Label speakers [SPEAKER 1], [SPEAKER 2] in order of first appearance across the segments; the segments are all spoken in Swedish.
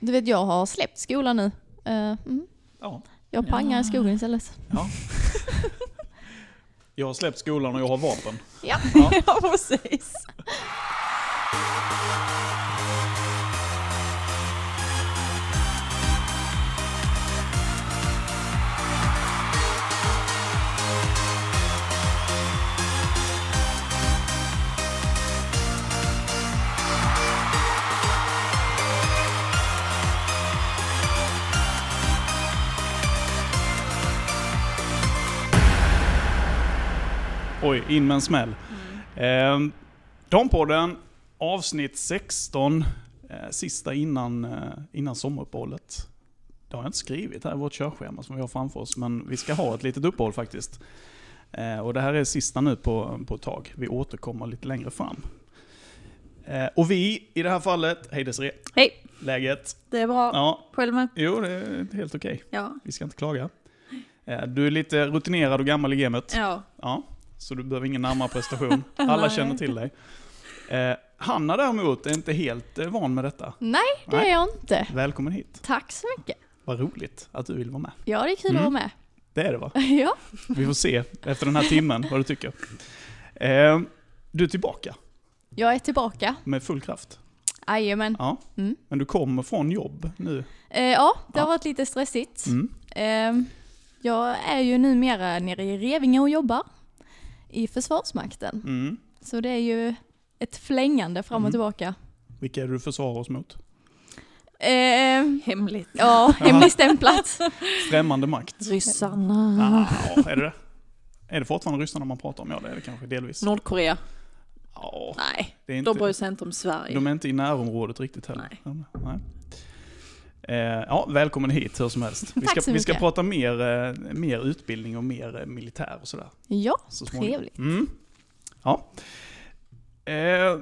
[SPEAKER 1] Du vet, jag har släppt skolan nu. Eh, mm.
[SPEAKER 2] Ja.
[SPEAKER 1] Jag pangar
[SPEAKER 3] Ja.
[SPEAKER 1] i skogen istället.
[SPEAKER 2] Jag har släppt skolan och jag har vapen.
[SPEAKER 1] Ja.
[SPEAKER 3] ja, precis.
[SPEAKER 2] Oj, in med en smäll. Eh, Dampodden, avsnitt 16. Eh, sista innan, eh, innan sommaruppehållet. Det har jag inte skrivit här i vårt körschema som vi har framför oss, men vi ska ha ett litet uppehåll faktiskt. Eh, och det här är sista nu på, på ett tag. Vi återkommer lite längre fram. Eh, och vi, i det här fallet, hej Desiree,
[SPEAKER 3] Hej,
[SPEAKER 2] läget?
[SPEAKER 3] det är bra.
[SPEAKER 2] Ja,
[SPEAKER 3] Själv med?
[SPEAKER 2] jo det är helt okej.
[SPEAKER 3] Ja.
[SPEAKER 2] Vi ska inte klaga. Eh, Du är lite rutinerad och gammal i gamet.
[SPEAKER 3] Ja.
[SPEAKER 2] Ja, så du behöver ingen närmare prestation. Alla
[SPEAKER 3] Nej.
[SPEAKER 2] känner till dig. Eh, Hanna däremot är inte helt eh, van med detta.
[SPEAKER 1] Nej, det
[SPEAKER 2] Nej.
[SPEAKER 1] är jag inte.
[SPEAKER 2] Välkommen hit.
[SPEAKER 1] Tack så mycket.
[SPEAKER 2] Vad roligt att du vill vara med.
[SPEAKER 1] Ja, det är kul
[SPEAKER 2] Mm.
[SPEAKER 1] att vara med.
[SPEAKER 2] Det är det va?
[SPEAKER 1] ja.
[SPEAKER 2] Vi får se efter den här timmen vad du tycker. Eh, Du är tillbaka
[SPEAKER 1] Jag är tillbaka.
[SPEAKER 2] med full kraft.
[SPEAKER 1] Jajamän.
[SPEAKER 2] Ja.
[SPEAKER 1] Mm.
[SPEAKER 2] Men du kommer från jobb nu.
[SPEAKER 1] Eh, ja, det har
[SPEAKER 2] Ja.
[SPEAKER 1] varit lite stressigt.
[SPEAKER 2] Mm.
[SPEAKER 1] Ehm, jag är ju numera nere i Revinge och jobbar i Försvarsmakten.
[SPEAKER 2] Mm.
[SPEAKER 1] Så det är ju ett flängande fram och
[SPEAKER 2] Mm.
[SPEAKER 1] tillbaka.
[SPEAKER 2] Vilka är det du försvarar oss mot?
[SPEAKER 1] Ehm,
[SPEAKER 3] Hemligt.
[SPEAKER 1] ja, hemligstämplat.
[SPEAKER 2] Främmande makt?
[SPEAKER 3] Ryssarna.
[SPEAKER 2] Ah, är det det? Är det fortfarande ryssarna man pratar om? Ja, det är det kanske delvis.
[SPEAKER 3] Nordkorea.
[SPEAKER 2] Ja,
[SPEAKER 3] Nej,
[SPEAKER 2] det är inte...
[SPEAKER 3] de bryr sig inte om Sverige.
[SPEAKER 2] De är inte i närområdet riktigt heller. Nej. Eh, ja, välkommen hit hur som helst. Vi
[SPEAKER 1] Tack
[SPEAKER 2] ska,
[SPEAKER 1] så
[SPEAKER 2] vi ska
[SPEAKER 1] mycket.
[SPEAKER 2] prata mer, eh, mer utbildning och mer eh, militär och sådär.
[SPEAKER 1] ja,
[SPEAKER 2] Så
[SPEAKER 1] trevligt.
[SPEAKER 2] Mm. Ja. Eh,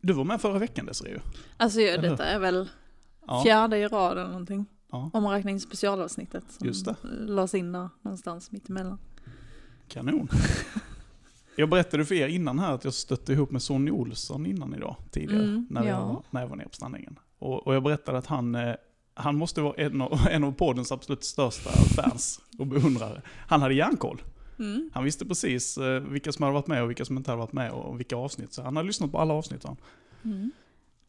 [SPEAKER 2] du var med förra veckan Desirée.
[SPEAKER 3] Alltså ja,
[SPEAKER 2] Eller?
[SPEAKER 3] detta är väl
[SPEAKER 2] Ja.
[SPEAKER 3] fjärde i rad eller någonting.
[SPEAKER 2] Ja.
[SPEAKER 3] Omräkning specialavsnittet som
[SPEAKER 2] Just det.
[SPEAKER 3] lades in där någonstans mittemellan.
[SPEAKER 2] Kanon. Jag berättade för er innan här att jag stötte ihop med Sonny Olsson innan idag, tidigare,
[SPEAKER 3] Mm,
[SPEAKER 2] när, jag,
[SPEAKER 1] ja.
[SPEAKER 2] var- när jag var nere på Strandängen. Och, och jag berättade att han, eh, han måste vara en av, en av poddens absolut största fans och beundrare. Han hade järnkoll.
[SPEAKER 3] Mm.
[SPEAKER 2] Han visste precis eh, vilka som hade varit med och vilka som inte hade varit med och vilka avsnitt. Så han hade lyssnat på alla avsnitt. sa Han.
[SPEAKER 3] Mm.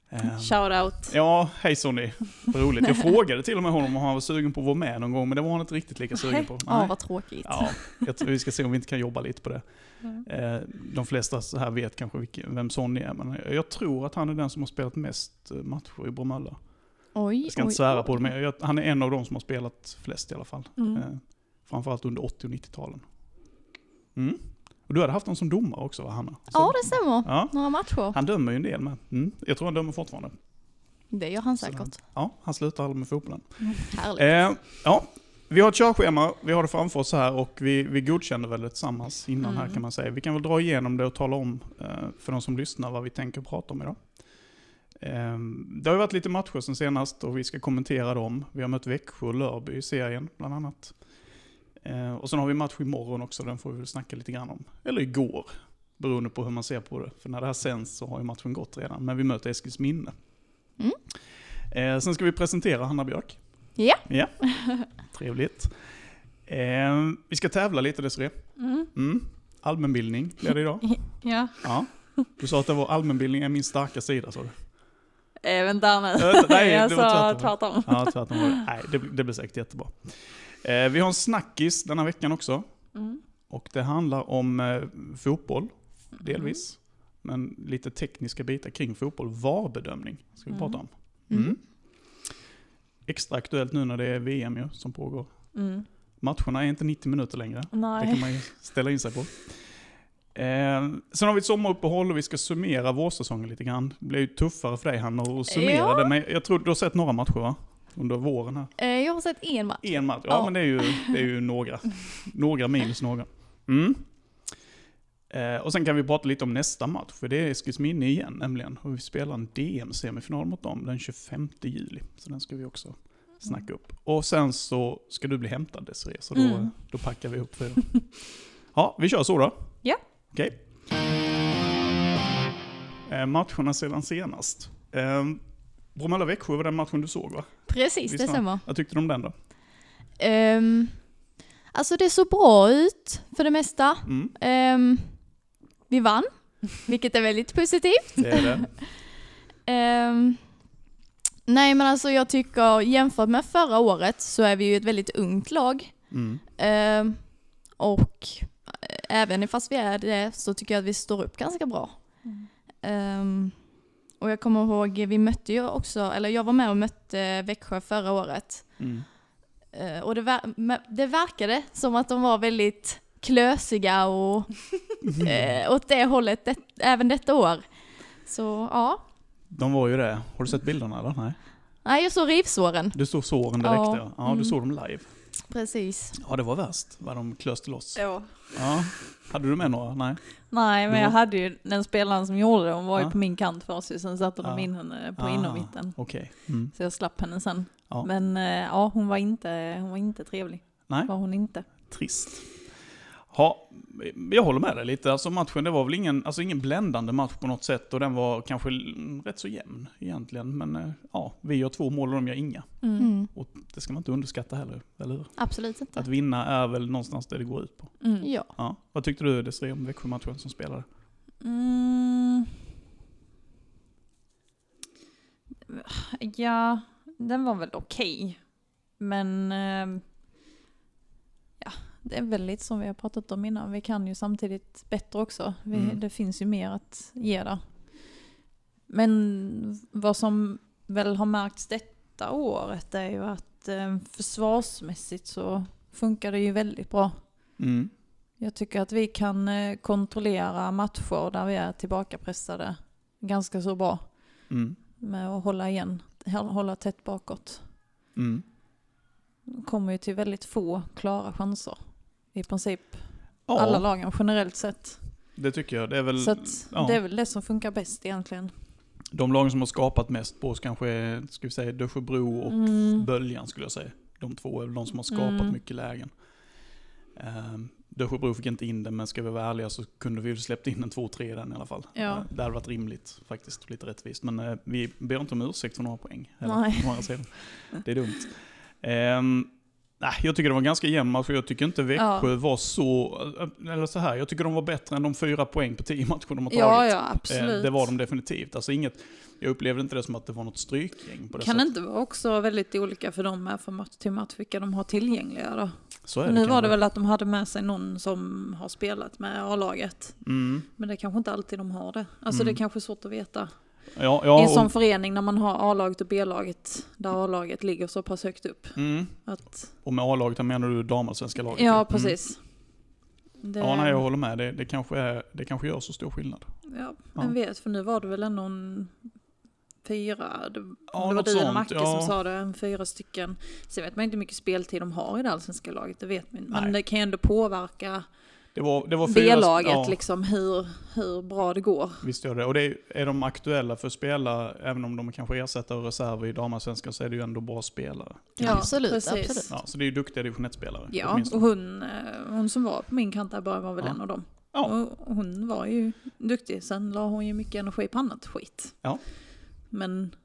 [SPEAKER 2] Ehm,
[SPEAKER 3] Shoutout.
[SPEAKER 2] ja, hej Sonny. Vad roligt. Jag frågade till och med honom om han var sugen på att vara med någon gång, men det var han inte riktigt lika sugen på.
[SPEAKER 1] Ja,
[SPEAKER 2] Nej.
[SPEAKER 1] vad tråkigt.
[SPEAKER 2] Ja, jag tror vi ska se om vi inte kan jobba lite på det.
[SPEAKER 3] Mm.
[SPEAKER 2] Eh, De flesta så här vet kanske vilken- vem Sonny är, men jag tror att han är den som har spelat mest eh, matcher i Bromölla.
[SPEAKER 1] Oj,
[SPEAKER 2] Jag ska
[SPEAKER 1] oj,
[SPEAKER 2] inte svära på
[SPEAKER 1] oj.
[SPEAKER 2] det, men jag- han är en av de som har spelat flest i alla fall.
[SPEAKER 3] Mm.
[SPEAKER 2] Eh, Framförallt under 80 och 90-talen. Mm. Och du hade haft någon som domare också va, Hanna?
[SPEAKER 1] Ja,
[SPEAKER 2] Så-
[SPEAKER 1] det stämmer.
[SPEAKER 2] ja.
[SPEAKER 1] Några matcher.
[SPEAKER 2] Han dömer ju en del med. Mm. Jag tror han dömer fortfarande.
[SPEAKER 1] Det gör han
[SPEAKER 2] Så
[SPEAKER 1] säkert. Mm,
[SPEAKER 2] Ja, han slutar aldrig med fotbollen.
[SPEAKER 1] Härligt.
[SPEAKER 2] Eh, ja, vi har ett körschema, vi har det framför oss här och vi, vi godkände väl det tillsammans innan
[SPEAKER 3] Mm.
[SPEAKER 2] här kan man säga. Vi kan väl dra igenom det och tala om eh, för de som lyssnar vad vi tänker prata om idag. Eh, det har ju varit lite matcher sen senast och vi ska kommentera dem. Vi har mött Växjö och Lörby i serien bland annat. Eh, och sen har vi match imorgon också, den får vi väl snacka lite grann om. Eller igår, beroende på hur man ser på det. För när det här sänds så har ju matchen gått redan, men vi möter Eskilsminne.
[SPEAKER 1] Mm.
[SPEAKER 2] Eh, sen ska vi presentera Hanna Björk.
[SPEAKER 1] Ja.
[SPEAKER 2] ja. Trevligt. Eh, vi ska tävla lite Desirée.
[SPEAKER 3] Mm.
[SPEAKER 2] Mm. Allmänbildning blir det idag.
[SPEAKER 3] Ja.
[SPEAKER 2] Ja. Du sa att det var allmänbildning är min starka sida sa du.
[SPEAKER 3] Även där Eh, nu.
[SPEAKER 2] Vänta, nej, det
[SPEAKER 3] jag
[SPEAKER 2] var
[SPEAKER 3] sa
[SPEAKER 2] tvärtom.
[SPEAKER 3] tvärtom.
[SPEAKER 2] Ja, tvärtom var det. Nej, det, blir- det blir säkert jättebra. Eh, vi har en snackis denna veckan också.
[SPEAKER 3] Mm.
[SPEAKER 2] Och det handlar om eh, fotboll,
[SPEAKER 3] Mm.
[SPEAKER 2] delvis. Men lite tekniska bitar kring fotboll. VAR-bedömning ska vi
[SPEAKER 3] Mm.
[SPEAKER 2] prata om.
[SPEAKER 1] Mm.
[SPEAKER 2] Mm. Extra aktuellt nu när det är VM ju, som pågår.
[SPEAKER 3] Mm.
[SPEAKER 2] Matcherna är inte 90 minuter längre. Det kan
[SPEAKER 3] Nej.
[SPEAKER 2] man ju ställa in sig på. Eh, sen har vi ett sommaruppehåll och vi ska summera vårsäsongen lite grann. Det blir ju tuffare för dig Hanna att summera
[SPEAKER 1] Ja.
[SPEAKER 2] det, men jag tror du har sett några matcher va? Under våren här.
[SPEAKER 1] Eh, jag har sett en match.
[SPEAKER 2] En match, ja,
[SPEAKER 1] Ja.
[SPEAKER 2] men det är ju, det är ju några. Några minus några. Mm. Eh, och sen kan vi prata lite om nästa match, för det är Eskilsminne igen nämligen. Och vi spelar en DM-semifinal mot dem den 25 juli. Så den ska vi också snacka upp. Och sen så ska du bli hämtad Desirée, så då,
[SPEAKER 3] Mm.
[SPEAKER 2] då packar vi upp för idag. Ja, vi kör så då.
[SPEAKER 3] Ja.
[SPEAKER 2] Okej. Eh, matcherna sedan senast. Eh, Bromölla-Växjö var den matchen du såg va?
[SPEAKER 1] Precis,
[SPEAKER 2] Visst
[SPEAKER 1] det
[SPEAKER 2] va?
[SPEAKER 1] stämmer.
[SPEAKER 2] Jag tyckte de den då?
[SPEAKER 1] Ehm, alltså det såg bra ut för det mesta.
[SPEAKER 2] Mm,
[SPEAKER 1] Ehm, vi vann, vilket är väldigt positivt.
[SPEAKER 2] det är det.
[SPEAKER 1] Ehm, nej men alltså jag tycker jämfört med förra året så är vi ju ett väldigt ungt lag.
[SPEAKER 2] Mm.
[SPEAKER 1] Ehm, och eh, även fast vi är det så tycker jag att vi står upp ganska bra.
[SPEAKER 3] Mm.
[SPEAKER 1] Ehm, och jag kommer ihåg, vi mötte ju också, eller jag var med och mötte Växjö förra året.
[SPEAKER 2] Mm.
[SPEAKER 1] Eh, Och det, ver- men det verkade som att de var väldigt klösiga och eh, åt det hållet det, även detta år. Så ja,
[SPEAKER 2] De var ju det. Har du sett bilderna eller? Nej.
[SPEAKER 1] nej jag såg rivsåren.
[SPEAKER 2] Du såg såren direkt
[SPEAKER 1] Ja.
[SPEAKER 2] ja. Ja, du
[SPEAKER 1] Mm.
[SPEAKER 2] såg dem live.
[SPEAKER 1] Precis.
[SPEAKER 2] Ja, det var värst vad de klöste loss.
[SPEAKER 3] Ja.
[SPEAKER 2] Ja. Hade du med några? Nej.
[SPEAKER 3] Nej, men
[SPEAKER 2] Ja.
[SPEAKER 3] jag hade ju den spelaren som gjorde det, hon var ju
[SPEAKER 2] Ja.
[SPEAKER 3] på min kant först ju, sen satte
[SPEAKER 2] Ja.
[SPEAKER 3] de in henne på
[SPEAKER 2] Ah,
[SPEAKER 3] innermitten.
[SPEAKER 2] Okej. Mm.
[SPEAKER 3] Så jag slapp henne sen.
[SPEAKER 2] Ja.
[SPEAKER 3] Men eh, ja, hon var inte, hon var inte trevlig.
[SPEAKER 2] Nej.
[SPEAKER 3] Var hon inte.
[SPEAKER 2] Trist. Ja, jag håller med dig lite. Alltså matchen, det var väl ingen, alltså ingen bländande match på något sätt och den var kanske mm, rätt så jämn egentligen. Men eh, ja, vi gör två mål och de gör inga.
[SPEAKER 1] Mm.
[SPEAKER 2] Det ska man inte underskatta heller, eller hur?
[SPEAKER 1] Absolut inte.
[SPEAKER 2] Att vinna är väl någonstans det det går ut på.
[SPEAKER 3] Mm.
[SPEAKER 1] Ja.
[SPEAKER 2] Ja. Vad tyckte du Desirée om Växjö-matchen som spelare?
[SPEAKER 3] Mm. Ja, den var väl okej. Men eh, ja, det är väl lite som vi har pratat om innan. Vi kan ju samtidigt bättre också. Vi,
[SPEAKER 2] Mm.
[SPEAKER 3] Det finns ju mer att ge där. Men vad som väl har märkts detta året är ju att eh, försvarsmässigt så funkar det ju väldigt bra.
[SPEAKER 2] Mm.
[SPEAKER 3] Jag tycker att vi kan eh, kontrollera matcher där vi är tillbakapressade ganska så bra
[SPEAKER 2] Mm.
[SPEAKER 3] med att hålla igen, hå- hålla tätt bakåt.
[SPEAKER 2] Mm.
[SPEAKER 3] Kommer ju till väldigt få klara chanser i princip.
[SPEAKER 2] Ja,
[SPEAKER 3] Alla lagen generellt sett.
[SPEAKER 2] det tycker jag. Det är väl
[SPEAKER 3] Så att
[SPEAKER 2] ja.
[SPEAKER 3] det är väl det som funkar bäst egentligen.
[SPEAKER 2] de lagen som har skapat mest på oss kanske, är, ska vi säga, Dösjebro och
[SPEAKER 3] Mm.
[SPEAKER 2] Böljan skulle jag säga. De två är väl de som har skapat
[SPEAKER 3] Mm.
[SPEAKER 2] mycket lägen. Um, Dösjebro fick inte in den, men ska vi vara ärliga så kunde vi ju släppt in en 2-3 i den i alla fall.
[SPEAKER 3] Ja.
[SPEAKER 2] Eh, Det hade varit rimligt faktiskt, lite rättvist. Men eh, vi ber inte om ursäkt för några poäng. heller,
[SPEAKER 3] Nej.
[SPEAKER 2] å andra sidan. Det är dumt. Ehm, nej, jag tycker det var en ganska jämn match och jag tycker inte Växjö var så, eh, eller så här, jag tycker de var bättre än de fyra poäng på tio matcher de har tagit.
[SPEAKER 3] Ja, ja,
[SPEAKER 2] Eh,
[SPEAKER 3] absolut.
[SPEAKER 2] Det var de definitivt. Alltså inget, jag upplevde inte det som att det var något strykgäng på det
[SPEAKER 3] Kan det
[SPEAKER 2] sättet.
[SPEAKER 3] inte vara också väldigt olika för dem här från match till match vilka de har tillgängliga då?
[SPEAKER 2] Så är det
[SPEAKER 3] Nu var det
[SPEAKER 2] kanske.
[SPEAKER 3] väl att de hade med sig någon som har spelat med A-laget.
[SPEAKER 2] Mm.
[SPEAKER 3] Men det är kanske inte alltid de har det. Alltså
[SPEAKER 2] Mm.
[SPEAKER 3] det är kanske är svårt att veta.
[SPEAKER 2] Ja,
[SPEAKER 3] I en
[SPEAKER 2] ja,
[SPEAKER 3] sån
[SPEAKER 2] och,
[SPEAKER 3] förening när man har A-laget och B-laget, där A-laget ligger så pass högt upp.
[SPEAKER 2] mm,
[SPEAKER 3] Att,
[SPEAKER 2] och med A-laget, då menar du damallsvenska laget?
[SPEAKER 3] ja, precis. Det,
[SPEAKER 2] Mm. Ja, nej, jag håller med. Det, det, kanske är, det kanske gör så stor skillnad.
[SPEAKER 3] ja, vem vet, för nu var det väl ändå en fyra, det,
[SPEAKER 2] Ja,
[SPEAKER 3] det var
[SPEAKER 2] något
[SPEAKER 3] du och
[SPEAKER 2] sånt.
[SPEAKER 3] Macke
[SPEAKER 2] Ja.
[SPEAKER 3] som sa det, en fyra stycken. Sen vet man inte hur mycket speltid de har i det allsvenska laget, det vet man inte.
[SPEAKER 2] Nej.
[SPEAKER 3] Men det kan ju ändå påverka
[SPEAKER 2] Det var, det var fyra sp-
[SPEAKER 3] B-laget,
[SPEAKER 2] ja,
[SPEAKER 3] liksom, hur, hur bra det går.
[SPEAKER 2] Visst gör det. Och det är, är de aktuella för att spela, även om de kanske ersätter reserver i damallsvenskan, så är det ju ändå bra spelare.
[SPEAKER 1] Ja, absolut, absolut.
[SPEAKER 2] Ja, så det är ju duktiga division 1-spelare.
[SPEAKER 3] Ja, och
[SPEAKER 2] åtminstone.
[SPEAKER 3] hon, eh, hon som var på min kant där i början var väl
[SPEAKER 2] Ja.
[SPEAKER 3] en av dem.
[SPEAKER 2] Ja.
[SPEAKER 3] Och hon var ju duktig, sen la hon ju mycket energi på annat skit.
[SPEAKER 2] Ja.
[SPEAKER 3] Men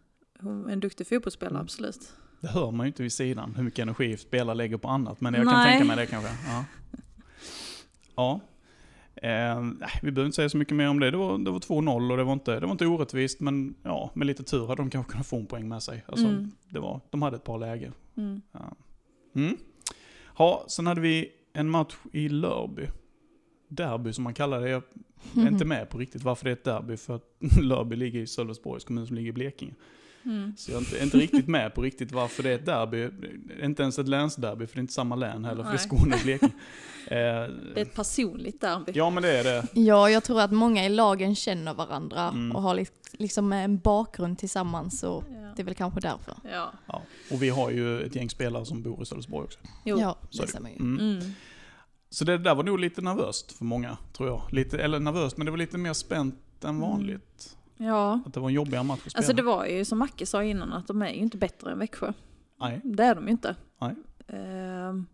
[SPEAKER 3] hon är en duktig fotbollsspelare,
[SPEAKER 2] Mm.
[SPEAKER 3] absolut.
[SPEAKER 2] Det hör man ju inte vid sidan, hur mycket energi spelare lägger på annat. Men jag kan
[SPEAKER 3] Nej.
[SPEAKER 2] tänka mig det kanske. Ja. ja. Eh, nej, vi behöver inte säga så mycket mer om det. Det var, det var 2-0 och det var, inte, det var inte orättvist, men ja, med lite tur hade de kanske kunnat få en poäng med sig. Alltså,
[SPEAKER 3] Mm.
[SPEAKER 2] det var, de hade ett par läger.
[SPEAKER 3] Mm.
[SPEAKER 2] Ja. Mm. Ja, sen hade vi en match i Lörby. Derby som man kallar det. Jag
[SPEAKER 3] Mhm.
[SPEAKER 2] är inte med på riktigt varför det är ett derby, för att Lörby ligger i Sölvesborgs kommun som ligger i Blekinge.
[SPEAKER 3] Mm.
[SPEAKER 2] Så jag är inte, är inte riktigt med på riktigt varför det är ett derby. Det är Inte ens ett länsderby, för det är inte samma län heller, för det är
[SPEAKER 3] Nej.
[SPEAKER 2] Skåne och Blekinge. Eh,
[SPEAKER 3] Det är ett personligt derby.
[SPEAKER 2] ja, men det är det.
[SPEAKER 1] Ja, jag tror att många i lagen känner varandra
[SPEAKER 2] Mm.
[SPEAKER 1] och har li- liksom en bakgrund tillsammans och
[SPEAKER 3] Ja.
[SPEAKER 1] det är väl kanske därför.
[SPEAKER 3] Ja.
[SPEAKER 2] Ja. Och vi har ju ett gäng spelare som bor i Sölvesborg också.
[SPEAKER 3] Jo.
[SPEAKER 1] ja,
[SPEAKER 2] så är
[SPEAKER 1] det
[SPEAKER 2] det.
[SPEAKER 1] stämmer ju.
[SPEAKER 2] Mm.
[SPEAKER 3] Mm.
[SPEAKER 2] Så det där var nog lite nervöst för många, tror jag. Lite, eller nervöst, men det var lite mer spänt än vanligt.
[SPEAKER 3] ja.
[SPEAKER 2] Att det var en jobbigare match att spela.
[SPEAKER 3] Mm. Alltså det var ju som Macke sa innan att de är ju inte bättre än Växjö.
[SPEAKER 2] Nej.
[SPEAKER 3] Det är de ju inte.
[SPEAKER 2] Nej.
[SPEAKER 3] Ehm,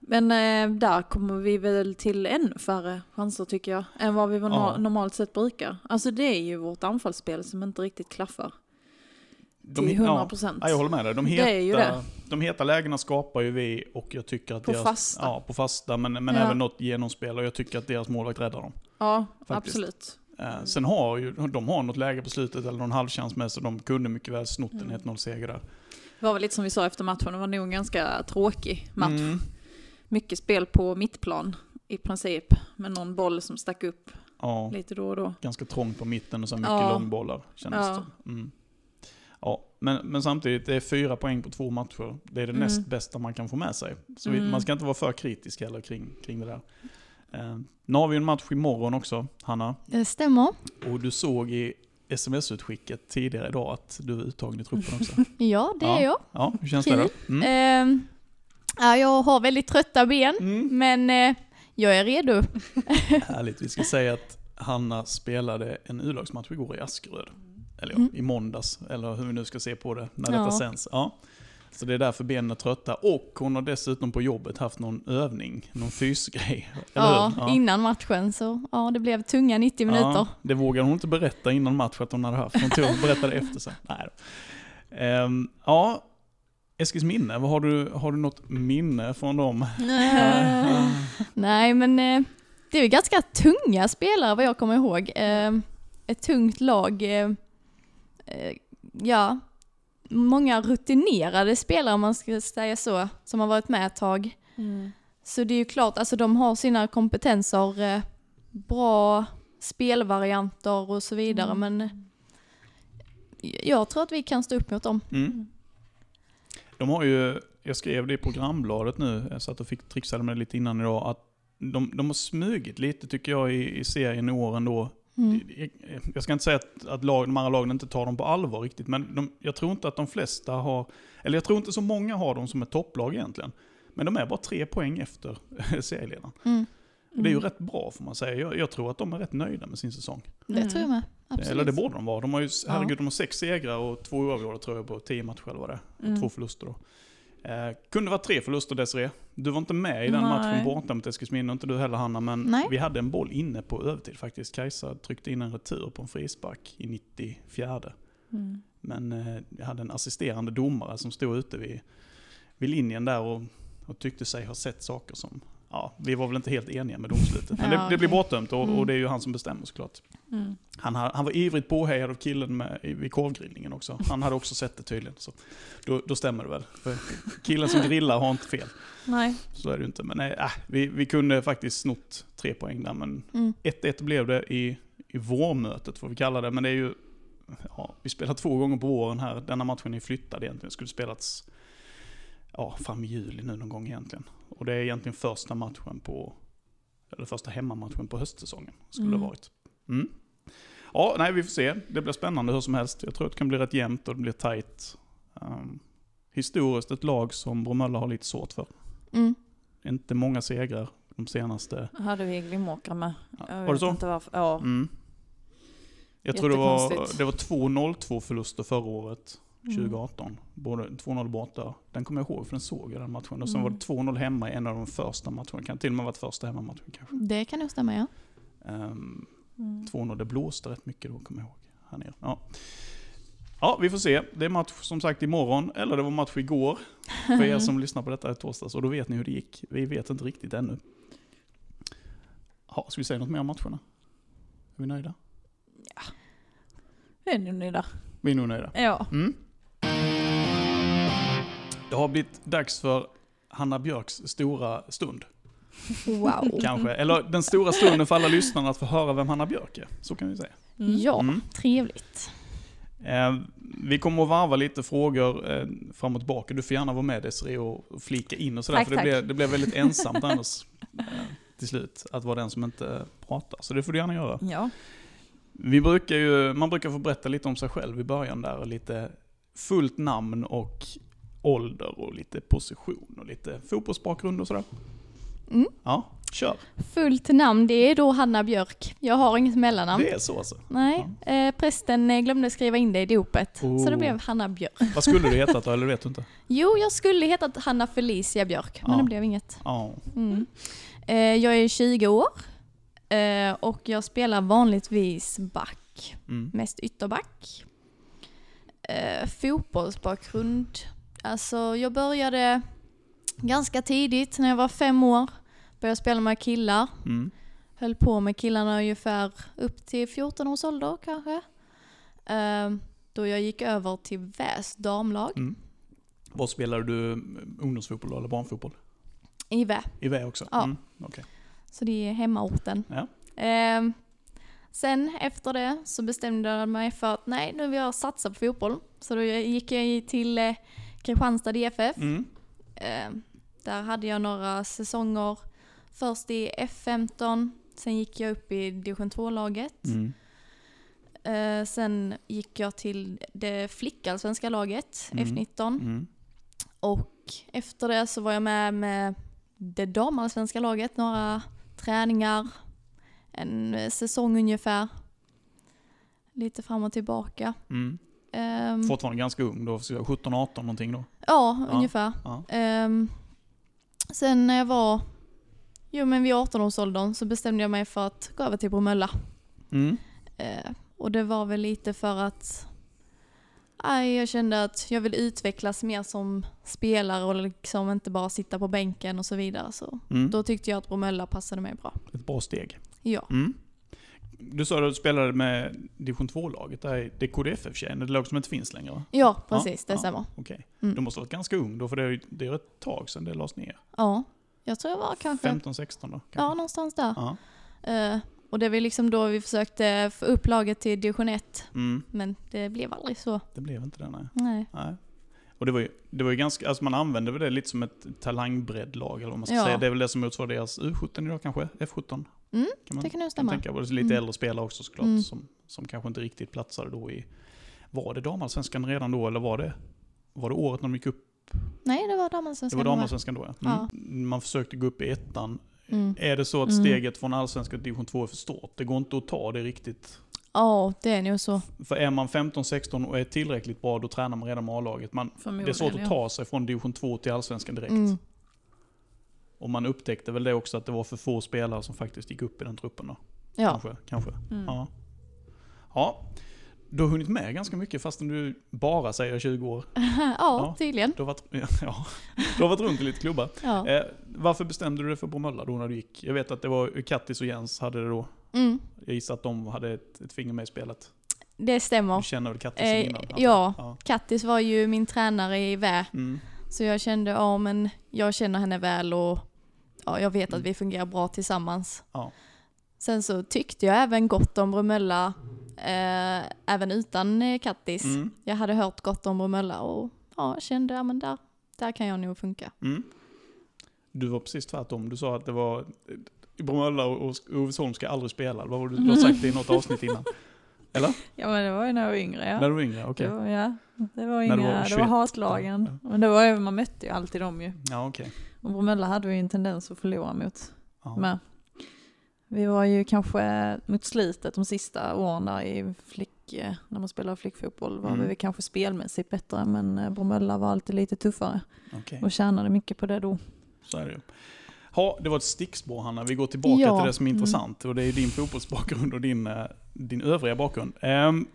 [SPEAKER 3] Men eh, där kommer vi väl till ännu färre chanser tycker jag. Än vad vi no-
[SPEAKER 2] Ja.
[SPEAKER 3] normalt sett brukar. Alltså det är ju vårt anfallsspel som inte riktigt klaffar.
[SPEAKER 2] de-
[SPEAKER 3] till 100 procent.
[SPEAKER 2] Ja, jag håller med dig. De
[SPEAKER 3] Det
[SPEAKER 2] heta,
[SPEAKER 3] är ju det.
[SPEAKER 2] De heta lägena skapar ju vi och jag tycker att
[SPEAKER 3] På
[SPEAKER 2] deras,
[SPEAKER 3] fasta.
[SPEAKER 2] Ja, på fasta, men, men
[SPEAKER 3] Ja.
[SPEAKER 2] även något genomspel och jag tycker att deras målvakt räddar dem.
[SPEAKER 3] ja
[SPEAKER 2] Faktiskt.
[SPEAKER 3] absolut.
[SPEAKER 2] Eh, Sen har ju, de har något läge på slutet eller någon halvchans med så de kunde mycket väl snott en
[SPEAKER 3] Mm.
[SPEAKER 2] 1-0-seger där.
[SPEAKER 3] Det var väl lite som vi sa efter matchen, det var nog en ganska tråkig match.
[SPEAKER 2] Mm.
[SPEAKER 3] Mycket spel på mittplan i princip, med någon boll som stack upp
[SPEAKER 2] Ja,
[SPEAKER 3] lite då och då.
[SPEAKER 2] ganska trångt på mitten och sen mycket
[SPEAKER 3] Ja.
[SPEAKER 2] långbollar kändes
[SPEAKER 3] Ja.
[SPEAKER 2] det som. mm. ja, men, men samtidigt, det är fyra poäng på två matcher. Det är det
[SPEAKER 3] Mm.
[SPEAKER 2] näst bästa man kan få med sig. Så vi,
[SPEAKER 3] Mm.
[SPEAKER 2] man ska inte vara för kritisk heller kring, kring det där. Eh, nu har vi ju en match imorgon också, Hanna.
[SPEAKER 1] Det Eh, stämmer.
[SPEAKER 2] Och du såg i sms-utskicket tidigare idag att du är uttagen i truppen också.
[SPEAKER 1] Ja, det
[SPEAKER 2] Ja.
[SPEAKER 1] är jag.
[SPEAKER 2] Ja, hur känns det då?
[SPEAKER 3] Eh,
[SPEAKER 2] Mm.
[SPEAKER 1] Ehm, ja, jag har väldigt trötta ben,
[SPEAKER 2] Mm.
[SPEAKER 1] men eh, jag är redo.
[SPEAKER 2] Härligt, vi ska säga att Hanna spelade en U-lagsmatch igår i Askeröd. Eller ja,
[SPEAKER 1] Mm.
[SPEAKER 2] i måndags, eller hur vi nu ska se på det när detta
[SPEAKER 1] Ja.
[SPEAKER 2] sänds. Ja. Så det är därför benen är trötta. Och hon har dessutom på jobbet haft någon övning, någon fysgrej. Eller
[SPEAKER 1] Ja,
[SPEAKER 2] hur?
[SPEAKER 1] Innan matchen så, ja det blev tunga 90 minuter.
[SPEAKER 2] Ja, det vågade hon inte berätta innan match att hon hade haft. Hon tog och berättade efter sen. Nej då. Ehm, ja, Eskils minne. Vad har, du, har du något minne från dem?
[SPEAKER 1] Eh, Nej, men eh, det är ju ganska tunga spelare vad jag kommer ihåg. Eh, ett tungt lag. Eh, eh, ja, många rutinerade spelare om man ska säga så, som har varit med ett tag.
[SPEAKER 3] Mm.
[SPEAKER 1] Så det är ju klart, alltså de har sina kompetenser, eh, bra spelvarianter och så vidare,
[SPEAKER 3] Mm.
[SPEAKER 1] men eh, jag tror att vi kan stå upp mot dem.
[SPEAKER 2] Mm. De har ju, jag skrev det i programbladet nu, jag satt och fick trixade med det lite innan idag, att de, de har smugit lite tycker jag i, i serien i år ändå.
[SPEAKER 1] Mm.
[SPEAKER 2] Jag, jag ska inte säga att, att lag, de andra lagen inte tar dem på allvar riktigt, men de, jag tror inte att de flesta har, eller jag tror inte så många har dem som ett topplag egentligen. Men de är bara tre poäng efter serieledaren.
[SPEAKER 1] Mm.
[SPEAKER 2] Och Det är ju rätt bra får man säga. Jag, jag tror att de är rätt nöjda med sin säsong.
[SPEAKER 1] Det tror jag med. Absolut.
[SPEAKER 2] Eller det borde de vara. De har ju,
[SPEAKER 1] Ja.
[SPEAKER 2] herregud, de har sex segrar och två oavgjorda tror jag på tio matcher eller vad det är. Och
[SPEAKER 3] Mm.
[SPEAKER 2] två förluster då. Eh, kunde vara tre förluster Desiree. Du var inte med i den
[SPEAKER 3] Nej.
[SPEAKER 2] matchen borta mot Eskilsminne, och inte du heller Hanna, men
[SPEAKER 1] Nej.
[SPEAKER 2] vi hade en boll inne på övertid faktiskt. Kajsa tryckte in en retur på en frispark i 94.
[SPEAKER 3] Mm.
[SPEAKER 2] Men eh, vi hade en assisterande domare som stod ute vid, vid linjen där och, och tyckte sig ha sett saker som, ja, vi var väl inte helt eniga med domslutet. Men
[SPEAKER 1] Ja,
[SPEAKER 2] det, det
[SPEAKER 1] okej.
[SPEAKER 2] blir
[SPEAKER 1] Mm.
[SPEAKER 2] bortdömt och, och det är ju han som bestämmer såklart.
[SPEAKER 3] Mm.
[SPEAKER 2] Han, ha- han var ivrigt påhejad av killen med, i- vid korvgrillningen också. Han hade också sett det tydligen. Så då, då stämmer det väl. För killen som grillar har inte fel.
[SPEAKER 3] Nej.
[SPEAKER 2] Så är det ju inte. Men nej, äh, vi, vi kunde faktiskt snott tre poäng där. Men
[SPEAKER 1] Mm.
[SPEAKER 2] 1-1 blev det i, i vårmötet, får vi kalla det. Men det är ju... Ja, vi spelar två gånger på våren här. Denna matchen är flyttad egentligen. Skulle spelats ja, fram i juli nu någon gång egentligen. Och det är egentligen första matchen på... Eller första hemmamatchen på höstsäsongen, skulle det
[SPEAKER 3] Mm.
[SPEAKER 2] ha varit. Mm. Ja, nej vi får se. Det blir spännande hur som helst. Jag tror att det kan bli rätt jämnt och det blir tajt. Ehm, historiskt ett lag som Bromölla har lite svårt för.
[SPEAKER 1] Mm.
[SPEAKER 2] Inte många segrar de senaste.
[SPEAKER 3] hade vi Glimåkra med.
[SPEAKER 2] Ja,
[SPEAKER 3] Jag
[SPEAKER 2] var
[SPEAKER 3] vet
[SPEAKER 2] det så?
[SPEAKER 3] Inte varför. Ja.
[SPEAKER 2] Mm. Jag tror det var,
[SPEAKER 3] Jättekonstigt.
[SPEAKER 2] det var 2-0-2 förluster förra året,
[SPEAKER 3] Mm.
[SPEAKER 2] 2018. Både 2-0 borta, den kommer jag ihåg för den såg jag den matchen. Och sen
[SPEAKER 3] Mm.
[SPEAKER 2] var det 2-0 hemma i en av de första matcherna. Kan till och med ha varit första hemmamatchen kanske.
[SPEAKER 1] Det kan nog stämma ja.
[SPEAKER 2] Ehm,
[SPEAKER 3] Mm.
[SPEAKER 2] 2-0, det blåste rätt mycket då kommer jag ihåg. Här nere. Ja. ja, vi får se. Det är match som sagt imorgon, eller det var match igår. För er som lyssnar på detta i torsdags. Och då vet ni hur det gick. Vi vet inte riktigt ännu. Ja, ska vi säga något mer om matcherna? Är vi nöjda?
[SPEAKER 3] Det är nog nöjda.
[SPEAKER 2] Vi är nog nöjda.
[SPEAKER 3] Ja.
[SPEAKER 2] Mm. Det har blivit dags för Hanna Björks stora stund,
[SPEAKER 1] Wow.
[SPEAKER 2] kanske. Eller den stora stunden för alla lyssnarna att få höra vem Hanna Björk är. Så kan vi säga.
[SPEAKER 1] Ja,
[SPEAKER 2] Mm.
[SPEAKER 1] trevligt.
[SPEAKER 2] Eh, vi kommer att varva lite frågor eh, fram och tillbaka. Du får gärna vara med Desiree och flika in och sådär.
[SPEAKER 3] Tack,
[SPEAKER 2] för det
[SPEAKER 3] tack.
[SPEAKER 2] blir, det blir väldigt ensamt annars eh, till slut, att vara den som inte pratar. Så det får du gärna göra.
[SPEAKER 3] Ja.
[SPEAKER 2] Vi brukar ju, man brukar få berätta lite om sig själv i början där, och lite fullt namn och ålder och lite position och lite fotbollsbakgrund och sådär.
[SPEAKER 1] Mm.
[SPEAKER 2] Ja, kör.
[SPEAKER 1] Fullt namn det är då Hanna Björk. Jag har inget mellannamn.
[SPEAKER 2] Det är så alltså.
[SPEAKER 1] Nej, eh, prästen eh, glömde skriva in det i dopet. Så det
[SPEAKER 2] Oh.
[SPEAKER 1] blev Hanna Björk.
[SPEAKER 2] Vad skulle du heta då, eller vet du inte?
[SPEAKER 1] Jo, jag skulle hetat Hanna Felicia Björk, men
[SPEAKER 2] Ja.
[SPEAKER 1] det blev inget.
[SPEAKER 2] Ja.
[SPEAKER 1] Mm. Eh, jag är 20 år eh, och jag spelar vanligtvis back,
[SPEAKER 2] Mm.
[SPEAKER 1] mest ytterback. eh, fotbollsbakgrund. Alltså jag började ganska tidigt, när jag var fem år, började spela med killar.
[SPEAKER 2] Mm.
[SPEAKER 1] Höll på med killarna ungefär upp till 14 års ålder kanske. Ehm, då jag gick över till Väs damlag
[SPEAKER 2] Mm. Vad spelar du? Ungdomsfotboll eller barnfotboll?
[SPEAKER 1] i Vä.
[SPEAKER 2] I VE också?
[SPEAKER 1] Ja.
[SPEAKER 2] Mm. okej.
[SPEAKER 1] Så det är hemmaorten.
[SPEAKER 2] Ja.
[SPEAKER 1] Ehm, sen efter det så bestämde jag mig för att nej, nu vill jag satsa på fotboll. Så då gick jag i- till eh, Kristianstad DFF.
[SPEAKER 2] Mm.
[SPEAKER 1] Ehm, där hade jag några säsonger. Först i F15, sen gick jag upp i division 2-laget.
[SPEAKER 2] Mm.
[SPEAKER 1] Eh, sen gick jag till det flickallsvenska laget,
[SPEAKER 2] Mm.
[SPEAKER 1] F19.
[SPEAKER 2] Mm.
[SPEAKER 1] Och efter det så var jag med med det damallsvenska laget, några träningar, en eh, säsong ungefär. Lite fram och tillbaka.
[SPEAKER 2] Mm.
[SPEAKER 1] Ehm,
[SPEAKER 2] Fortfarande ganska ung då, 17-18 någonting då?
[SPEAKER 1] ja,
[SPEAKER 2] Ja,
[SPEAKER 1] ungefär.
[SPEAKER 2] ja.
[SPEAKER 1] Ehm, sen när jag var jo, men vid 18-årsåldern så bestämde jag mig för att gå över till Bromölla.
[SPEAKER 2] Mm.
[SPEAKER 1] Eh, och det var väl lite för att aj, jag kände att jag vill utvecklas mer som spelare och liksom inte bara sitta på bänken och så vidare. Så
[SPEAKER 2] Mm.
[SPEAKER 1] då tyckte jag att Bromölla passade mig bra.
[SPEAKER 2] Ett bra steg.
[SPEAKER 1] Ja,
[SPEAKER 2] Mm. Du sa att du spelade med division 2-laget, det är- det är KDFF-tjejen, ett lag som inte finns längre va?
[SPEAKER 1] ja precis, det
[SPEAKER 2] ja.
[SPEAKER 1] stämmer.
[SPEAKER 2] Okej.
[SPEAKER 1] Mm.
[SPEAKER 2] Du måste ha varit ganska ung då, för det är, ju- det är ett tag sedan det lades ner.
[SPEAKER 1] Ja, jag tror jag var kanske
[SPEAKER 2] 15-16 då?
[SPEAKER 1] ja,
[SPEAKER 2] kanske?
[SPEAKER 1] någonstans där.
[SPEAKER 2] Ja.
[SPEAKER 1] Eh, och det var liksom då vi försökte få upp laget till division 1,
[SPEAKER 2] Mm.
[SPEAKER 1] men det blev aldrig så.
[SPEAKER 2] Det blev inte det, nej.
[SPEAKER 1] Nej.
[SPEAKER 2] nej. Och det var ju, det var ju ganska, alltså man använde väl det lite som ett talangbredd-lag, eller vad man ska
[SPEAKER 1] Ja.
[SPEAKER 2] säga. Det är väl det som motsvarar deras U17 idag kanske? F17?
[SPEAKER 1] Mm,
[SPEAKER 2] kan man
[SPEAKER 1] Det kan nog
[SPEAKER 2] kan
[SPEAKER 1] stämma.
[SPEAKER 2] tänka på. Det är lite
[SPEAKER 1] Mm.
[SPEAKER 2] äldre spelare också såklart,
[SPEAKER 1] Mm.
[SPEAKER 2] som, som kanske inte riktigt platsade då i... Var det damallsvenskan redan då, eller var det, var det året när de gick upp?
[SPEAKER 1] Nej, det var
[SPEAKER 2] Det
[SPEAKER 1] damallsvenskan.
[SPEAKER 2] var
[SPEAKER 1] de var.
[SPEAKER 2] damallsvenskan då, ja. Mm. Man försökte gå upp i ettan.
[SPEAKER 1] Mm.
[SPEAKER 2] Är det så att
[SPEAKER 3] Mm.
[SPEAKER 2] steget från allsvenskan till division 2 är för stort? Det går inte att ta det riktigt
[SPEAKER 1] Ja, det är nog så.
[SPEAKER 2] För är man 15-16 och är tillräckligt bra, då tränar man redan med A-laget. Man, det är svårt att ta sig från division 2 till allsvenskan direkt.
[SPEAKER 1] Mm.
[SPEAKER 2] Och man upptäckte väl det också, att det var för få spelare som faktiskt gick upp i den truppen. Då.
[SPEAKER 1] Ja.
[SPEAKER 2] Kanske. kanske.
[SPEAKER 3] Mm.
[SPEAKER 2] Ja. ja. Du har hunnit med ganska mycket fastän du bara säger 20 år.
[SPEAKER 1] ja, tydligen.
[SPEAKER 2] Du har varit, ja, du har varit runt i lite klubbar.
[SPEAKER 1] Ja.
[SPEAKER 2] Eh, varför bestämde du dig för Bromölla då när du gick? Jag vet att det var Kattis och Jens hade det då.
[SPEAKER 1] Mm,
[SPEAKER 2] Jag gissar att de hade ett, ett finger med i spelet.
[SPEAKER 1] det
[SPEAKER 2] Du
[SPEAKER 1] stämmer.
[SPEAKER 2] känner väl Kattis
[SPEAKER 1] Eh,
[SPEAKER 2] innan? antar jag?
[SPEAKER 1] ja.
[SPEAKER 2] ja.
[SPEAKER 1] Kattis var ju min tränare i Vä,
[SPEAKER 2] Mm.
[SPEAKER 1] så jag kände ja men jag känner henne väl och ja, jag vet att vi fungerar bra tillsammans.
[SPEAKER 2] Mm. Ja.
[SPEAKER 1] Sen så tyckte jag även gott om Bromölla, eh, även utan eh, Kattis.
[SPEAKER 2] Mm.
[SPEAKER 1] Jag hade hört gott om Bromölla och ja, jag kände ja men där, där kan jag nog funka.
[SPEAKER 2] Mm. Du var precis tvärtom. Du sa att det var Bromölla och och Ovesholm ska aldrig spela. Vad var det du har sagt i något avsnitt innan? Eller?
[SPEAKER 3] Ja men det var ju när jag var yngre ja.
[SPEAKER 2] När du var yngre? Okej.
[SPEAKER 3] Det var, ja. det var
[SPEAKER 2] När
[SPEAKER 3] inga,
[SPEAKER 2] du var
[SPEAKER 3] det
[SPEAKER 2] 21.
[SPEAKER 3] var hatlagen. Men det var ju, man mötte ju alltid dem ju.
[SPEAKER 2] Ja, okej.
[SPEAKER 3] Och Bromölla hade ju en tendens att förlora mot.
[SPEAKER 2] Ja.
[SPEAKER 3] Men vi var ju kanske mot slutet de sista åren där i flick, när man spelade flickfotboll var
[SPEAKER 2] Mm.
[SPEAKER 3] vi väl kanske spelmässigt bättre men eh, Bromölla var alltid lite tuffare
[SPEAKER 2] Okej.
[SPEAKER 3] och tjänade mycket på det då.
[SPEAKER 2] Så är det ju. Ha, det var ett stickspår Hanna. Vi går tillbaka
[SPEAKER 1] Ja. Mm.
[SPEAKER 2] till det som är intressant. Och det är ju din fotbollsbakgrund och din, eh, din övriga bakgrund. Ehm,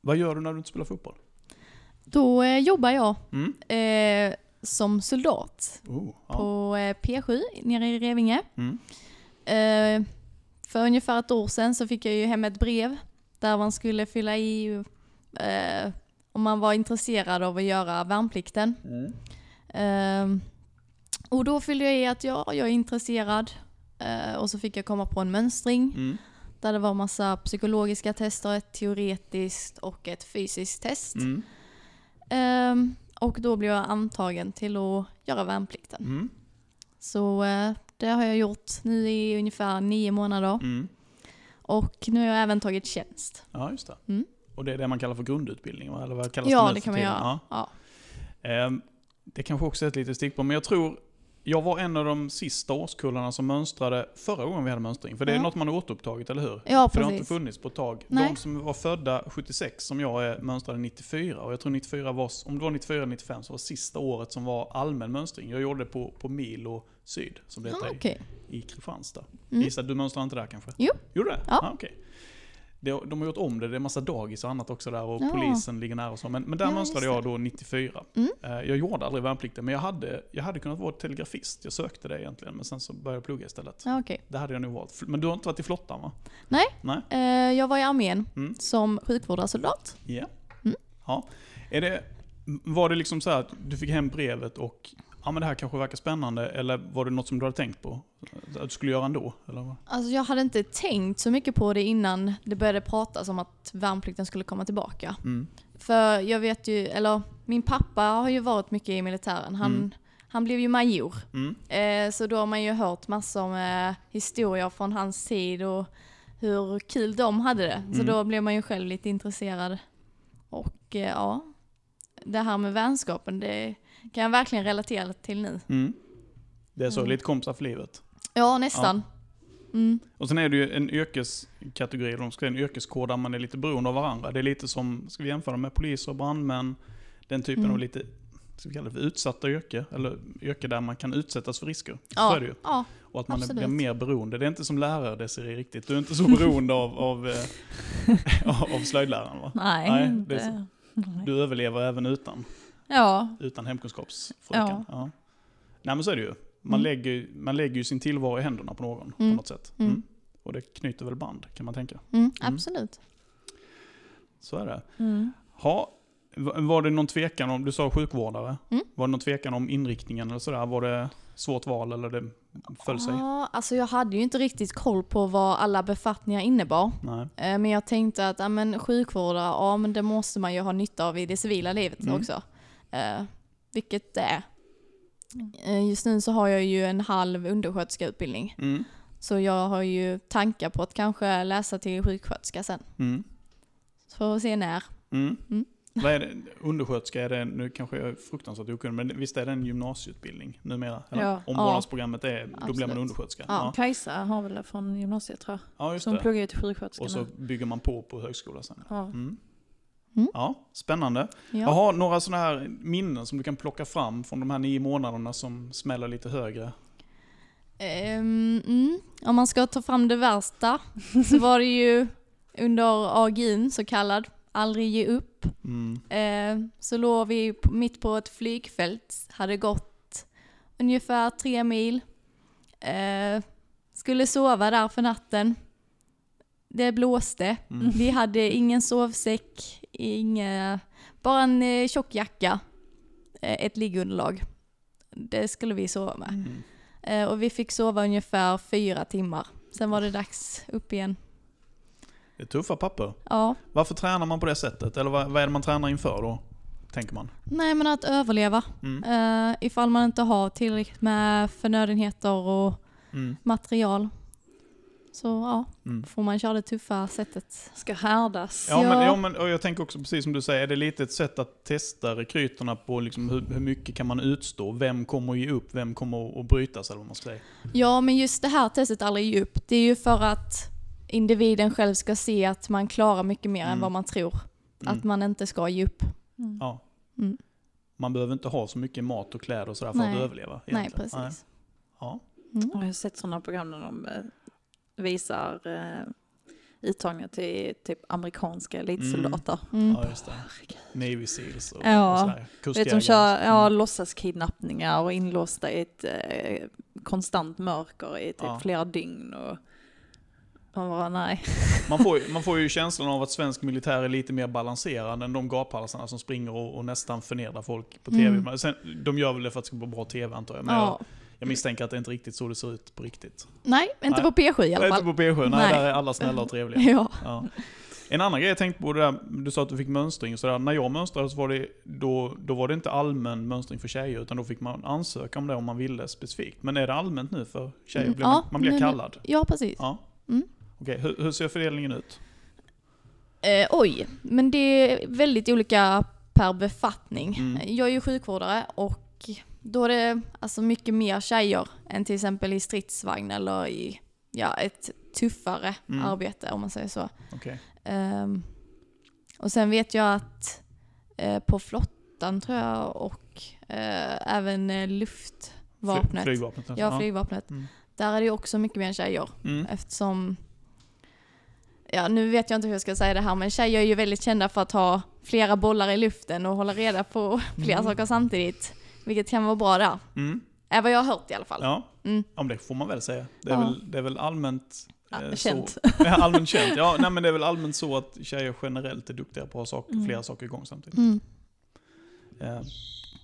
[SPEAKER 2] vad gör du när du inte spelar fotboll?
[SPEAKER 1] Då eh, jobbar jag
[SPEAKER 2] Mm?
[SPEAKER 1] eh, som soldat
[SPEAKER 2] Oh, ja.
[SPEAKER 1] på eh, P7 nere i Revinge.
[SPEAKER 2] mm.
[SPEAKER 1] Eh, för ungefär ett år sedan så fick jag ju hem ett brev där man skulle fylla i eh, om man var intresserad av att göra värnplikten.
[SPEAKER 2] Mm.
[SPEAKER 1] Eh, och då fyllde jag i att ja, jag är intresserad. Eh, och så fick jag komma på en mönstring
[SPEAKER 2] Mm.
[SPEAKER 1] där det var massa psykologiska tester, ett teoretiskt och ett fysiskt test.
[SPEAKER 2] Mm.
[SPEAKER 1] Eh, och då blev jag antagen till att göra värnplikten.
[SPEAKER 2] Mm.
[SPEAKER 1] Så eh, det har jag gjort nu i ungefär nio månader.
[SPEAKER 2] Mm.
[SPEAKER 1] Och nu har jag även tagit tjänst.
[SPEAKER 2] Ja, just det.
[SPEAKER 1] Mm.
[SPEAKER 2] Och det är det man kallar för grundutbildning, va? eller vad kallas
[SPEAKER 1] ja,
[SPEAKER 2] nu
[SPEAKER 1] det
[SPEAKER 2] för
[SPEAKER 1] kan man
[SPEAKER 2] tiden?
[SPEAKER 1] göra.
[SPEAKER 2] Ja.
[SPEAKER 1] Ja. Ja.
[SPEAKER 2] Ehm, Det kanske också är ett litet stickspår, men jag tror jag var en av de sista årskullarna som mönstrade förra gången vi hade mönstring. För det är
[SPEAKER 1] Ja.
[SPEAKER 2] något man har återupptagit, eller hur? för det har inte
[SPEAKER 1] precis.
[SPEAKER 2] funnits på ett tag.
[SPEAKER 1] Nej.
[SPEAKER 2] De som var födda 76, som jag är, mönstrade 94. Och jag tror 94 var, om det var 94 eller 95, så var sista året som var allmän mönstring. Jag gjorde det på, på Mil och Syd, som det
[SPEAKER 1] Ah,
[SPEAKER 2] heter i-
[SPEAKER 1] okej.
[SPEAKER 2] i Kristianstad.
[SPEAKER 1] Mm.
[SPEAKER 2] Gissa, du mönstrade inte där kanske?
[SPEAKER 1] Jo.
[SPEAKER 2] Gjorde du det?
[SPEAKER 1] Ja.
[SPEAKER 2] Ah, okej. Det, de har gjort om det, det är massa dagis och annat också där och
[SPEAKER 1] Ja.
[SPEAKER 2] polisen ligger nära och så. Men, men där
[SPEAKER 1] Ja,
[SPEAKER 2] mönstrade
[SPEAKER 1] just
[SPEAKER 2] jag då 94.
[SPEAKER 1] Mm.
[SPEAKER 2] Eh, Jag gjorde aldrig värnplikten, men jag hade, jag hade kunnat vara telegrafist. Jag sökte det egentligen, men sen så började jag plugga istället.
[SPEAKER 1] Ja, okej.
[SPEAKER 2] Det hade jag nog valt. Fl- Men du har inte varit i flottan va?
[SPEAKER 1] Eh, jag var i armén
[SPEAKER 2] Mm.
[SPEAKER 1] som sjukvårdarsoldat.
[SPEAKER 2] Ja.
[SPEAKER 1] Mm.
[SPEAKER 2] ja. Är det, var det liksom så här att du fick hem brevet och ja men det här kanske verkar spännande, eller var det något som du hade tänkt på? Att du skulle göra ändå? Eller? vad?
[SPEAKER 1] Alltså jag hade inte tänkt så mycket på det innan det började pratas om att värnplikten skulle komma tillbaka.
[SPEAKER 2] Mm.
[SPEAKER 1] För jag vet ju, eller min pappa har ju varit mycket i militären. Han,
[SPEAKER 2] Mm.
[SPEAKER 1] han blev ju major.
[SPEAKER 2] Mm.
[SPEAKER 1] Eh, så då har man ju hört massor om eh, historier från hans tid och hur kul de hade det. Så
[SPEAKER 2] Mm.
[SPEAKER 1] då blev man ju själv lite intresserad. Och eh, ja, det här med vänskapen, det kan jag verkligen relatera till nu.
[SPEAKER 2] Mm. Det är så,
[SPEAKER 1] Mm.
[SPEAKER 2] lite kompisar för livet.
[SPEAKER 1] Ja, nästan. Mm.
[SPEAKER 2] Och sen är det ju en yrkeskategori, eller de ska säga en yrkeskår där man är lite beroende av varandra. Det är lite som, ska vi jämföra med poliser och brandmän, den typen
[SPEAKER 1] Mm.
[SPEAKER 2] av lite, ska vi kalla det för utsatta yrke? Eller yrke där man kan utsättas för risker. Så
[SPEAKER 1] Ja,
[SPEAKER 2] är det ju.
[SPEAKER 1] ja,
[SPEAKER 2] Och att man är,
[SPEAKER 1] absolut.
[SPEAKER 2] blir mer beroende. Det är inte som lärare Desiree riktigt, du är inte så beroende av, av, eh, av slöjdläraren va?
[SPEAKER 3] Nej,
[SPEAKER 2] Nej, det
[SPEAKER 3] det
[SPEAKER 2] är så.
[SPEAKER 3] nej.
[SPEAKER 2] Du överlever även utan,
[SPEAKER 3] Ja,
[SPEAKER 2] utan hemkunskapsfröken. Ja.
[SPEAKER 3] Ja.
[SPEAKER 2] Nej men så är det ju.
[SPEAKER 1] Mm.
[SPEAKER 2] Man, lägger, ju- man lägger ju sin tillvaro i händerna på någon på
[SPEAKER 1] Mm.
[SPEAKER 2] något sätt.
[SPEAKER 1] Mm.
[SPEAKER 2] Mm. Och det knyter väl band kan man tänka.
[SPEAKER 1] mm, absolut.
[SPEAKER 2] Så är det.
[SPEAKER 3] mm.
[SPEAKER 2] Ha, va- var det någon tvekan om, du sa sjukvårdare,
[SPEAKER 1] Mm.
[SPEAKER 2] var det någon tvekan om inriktningen eller sådär? Var det svårt val eller det föll sig?
[SPEAKER 1] Ja, alltså jag hade ju inte riktigt koll på vad alla befattningar innebar.
[SPEAKER 2] Nej.
[SPEAKER 1] Eh, Men jag tänkte att ja, men sjukvårdare, ja men det måste man ju ha nytta av i det civila livet
[SPEAKER 2] Mm.
[SPEAKER 1] också. Eh, vilket det är.
[SPEAKER 2] Mm.
[SPEAKER 1] Eh, just nu så har jag ju en halv undersköterskeutbildning.
[SPEAKER 2] Mm.
[SPEAKER 1] Så jag har ju tankar på att kanske läsa till sjuksköterska sen.
[SPEAKER 2] Mm.
[SPEAKER 1] Får se när.
[SPEAKER 2] Mm.
[SPEAKER 1] Mm.
[SPEAKER 2] Vad är det? Undersköterska är det, nu kanske jag är fruktansvärt okunnig, men visst är det en gymnasieutbildning numera? Eller?
[SPEAKER 3] Ja.
[SPEAKER 2] Omvårdnadsprogrammet är, då blir man
[SPEAKER 1] Absolut.
[SPEAKER 2] undersköterska.
[SPEAKER 1] Ja.
[SPEAKER 3] Kajsa har väl det från gymnasiet tror jag.
[SPEAKER 2] ja just
[SPEAKER 3] Så hon
[SPEAKER 2] det.
[SPEAKER 3] pluggar ju till sjuksköterska
[SPEAKER 2] Och så
[SPEAKER 3] nu.
[SPEAKER 2] bygger man på på högskolan sen.
[SPEAKER 3] Ja.
[SPEAKER 2] Mm.
[SPEAKER 1] Mm.
[SPEAKER 2] Ja, spännande.
[SPEAKER 1] Ja.
[SPEAKER 2] Jaha, några sådana här minnen som du kan plocka fram från de här nio månaderna som smäller lite högre?
[SPEAKER 1] Ehm, mm. Om man ska ta fram det värsta så var det ju under AGI'n så kallad, aldrig ge upp.
[SPEAKER 2] Mm.
[SPEAKER 1] Eh, så låg vi p- mitt på ett flygfält, hade gått ungefär tre mil. Eh, skulle sova där för natten. Det blåste.
[SPEAKER 2] Mm.
[SPEAKER 1] Vi hade ingen sovsäck, inga, bara en eh, tjock jacka, eh, ett liggunderlag. Det skulle vi sova med.
[SPEAKER 2] Mm.
[SPEAKER 1] Eh, och vi fick sova ungefär fyra timmar. Sen var det dags upp igen.
[SPEAKER 2] Det är tuffa papper.
[SPEAKER 1] Ja,
[SPEAKER 2] Varför tränar man på det sättet? Eller vad, vad är det man tränar inför då? Tänker man.
[SPEAKER 1] nej men att överleva.
[SPEAKER 2] Mm.
[SPEAKER 1] Eh, ifall man inte har tillräckligt med förnödenheter och
[SPEAKER 2] Mm.
[SPEAKER 1] material. Så ja,
[SPEAKER 2] Mm.
[SPEAKER 1] får man köra det tuffa sättet.
[SPEAKER 3] Ska härdas.
[SPEAKER 2] Ja,
[SPEAKER 1] Ja.
[SPEAKER 2] Men, ja men, och jag tänker också precis som du säger, är det lite ett sätt att testa rekryterna på liksom hur, hur mycket kan man utstå? Vem kommer att ge upp? Vem kommer att- att brytas eller vad man ska säga?
[SPEAKER 1] Ja, men just det här testet aldrig ge upp, det är ju för att individen själv ska se att man klarar mycket mer
[SPEAKER 2] Mm.
[SPEAKER 1] än vad man tror.
[SPEAKER 2] Mm.
[SPEAKER 1] Att man inte ska ge upp.
[SPEAKER 3] Mm.
[SPEAKER 2] Ja.
[SPEAKER 1] Mm.
[SPEAKER 2] Man behöver inte ha så mycket mat och kläder och sådär för
[SPEAKER 1] Nej.
[SPEAKER 2] att överleva.
[SPEAKER 1] Nej,
[SPEAKER 2] egentligen.
[SPEAKER 1] precis.
[SPEAKER 2] Ja.
[SPEAKER 1] Mm.
[SPEAKER 3] Och Jag har sett sådana program där de eh, visar eh, uttagningar till typ amerikanska elitsoldater.
[SPEAKER 1] Mm.
[SPEAKER 2] ja, just det. Navy Seals och,
[SPEAKER 3] Ja.
[SPEAKER 2] och sådär.
[SPEAKER 3] Vet,
[SPEAKER 2] Kustjägare.
[SPEAKER 3] de kör ja,
[SPEAKER 2] Mm.
[SPEAKER 3] låtsaskidnappningar och inlåsta i ett eh, konstant mörker i typ
[SPEAKER 2] Ja.
[SPEAKER 3] flera dygn. Och man bara nej.
[SPEAKER 2] man, får, ju- man får ju känslan av att svensk militär är lite mer balanserad än de gaphalsarna som springer och, och nästan förnedrar folk på tv.
[SPEAKER 1] Mm.
[SPEAKER 2] Men Sen, de gör väl det för att det ska vara bra tv antar jag. Men jag,
[SPEAKER 1] Ja.
[SPEAKER 2] jag misstänker att det inte riktigt så det ser ut på riktigt.
[SPEAKER 1] Nej, inte
[SPEAKER 2] Nej.
[SPEAKER 1] på P7 i alla
[SPEAKER 2] Nej,
[SPEAKER 1] fall.
[SPEAKER 2] inte på P7, nej,
[SPEAKER 1] Nej.
[SPEAKER 2] där är alla snälla och trevliga.
[SPEAKER 1] Ja.
[SPEAKER 2] Ja. En annan grej jag tänkte på, det där, du sa att du fick mönstring och sådär. När jag mönstrade så var det, då, då var det inte allmän mönstring för tjejer, utan då fick man ansöka om det om man ville specifikt. Men är det allmänt nu för tjejer?
[SPEAKER 1] Mm.
[SPEAKER 2] Blir man,
[SPEAKER 1] Ja,
[SPEAKER 2] man blir
[SPEAKER 1] nu-
[SPEAKER 2] kallad?
[SPEAKER 1] ja, precis.
[SPEAKER 2] Ja.
[SPEAKER 1] Mm.
[SPEAKER 2] Okej, hur, hur ser fördelningen ut?
[SPEAKER 1] Eh, oj, men det är väldigt olika per befattning.
[SPEAKER 2] Mm.
[SPEAKER 1] Jag är ju sjukvårdare och då är det alltså mycket mer tjejer än till exempel i stridsvagn eller i ja, ett tuffare
[SPEAKER 2] Mm.
[SPEAKER 1] arbete om man säger så.
[SPEAKER 2] Okej.
[SPEAKER 1] Ehm, och sen vet jag att eh, på flottan tror jag och eh, även eh,
[SPEAKER 2] Fly,
[SPEAKER 1] luftvapnet,
[SPEAKER 2] flygvapnet? Mm, alltså.
[SPEAKER 1] ja, flygvapnet,
[SPEAKER 2] Mm.
[SPEAKER 1] där är det ju också mycket mer tjejer
[SPEAKER 2] Mm.
[SPEAKER 1] eftersom ja nu vet jag inte hur jag ska säga det här, men tjejer är ju väldigt kända för att ha flera bollar i luften och hålla reda på flera saker samtidigt. Vilket kan vara bra där.
[SPEAKER 2] Mm.
[SPEAKER 1] Är vad jag har hört i alla fall.
[SPEAKER 2] Ja,
[SPEAKER 1] Mm.
[SPEAKER 2] om det får man väl säga. Det är,
[SPEAKER 1] Ja.
[SPEAKER 2] väl, det är väl allmänt
[SPEAKER 3] Ja,
[SPEAKER 2] eh,
[SPEAKER 3] känt.
[SPEAKER 2] Så, ja, allmänt känt. Ja, nej, men det är väl allmänt så att tjejer generellt är duktiga på att ha sak,
[SPEAKER 3] Mm.
[SPEAKER 2] flera saker igång samtidigt.
[SPEAKER 1] Mm.
[SPEAKER 2] Eh,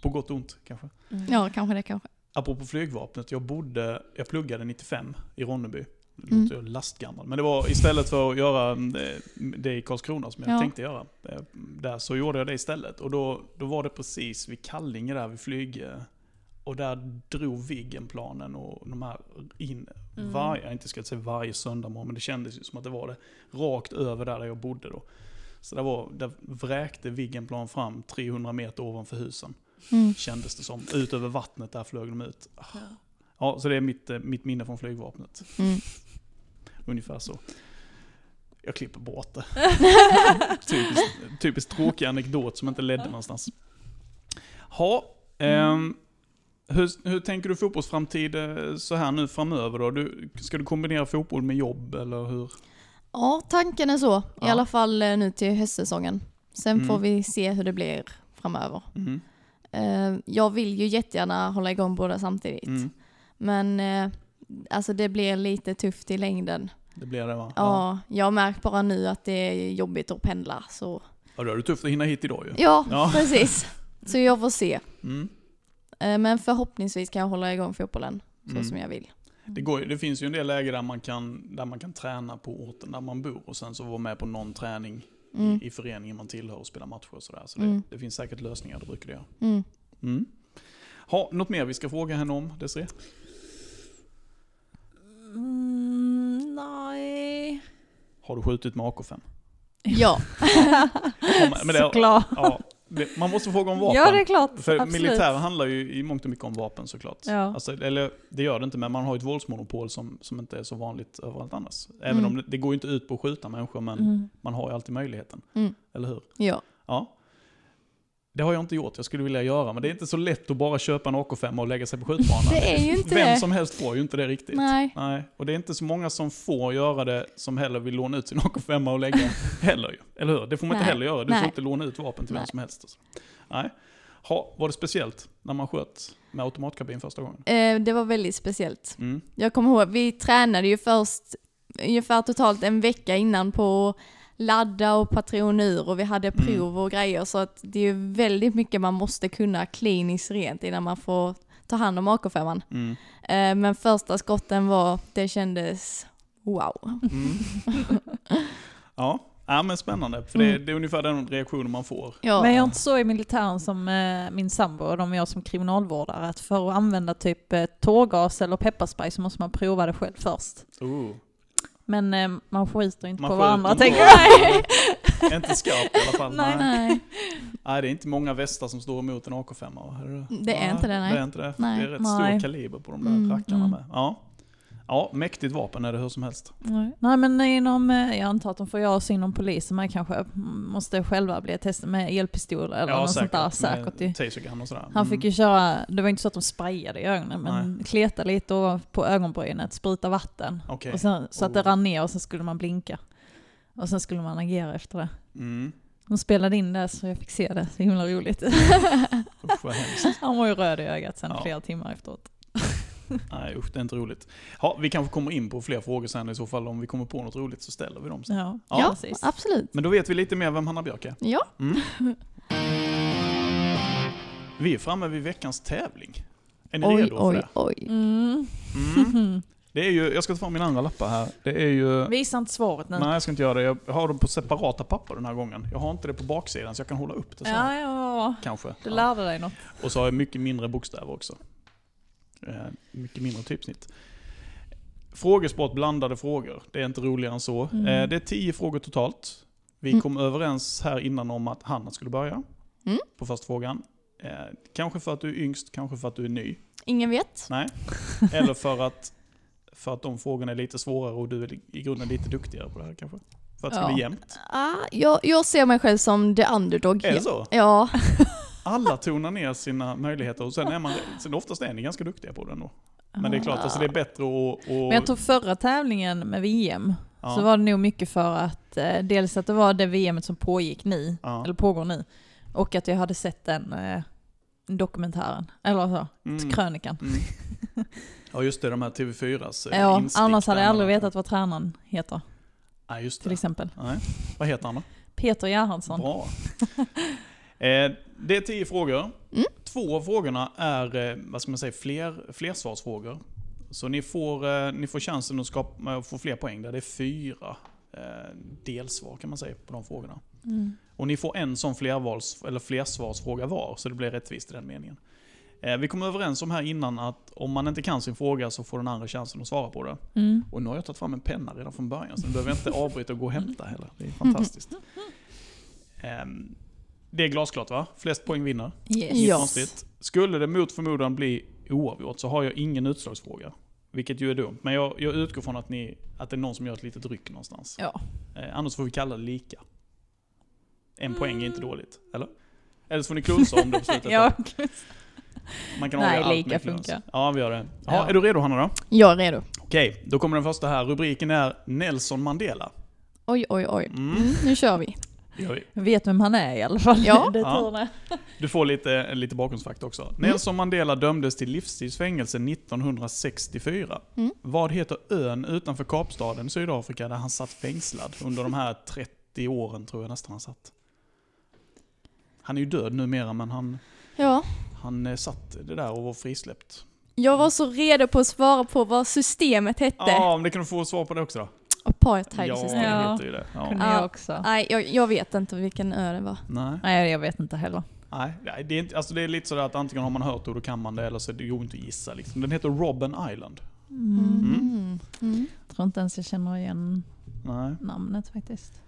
[SPEAKER 2] på gott och ont kanske.
[SPEAKER 3] Mm.
[SPEAKER 1] Ja, kanske det kanske.
[SPEAKER 2] Apropå flygvapnet, jag, bodde, jag pluggade 95 i Ronneby. Nu
[SPEAKER 1] Mm.
[SPEAKER 2] låter jag lastgammal. Men det var istället för att göra eh, det i Karlskrona som jag
[SPEAKER 1] Ja.
[SPEAKER 2] tänkte göra. eh, Där så gjorde jag det istället. Och då, då var det precis vid Kallinge där vid flyg... eh, Och där drog Viggenplanen och de här in
[SPEAKER 3] Mm.
[SPEAKER 2] varje, jag inte ska säga varje söndag morgon, men det kändes ju som att det var det. Rakt över där, där jag bodde då. Så där, var, där vräkte Viggenplan fram 300 meter ovanför husen.
[SPEAKER 1] Mm.
[SPEAKER 2] Kändes det som. Ut över vattnet, där flög de ut. Ja, så det är mitt, eh, mitt minne från flygvapnet.
[SPEAKER 1] Mm.
[SPEAKER 2] Ungefär så. Jag klipper bort det. Typiskt typisk tråkig anekdot som inte ledde någonstans. Ha,
[SPEAKER 1] Mm.
[SPEAKER 2] ehm, hur, hur tänker du fotbollsframtid eh, så här nu framöver då? Du, ska du kombinera fotboll med jobb eller hur?
[SPEAKER 1] Ja, tanken är så.
[SPEAKER 2] Ja.
[SPEAKER 1] I alla fall eh, nu till höstsäsongen. Sen
[SPEAKER 2] Mm.
[SPEAKER 1] får vi se hur det blir framöver.
[SPEAKER 2] Mm.
[SPEAKER 1] Eh, jag vill ju jättegärna hålla igång båda samtidigt.
[SPEAKER 2] Mm.
[SPEAKER 1] Men eh, alltså det blir lite tufft i längden.
[SPEAKER 2] Det blir det va?
[SPEAKER 1] Ja. jag har märkt bara nu att det är jobbigt att pendla. Så.
[SPEAKER 2] ja då är det tufft att hinna hit idag ju.
[SPEAKER 1] Ja,
[SPEAKER 2] Ja.
[SPEAKER 1] precis. Så jag får se.
[SPEAKER 2] Mm.
[SPEAKER 1] Eh, men förhoppningsvis kan jag hålla igång fotbollen så
[SPEAKER 2] Mm.
[SPEAKER 1] som jag vill.
[SPEAKER 2] Det, går, ju- det finns ju en del läger där man, kan, där man kan träna på orten där man bor och sen så vara med på någon träning
[SPEAKER 1] Mm.
[SPEAKER 2] i, i föreningen man tillhör och spela matcher och sådär. Så
[SPEAKER 1] Mm.
[SPEAKER 2] det, det finns säkert lösningar, det brukar det göra.
[SPEAKER 1] Mm.
[SPEAKER 2] Mm. Ha, något mer vi ska fråga henne om, Desiree?
[SPEAKER 3] Mm, nej.
[SPEAKER 2] Har du skjutit med AK5?
[SPEAKER 1] Ja,
[SPEAKER 2] Ja, men det-
[SPEAKER 3] Såklart.
[SPEAKER 2] Ja, det, man måste fråga om vapen.
[SPEAKER 3] Ja, det är klart.
[SPEAKER 2] För
[SPEAKER 3] Absolut.
[SPEAKER 2] militär handlar ju i mångt och mycket om vapen såklart.
[SPEAKER 3] Ja.
[SPEAKER 2] Alltså, eller det gör det inte, men man har ju ett våldsmonopol som, som inte är så vanligt överallt annars. Även
[SPEAKER 1] Mm.
[SPEAKER 2] om det, det går ju inte ut på att skjuta människor, men
[SPEAKER 3] Mm.
[SPEAKER 2] man har ju alltid möjligheten.
[SPEAKER 1] Mm.
[SPEAKER 2] Eller hur?
[SPEAKER 1] ja.
[SPEAKER 2] Ja. Det har jag inte gjort, jag skulle vilja göra, men det är inte så lätt att bara köpa en AK5 och lägga sig på skjutbanan.
[SPEAKER 1] Det är ju inte
[SPEAKER 2] Vem
[SPEAKER 1] det.
[SPEAKER 2] som helst får ju inte det riktigt.
[SPEAKER 1] Nej.
[SPEAKER 2] Nej, och det är inte så många som får göra det som heller vill låna ut sin AK5 och lägga heller ju. Eller hur? Det får man inte
[SPEAKER 1] Nej.
[SPEAKER 2] heller göra. Du får
[SPEAKER 1] Nej.
[SPEAKER 2] inte låna ut vapen till vem
[SPEAKER 1] Nej.
[SPEAKER 2] som helst. Alltså. Nej. Ha, var det speciellt när man sköt med automatkabin första gången?
[SPEAKER 1] Eh, det var väldigt speciellt.
[SPEAKER 2] Mm.
[SPEAKER 1] Jag kommer ihåg, vi tränade ju först ungefär totalt en vecka innan på att ladda och patron ur och vi hade
[SPEAKER 2] Mm.
[SPEAKER 1] prov och grejer så att det är ju väldigt mycket man måste kunna kliniskt rent innan man får ta hand om AK5. Eh,
[SPEAKER 2] Mm.
[SPEAKER 1] men första skotten var, det kändes wow.
[SPEAKER 2] Mm. ja. ja, men spännande. För
[SPEAKER 1] Mm.
[SPEAKER 2] det, det är ungefär den reaktionen man får.
[SPEAKER 1] Ja,
[SPEAKER 3] Men jag är inte så i militären som eh, min sambo och de jag som kriminalvårdare. Att för att använda typ eh, tårgas eller pepparspray så måste man prova det själv först.
[SPEAKER 2] Oh.
[SPEAKER 3] Men eh, man skiter inte
[SPEAKER 2] Man
[SPEAKER 3] på
[SPEAKER 2] skjuter
[SPEAKER 3] varandra
[SPEAKER 2] inte
[SPEAKER 3] tänker
[SPEAKER 2] på
[SPEAKER 3] jag.
[SPEAKER 2] varandra. Inte skarpt i alla fall. Nej.
[SPEAKER 3] Nej.
[SPEAKER 2] Nej.
[SPEAKER 1] nej.
[SPEAKER 2] det är inte många västar som står emot en AK5. va? Är det,
[SPEAKER 1] Det är inte det, nej.
[SPEAKER 2] Det är inte det.
[SPEAKER 1] Nej.
[SPEAKER 2] Det är rätt stor
[SPEAKER 3] Nej.
[SPEAKER 2] kaliber på de där
[SPEAKER 1] Mm,
[SPEAKER 2] rackarna
[SPEAKER 1] mm.
[SPEAKER 2] med. Ja. ja, mäktigt vapen är det hur som helst.
[SPEAKER 3] Nej. Nej men inom, eh, jag antar att de får göra oss inom polisen, man kanske måste själva bli testade med elpistol eller något sånt där säkert. ju.
[SPEAKER 2] Med tasergun och sådär. Mm.
[SPEAKER 3] Han fick ju köra, det var inte så att de sprayade i ögonen, men kleta lite ovanpå ögonbrynet, spruta vatten.
[SPEAKER 2] Mm. Okej.
[SPEAKER 3] Och sen, så att
[SPEAKER 2] Oh.
[SPEAKER 3] det rann ner och sen skulle man blinka. Och sen skulle man agera efter det.
[SPEAKER 2] Mm.
[SPEAKER 3] De spelade in det så jag fick se det, så himla roligt.
[SPEAKER 2] Usch vad hemskt.
[SPEAKER 3] Han var ju röd i ögat sen
[SPEAKER 2] Ja.
[SPEAKER 3] flera timmar efteråt.
[SPEAKER 2] Nej usch, det är inte roligt. Ja, vi kanske kommer in på fler frågor sen i så fall. Om vi kommer på något roligt så ställer vi dem sen.
[SPEAKER 3] Ja,
[SPEAKER 2] Ja.
[SPEAKER 1] ja
[SPEAKER 3] precis.
[SPEAKER 1] absolut.
[SPEAKER 2] Men då vet vi lite mer vem Hanna Björk är.
[SPEAKER 1] Ja.
[SPEAKER 2] Mm. Vi är framme vid veckans tävling. Är ni
[SPEAKER 1] Oj,
[SPEAKER 2] redo för
[SPEAKER 1] oj,
[SPEAKER 2] det?
[SPEAKER 1] oj.
[SPEAKER 3] Mm.
[SPEAKER 2] Mm. Det är ju, jag ska ta fram min andra lappar här. Det är ju...
[SPEAKER 3] Visa inte svaret nu.
[SPEAKER 2] Nej, jag ska inte göra det. Jag har dem på separata papper den här gången. Jag har inte det på baksidan så jag kan hålla upp det så här.
[SPEAKER 3] Ja, ja,
[SPEAKER 2] Kanske.
[SPEAKER 3] du
[SPEAKER 2] Ja.
[SPEAKER 3] lärde dig något.
[SPEAKER 2] Och så har jag mycket mindre bokstäver också. Eh, mycket mindre typsnitt. Frågesport blandade frågor. Det är inte roligare än så.
[SPEAKER 3] Mm.
[SPEAKER 2] Eh, det är tio frågor totalt. Vi
[SPEAKER 1] Mm.
[SPEAKER 2] kom överens här innan om att Hanna skulle börja
[SPEAKER 1] Mm.
[SPEAKER 2] på första frågan. Eh, kanske för att du är yngst, kanske för att du är ny.
[SPEAKER 1] Ingen vet.
[SPEAKER 2] Nej. Eller för att, för att de frågorna är lite svårare och du är li- i grunden lite duktigare på det här kanske. För att det ska
[SPEAKER 1] Ja.
[SPEAKER 2] bli jämnt.
[SPEAKER 1] Ah, jag, jag ser mig själv som the underdog.
[SPEAKER 2] Är det så?
[SPEAKER 1] Ja,
[SPEAKER 2] Alla tonar ner sina möjligheter och sen är man, sen oftast är ni ganska duktiga på det ändå. Men det är klart, alltså det är bättre att... att
[SPEAKER 3] Men jag tror förra tävlingen med VM
[SPEAKER 2] Ja.
[SPEAKER 3] så var det nog mycket för att eh, dels att det var det VMet som pågick nu,
[SPEAKER 2] Ja. Mm.
[SPEAKER 3] eller pågår nu, och att jag hade sett den eh, dokumentären, eller så,
[SPEAKER 2] Mm.
[SPEAKER 3] krönikan.
[SPEAKER 2] Mm. Ja just det, de här TV4s eh,
[SPEAKER 3] Ja,
[SPEAKER 2] instick
[SPEAKER 3] annars hade
[SPEAKER 2] där
[SPEAKER 3] jag aldrig
[SPEAKER 2] man-
[SPEAKER 3] vetat vad tränaren heter,
[SPEAKER 2] Nej, just
[SPEAKER 3] till
[SPEAKER 2] det.
[SPEAKER 3] exempel.
[SPEAKER 2] Nej. Vad heter han då?
[SPEAKER 3] Peter Gerhardsson.
[SPEAKER 2] Bra. Eh, det är tio frågor.
[SPEAKER 1] Mm.
[SPEAKER 2] Två av frågorna är eh, vad ska man säga, fler, flersvarsfrågor. Så ni får, eh, ni får chansen att skapa, eh, få fler poäng där. Det är fyra eh, delsvar kan man säga på de frågorna.
[SPEAKER 3] Mm.
[SPEAKER 2] Och ni får en sån flervals, eller flersvarsfråga var, så det blir rättvist i den meningen. Eh, vi kom överens om här innan att om man inte kan sin fråga så får den andra chansen att svara på det.
[SPEAKER 3] Mm.
[SPEAKER 2] Och nu har jag tagit fram en penna redan från början, så nu behöver jag inte avbryta och gå och hämta heller. Det är fantastiskt. Ehm, det är glasklart va? Flest poäng vinner.
[SPEAKER 3] Yes.
[SPEAKER 2] Inget konstigt. Skulle det mot förmodan bli oavgjort så har jag ingen utslagsfråga. Vilket ju är dumt, men jag, jag utgår från att, ni, att det är någon som gör ett litet ryck någonstans.
[SPEAKER 3] Ja.
[SPEAKER 2] Eh, annars får vi kalla det lika. En poäng är inte dåligt, eller? Eller så får ni klunsa om det på slutet.
[SPEAKER 3] Mm. ja,
[SPEAKER 2] Man kan
[SPEAKER 3] Nej,
[SPEAKER 2] avgöra allt
[SPEAKER 3] lika
[SPEAKER 2] med kluns.
[SPEAKER 3] funkar.
[SPEAKER 2] Ja, vi gör det. Ja,
[SPEAKER 3] Ja.
[SPEAKER 2] Är du redo Hanna då?
[SPEAKER 1] Jag är redo.
[SPEAKER 2] Okej, då kommer den första här. Rubriken är Nelson Mandela.
[SPEAKER 1] Oj, oj, oj.
[SPEAKER 2] Mm.
[SPEAKER 1] Mm, nu kör vi.
[SPEAKER 2] Det gör vi.
[SPEAKER 3] vet vem han är i alla fall.
[SPEAKER 1] Ja.
[SPEAKER 3] det är
[SPEAKER 2] Ja.
[SPEAKER 3] tur det.
[SPEAKER 2] Du får lite, lite bakgrundsfakta också. Nelson Mandela dömdes till livstidsfängelse 1964.
[SPEAKER 1] Mm.
[SPEAKER 2] Vad heter ön utanför Kapstaden i Sydafrika där han satt fängslad under de här 30 åren tror jag nästan han satt? Han är ju död numera men han,
[SPEAKER 1] Ja.
[SPEAKER 2] han eh, satt det där och var frisläppt.
[SPEAKER 1] Jag var så redo på att svara på vad systemet hette.
[SPEAKER 2] Ja, om det kan du få svar på det också då?
[SPEAKER 1] Apartheidsystemet.
[SPEAKER 2] Ja, det
[SPEAKER 3] Ja.
[SPEAKER 2] heter ju det. Ja.
[SPEAKER 3] Kunde
[SPEAKER 1] Ja.
[SPEAKER 3] jag också.
[SPEAKER 1] Nej, jag, jag vet inte vilken ö det var.
[SPEAKER 2] Nej,
[SPEAKER 3] Nej, jag vet inte heller.
[SPEAKER 2] nej, nej, det är, inte, alltså det är lite sådär att antingen har man hört det och då kan man det eller så är det ju inte att gissa liksom. Den heter Robben Island.
[SPEAKER 3] Mm.
[SPEAKER 1] Mm. Mm.
[SPEAKER 3] Tror inte ens jag känner igen
[SPEAKER 2] Nej.
[SPEAKER 3] namnet faktiskt.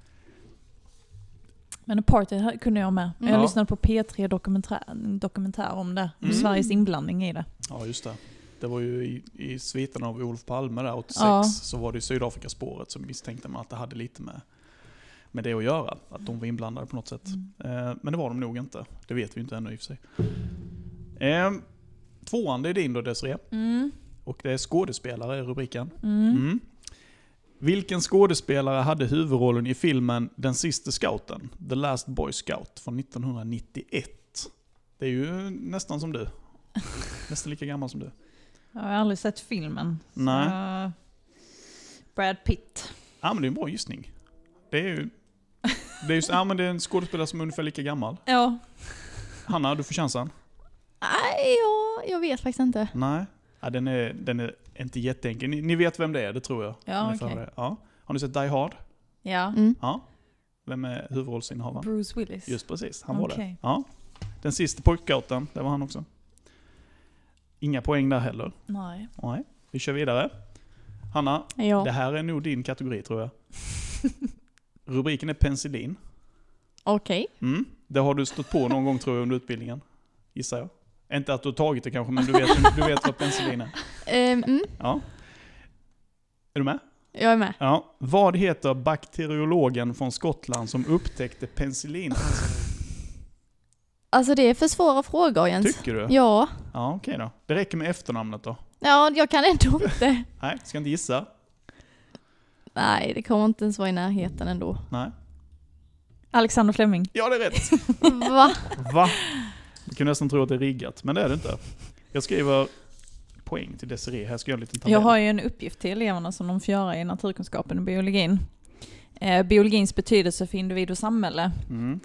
[SPEAKER 3] Men Apartheid här kunde jag med. Jag
[SPEAKER 2] Ja.
[SPEAKER 3] lyssnade på P3 dokumentär, en dokumentär om det. Om
[SPEAKER 2] Mm.
[SPEAKER 3] Sveriges inblandning i det.
[SPEAKER 2] Ja, just det. Det var ju i, i sviten av Olof Palme där 86
[SPEAKER 3] Ja.
[SPEAKER 2] så var det ju Sydafrikaspåret som misstänkte man att det hade lite med, med det att göra. Att de var inblandade på något sätt. Eh, men det var de nog inte. Det vet vi inte ännu i och för sig. Eh, tvåan, det är din då Desiree.
[SPEAKER 3] Mm.
[SPEAKER 2] Och det är skådespelare i rubriken.
[SPEAKER 3] Mm.
[SPEAKER 2] Mm. Vilken skådespelare hade huvudrollen i filmen Den sista scouten? The Last Boy Scout från 1991. Det är ju nästan som du. Nästan lika gammal som du.
[SPEAKER 3] Jag har aldrig sett filmen. Så-
[SPEAKER 2] Nej.
[SPEAKER 3] Brad Pitt.
[SPEAKER 2] Ja men det är en bra gissning. Det är ju... Det är, just, ja, men det är en skådespelare som är ungefär lika gammal.
[SPEAKER 3] Ja.
[SPEAKER 2] Hanna, du får chansen.
[SPEAKER 1] Nej, jag, jag vet faktiskt inte.
[SPEAKER 2] Nej. Ja, den, är, den är inte jätteenkel. Ni, ni vet vem det är, det tror jag.
[SPEAKER 3] Ja,
[SPEAKER 2] Ungefär
[SPEAKER 3] okej.
[SPEAKER 2] det. ja. Har ni sett Die Hard?
[SPEAKER 3] ja.
[SPEAKER 1] Mm.
[SPEAKER 2] Ja. Vem är huvudrollsinnehavaren?
[SPEAKER 3] Bruce Willis.
[SPEAKER 2] Just precis, han var det.
[SPEAKER 3] Okej.
[SPEAKER 2] Ja. Den sista pojkgatan, det var han också. Inga poäng där heller.
[SPEAKER 3] Nej.
[SPEAKER 2] Nej. Vi kör vidare. Hanna, det
[SPEAKER 1] Ja.
[SPEAKER 2] här är nog din kategori tror jag. Rubriken är penicillin.
[SPEAKER 1] Okej.
[SPEAKER 2] Mm. Det har du stött på någon gång tror jag under utbildningen. Gissar jag. Inte att du har tagit det kanske, men du vet, du vet vad penicillin är.
[SPEAKER 1] Ehm, mm.
[SPEAKER 2] Ja. Är du med?
[SPEAKER 1] Jag är med.
[SPEAKER 2] Ja. Vad heter bakteriologen från Skottland som upptäckte penicillin?
[SPEAKER 1] Alltså det är för svåra frågor Jens.
[SPEAKER 2] Tycker du?
[SPEAKER 1] Ja.
[SPEAKER 2] Ja, okej då. Det räcker med efternamnet då.
[SPEAKER 1] Ja, jag kan ändå inte.
[SPEAKER 2] Nej, ska inte gissa.
[SPEAKER 1] Nej, det kommer inte ens vara i närheten ändå.
[SPEAKER 2] Nej.
[SPEAKER 3] Alexander Fleming.
[SPEAKER 2] Ja, det är rätt.
[SPEAKER 1] Va?
[SPEAKER 2] Va? Jag kunde nästan tro att det är riggat, men det är det inte. Jag skriver poäng till Desiree. Här ska jag göra en liten tabell.
[SPEAKER 3] Jag har ju en uppgift till eleverna som de får göra i naturkunskapen och biologin. Eh, biologins betydelse för individ och samhälle
[SPEAKER 2] Mm.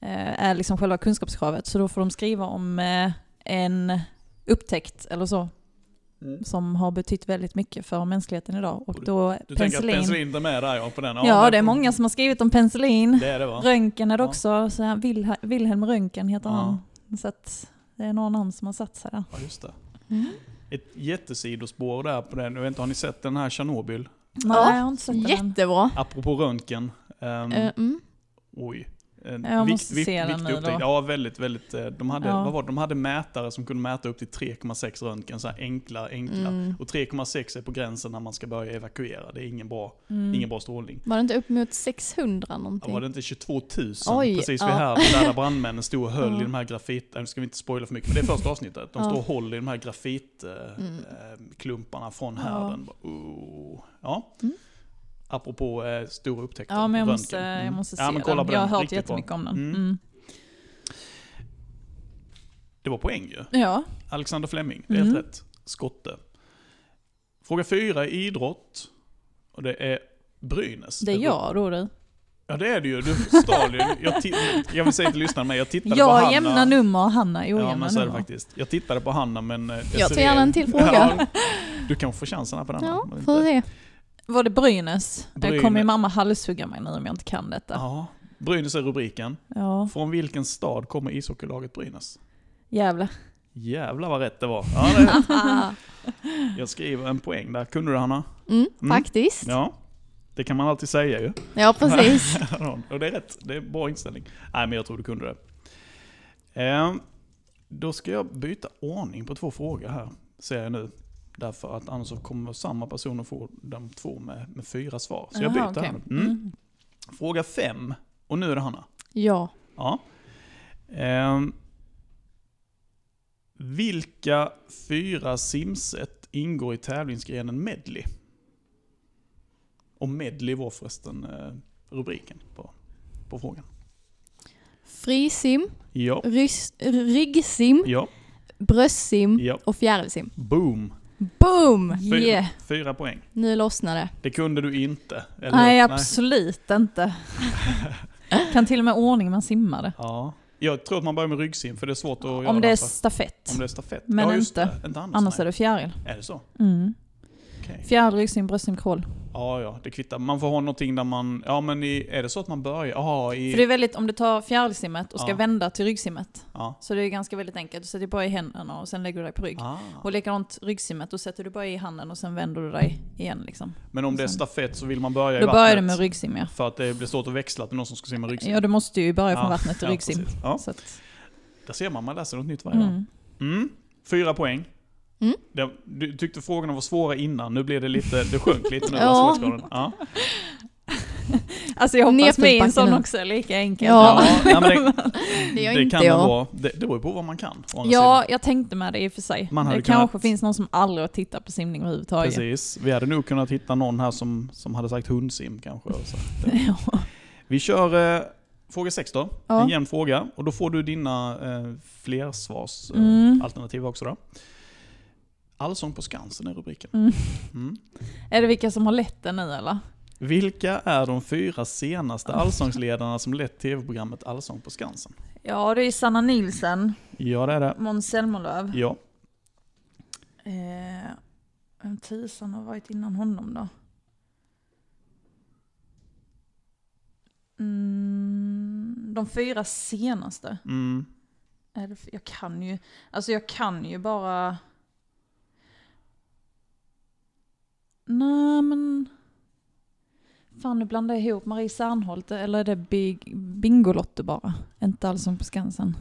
[SPEAKER 3] eh, är liksom själva kunskapskravet. Så då får de skriva om eh, en upptäckt eller så
[SPEAKER 2] Mm.
[SPEAKER 3] som har betytt väldigt mycket för mänskligheten idag. Och
[SPEAKER 2] Du-
[SPEAKER 3] då
[SPEAKER 2] Du tänker
[SPEAKER 3] penicillin.
[SPEAKER 2] att penicillin är med där ja, på den?
[SPEAKER 3] ja,
[SPEAKER 2] men-
[SPEAKER 3] det är många som har skrivit om penicillin.
[SPEAKER 2] Det är det va?
[SPEAKER 3] Röntgen är det
[SPEAKER 2] Ja.
[SPEAKER 3] också. Så här, Wilha- Wilhelm Röntgen heter
[SPEAKER 2] Ja.
[SPEAKER 3] han. Så att det är någon namn som har satt sig där.
[SPEAKER 2] Ja, just det.
[SPEAKER 1] Mm.
[SPEAKER 2] Ett jättesidospår där på den. Jag vet inte, har ni sett den här Tjernobyl?
[SPEAKER 3] Nej, jag har inte sett den. än.
[SPEAKER 1] Jättebra.
[SPEAKER 2] Apropå röntgen. ehm,
[SPEAKER 1] Eh, Mm.
[SPEAKER 2] Oj. En
[SPEAKER 3] Jag måste se den
[SPEAKER 2] viktig
[SPEAKER 3] nu då.
[SPEAKER 2] upptäckt. Ja, väldigt, väldigt. eh, De hade,
[SPEAKER 3] Ja.
[SPEAKER 2] vad var det? de hade mätare som kunde mäta upp till 3,6 röntgen. Så här enkla, enkla.
[SPEAKER 1] Mm.
[SPEAKER 2] Och 3,6 är på gränsen när man ska börja evakuera. Det är ingen bra,
[SPEAKER 3] Mm.
[SPEAKER 2] ingen bra strålning.
[SPEAKER 1] Var det inte upp mot 600 någonting?
[SPEAKER 2] Var det inte 22 000
[SPEAKER 1] Oj,
[SPEAKER 2] precis vid
[SPEAKER 1] ja.
[SPEAKER 2] här där alla brandmännen stod och höll
[SPEAKER 1] Ja.
[SPEAKER 2] i de här grafit... äh, Nu ska vi inte spoila för mycket, men det är första avsnittet. De
[SPEAKER 1] Ja.
[SPEAKER 2] står och håller i de här grafitklumparna
[SPEAKER 1] Mm.
[SPEAKER 2] äh, klumparna från
[SPEAKER 3] Ja.
[SPEAKER 2] härden. Bara, oh. Ja.
[SPEAKER 1] Mm.
[SPEAKER 2] Apropå eh, stora upptäckter.
[SPEAKER 3] Ja, men jag måste,
[SPEAKER 2] Röntgen. Mm.
[SPEAKER 3] jag måste se
[SPEAKER 2] ja, men kolla
[SPEAKER 3] den.
[SPEAKER 2] På
[SPEAKER 3] Jag har
[SPEAKER 2] den.
[SPEAKER 3] hört
[SPEAKER 2] Riktigt bra.
[SPEAKER 3] jättemycket om den.
[SPEAKER 2] Mm.
[SPEAKER 3] Mm.
[SPEAKER 2] Det var poäng ju.
[SPEAKER 3] Ja.
[SPEAKER 2] Alexander Fleming, det är helt
[SPEAKER 3] Mm.
[SPEAKER 2] rätt. Skotte. Fråga fyra i idrott. Och det är Brynäs.
[SPEAKER 3] Det är jag då du.
[SPEAKER 2] Ja det är det ju. Du stal ju. Jag, ti- jag vill säga till lyssnarna, men jag tittade på Hanna.
[SPEAKER 3] Jag jämna nummer och Hanna är ojämna
[SPEAKER 2] Ja men så är det
[SPEAKER 3] nummer.
[SPEAKER 2] faktiskt. Jag tittade på Hanna men... eh,
[SPEAKER 1] Jag tar
[SPEAKER 2] Desiree-
[SPEAKER 1] gärna en till fråga.
[SPEAKER 2] du kanske får chansen här på den här.
[SPEAKER 1] Ja,
[SPEAKER 2] men
[SPEAKER 1] får vi
[SPEAKER 2] inte.
[SPEAKER 1] se.
[SPEAKER 3] Var det Brynäs? Brynäs. kommer
[SPEAKER 2] Brynäs.
[SPEAKER 3] min mamma halshugga mig nu om jag inte kan detta.
[SPEAKER 2] Ja. Brynäs är rubriken.
[SPEAKER 3] Ja,
[SPEAKER 2] Från vilken stad kommer ishockeylaget Brynäs?
[SPEAKER 3] jävlar.
[SPEAKER 2] Jävlar vad rätt det var. Ja, det är. Jag skriver en poäng där. Kunde du Hanna?
[SPEAKER 1] Mm,
[SPEAKER 2] Mm.
[SPEAKER 1] faktiskt. Ja,
[SPEAKER 2] Ja. Det kan man alltid säga ju.
[SPEAKER 1] precis.
[SPEAKER 2] Och det är rätt. Det är bra inställning. Nej, men jag tror du kunde det. Ehm, Då ska jag byta ordning på två frågor här, ser jag nu. Därför att annars så kommer samma person att få de två med, med fyra svar. Så jag byter
[SPEAKER 3] Jaha, okej.
[SPEAKER 2] här nu. mm. Fråga fem. Och nu är det Hanna.
[SPEAKER 1] Ja.
[SPEAKER 2] Ja. Ehm, vilka fyra simset ingår i tävlingsgrenen medley? Och medley var förresten eh, rubriken på, på frågan.
[SPEAKER 1] Frisim,
[SPEAKER 2] Ja,
[SPEAKER 1] rys- ryggsim,
[SPEAKER 2] ja,
[SPEAKER 1] bröstsim
[SPEAKER 2] ja.
[SPEAKER 1] och fjärilsim.
[SPEAKER 2] Boom!
[SPEAKER 1] Boom!
[SPEAKER 2] Fyra,
[SPEAKER 3] Yeah.
[SPEAKER 2] fyra poäng.
[SPEAKER 1] Nu lossnade
[SPEAKER 2] Det kunde du inte. eller?
[SPEAKER 3] Nej, absolut inte. kan till och med ordning man simmade.
[SPEAKER 2] Ja. Jag tror att man börjar med ryggsim för det är svårt att göra
[SPEAKER 3] Om det är
[SPEAKER 2] för-
[SPEAKER 3] stafett.
[SPEAKER 2] om det är stafett.
[SPEAKER 3] Men
[SPEAKER 2] ja, just
[SPEAKER 3] inte.
[SPEAKER 2] Det. inte annars.
[SPEAKER 3] Annars
[SPEAKER 2] nej.
[SPEAKER 3] är det fjäril.
[SPEAKER 2] är det så?
[SPEAKER 3] Mm.
[SPEAKER 2] Okej.
[SPEAKER 3] Fjäril, ryggsim, bröstsim, crawl.
[SPEAKER 2] Ja, ja, det kvittar. Man får ha någonting där man... Ja, men i, är det så att man börjar... Ja, i...
[SPEAKER 3] För det är väldigt, om du tar fjärilsimmet och ska
[SPEAKER 2] Ja.
[SPEAKER 3] vända till ryggsimmet,
[SPEAKER 2] ja.
[SPEAKER 3] så det är ganska väldigt enkelt. Du sätter bara i händerna och sen lägger du dig på rygg.
[SPEAKER 2] Ah.
[SPEAKER 3] Och likadant ryggsimmet, då sätter du bara i handen och sen vänder du dig igen. Liksom.
[SPEAKER 2] Men om det är stafett så vill man börja i
[SPEAKER 3] Då börjar du
[SPEAKER 2] vattnet.
[SPEAKER 3] med ryggsim ja.
[SPEAKER 2] För att det blir svårt att växla till någon som ska simma ryggsim.
[SPEAKER 3] Ja, du måste ju börja från
[SPEAKER 2] Ja,
[SPEAKER 3] vattnet till
[SPEAKER 2] ja,
[SPEAKER 3] ryggsim.
[SPEAKER 2] precis. Ja,
[SPEAKER 3] Så att,
[SPEAKER 2] där ser man, man läser något nytt varje dag.
[SPEAKER 3] mm.
[SPEAKER 2] Mm. Fyra poäng.
[SPEAKER 1] Mm.
[SPEAKER 2] Det, du tyckte frågorna var svåra innan, nu blev det lite... Det sjönk lite nu.
[SPEAKER 1] Ja.
[SPEAKER 2] alltså, ja.
[SPEAKER 3] Alltså jag hoppas
[SPEAKER 1] Nerförsbacken
[SPEAKER 3] min sån
[SPEAKER 1] nu.
[SPEAKER 3] också är lika enkel.
[SPEAKER 1] Ja.
[SPEAKER 2] ja nej, men det,
[SPEAKER 1] Det gör
[SPEAKER 2] det
[SPEAKER 1] inte
[SPEAKER 2] kan det
[SPEAKER 1] jag.
[SPEAKER 2] vara. Det, det beror ju på vad man kan. å andra
[SPEAKER 3] Ja, jag tänkte med det i och för sig.
[SPEAKER 2] Man hade
[SPEAKER 3] det
[SPEAKER 2] kunnat-
[SPEAKER 3] kanske finns någon som aldrig har tittat på simning överhuvudtaget.
[SPEAKER 2] Precis. Vi hade nog kunnat hitta någon här som, som hade sagt hundsim kanske. och Så.
[SPEAKER 3] Ja.
[SPEAKER 2] Vi kör eh, fråga 6 då.
[SPEAKER 1] Ja.
[SPEAKER 2] En jämn fråga. Och då får du dina eh, flersvarsalternativ eh,
[SPEAKER 3] Mm.
[SPEAKER 2] alternativ också. Då. Allsång på Skansen är rubriken.
[SPEAKER 3] Mm.
[SPEAKER 2] Mm.
[SPEAKER 3] Är det vilka som har lett den nu eller?
[SPEAKER 2] Vilka är de fyra
[SPEAKER 3] Ah.
[SPEAKER 2] senaste allsångsledarna som lett tv-programmet Allsång på Skansen?
[SPEAKER 3] Ja, det är Sanna Nilsen,
[SPEAKER 2] Ja, det är det.
[SPEAKER 3] Måns Zelmerlöw.
[SPEAKER 2] Ja.
[SPEAKER 3] Eh, vem tusan har varit innan honom då? Mm, de fyra senaste.
[SPEAKER 2] Mm.
[SPEAKER 3] Är det f- Jag kan ju, alltså jag kan ju bara... Nej men... Fan nu blandar jag ihop Marie Serneholt eller är det big, Bingolotto bara? Inte alls som på Skansen.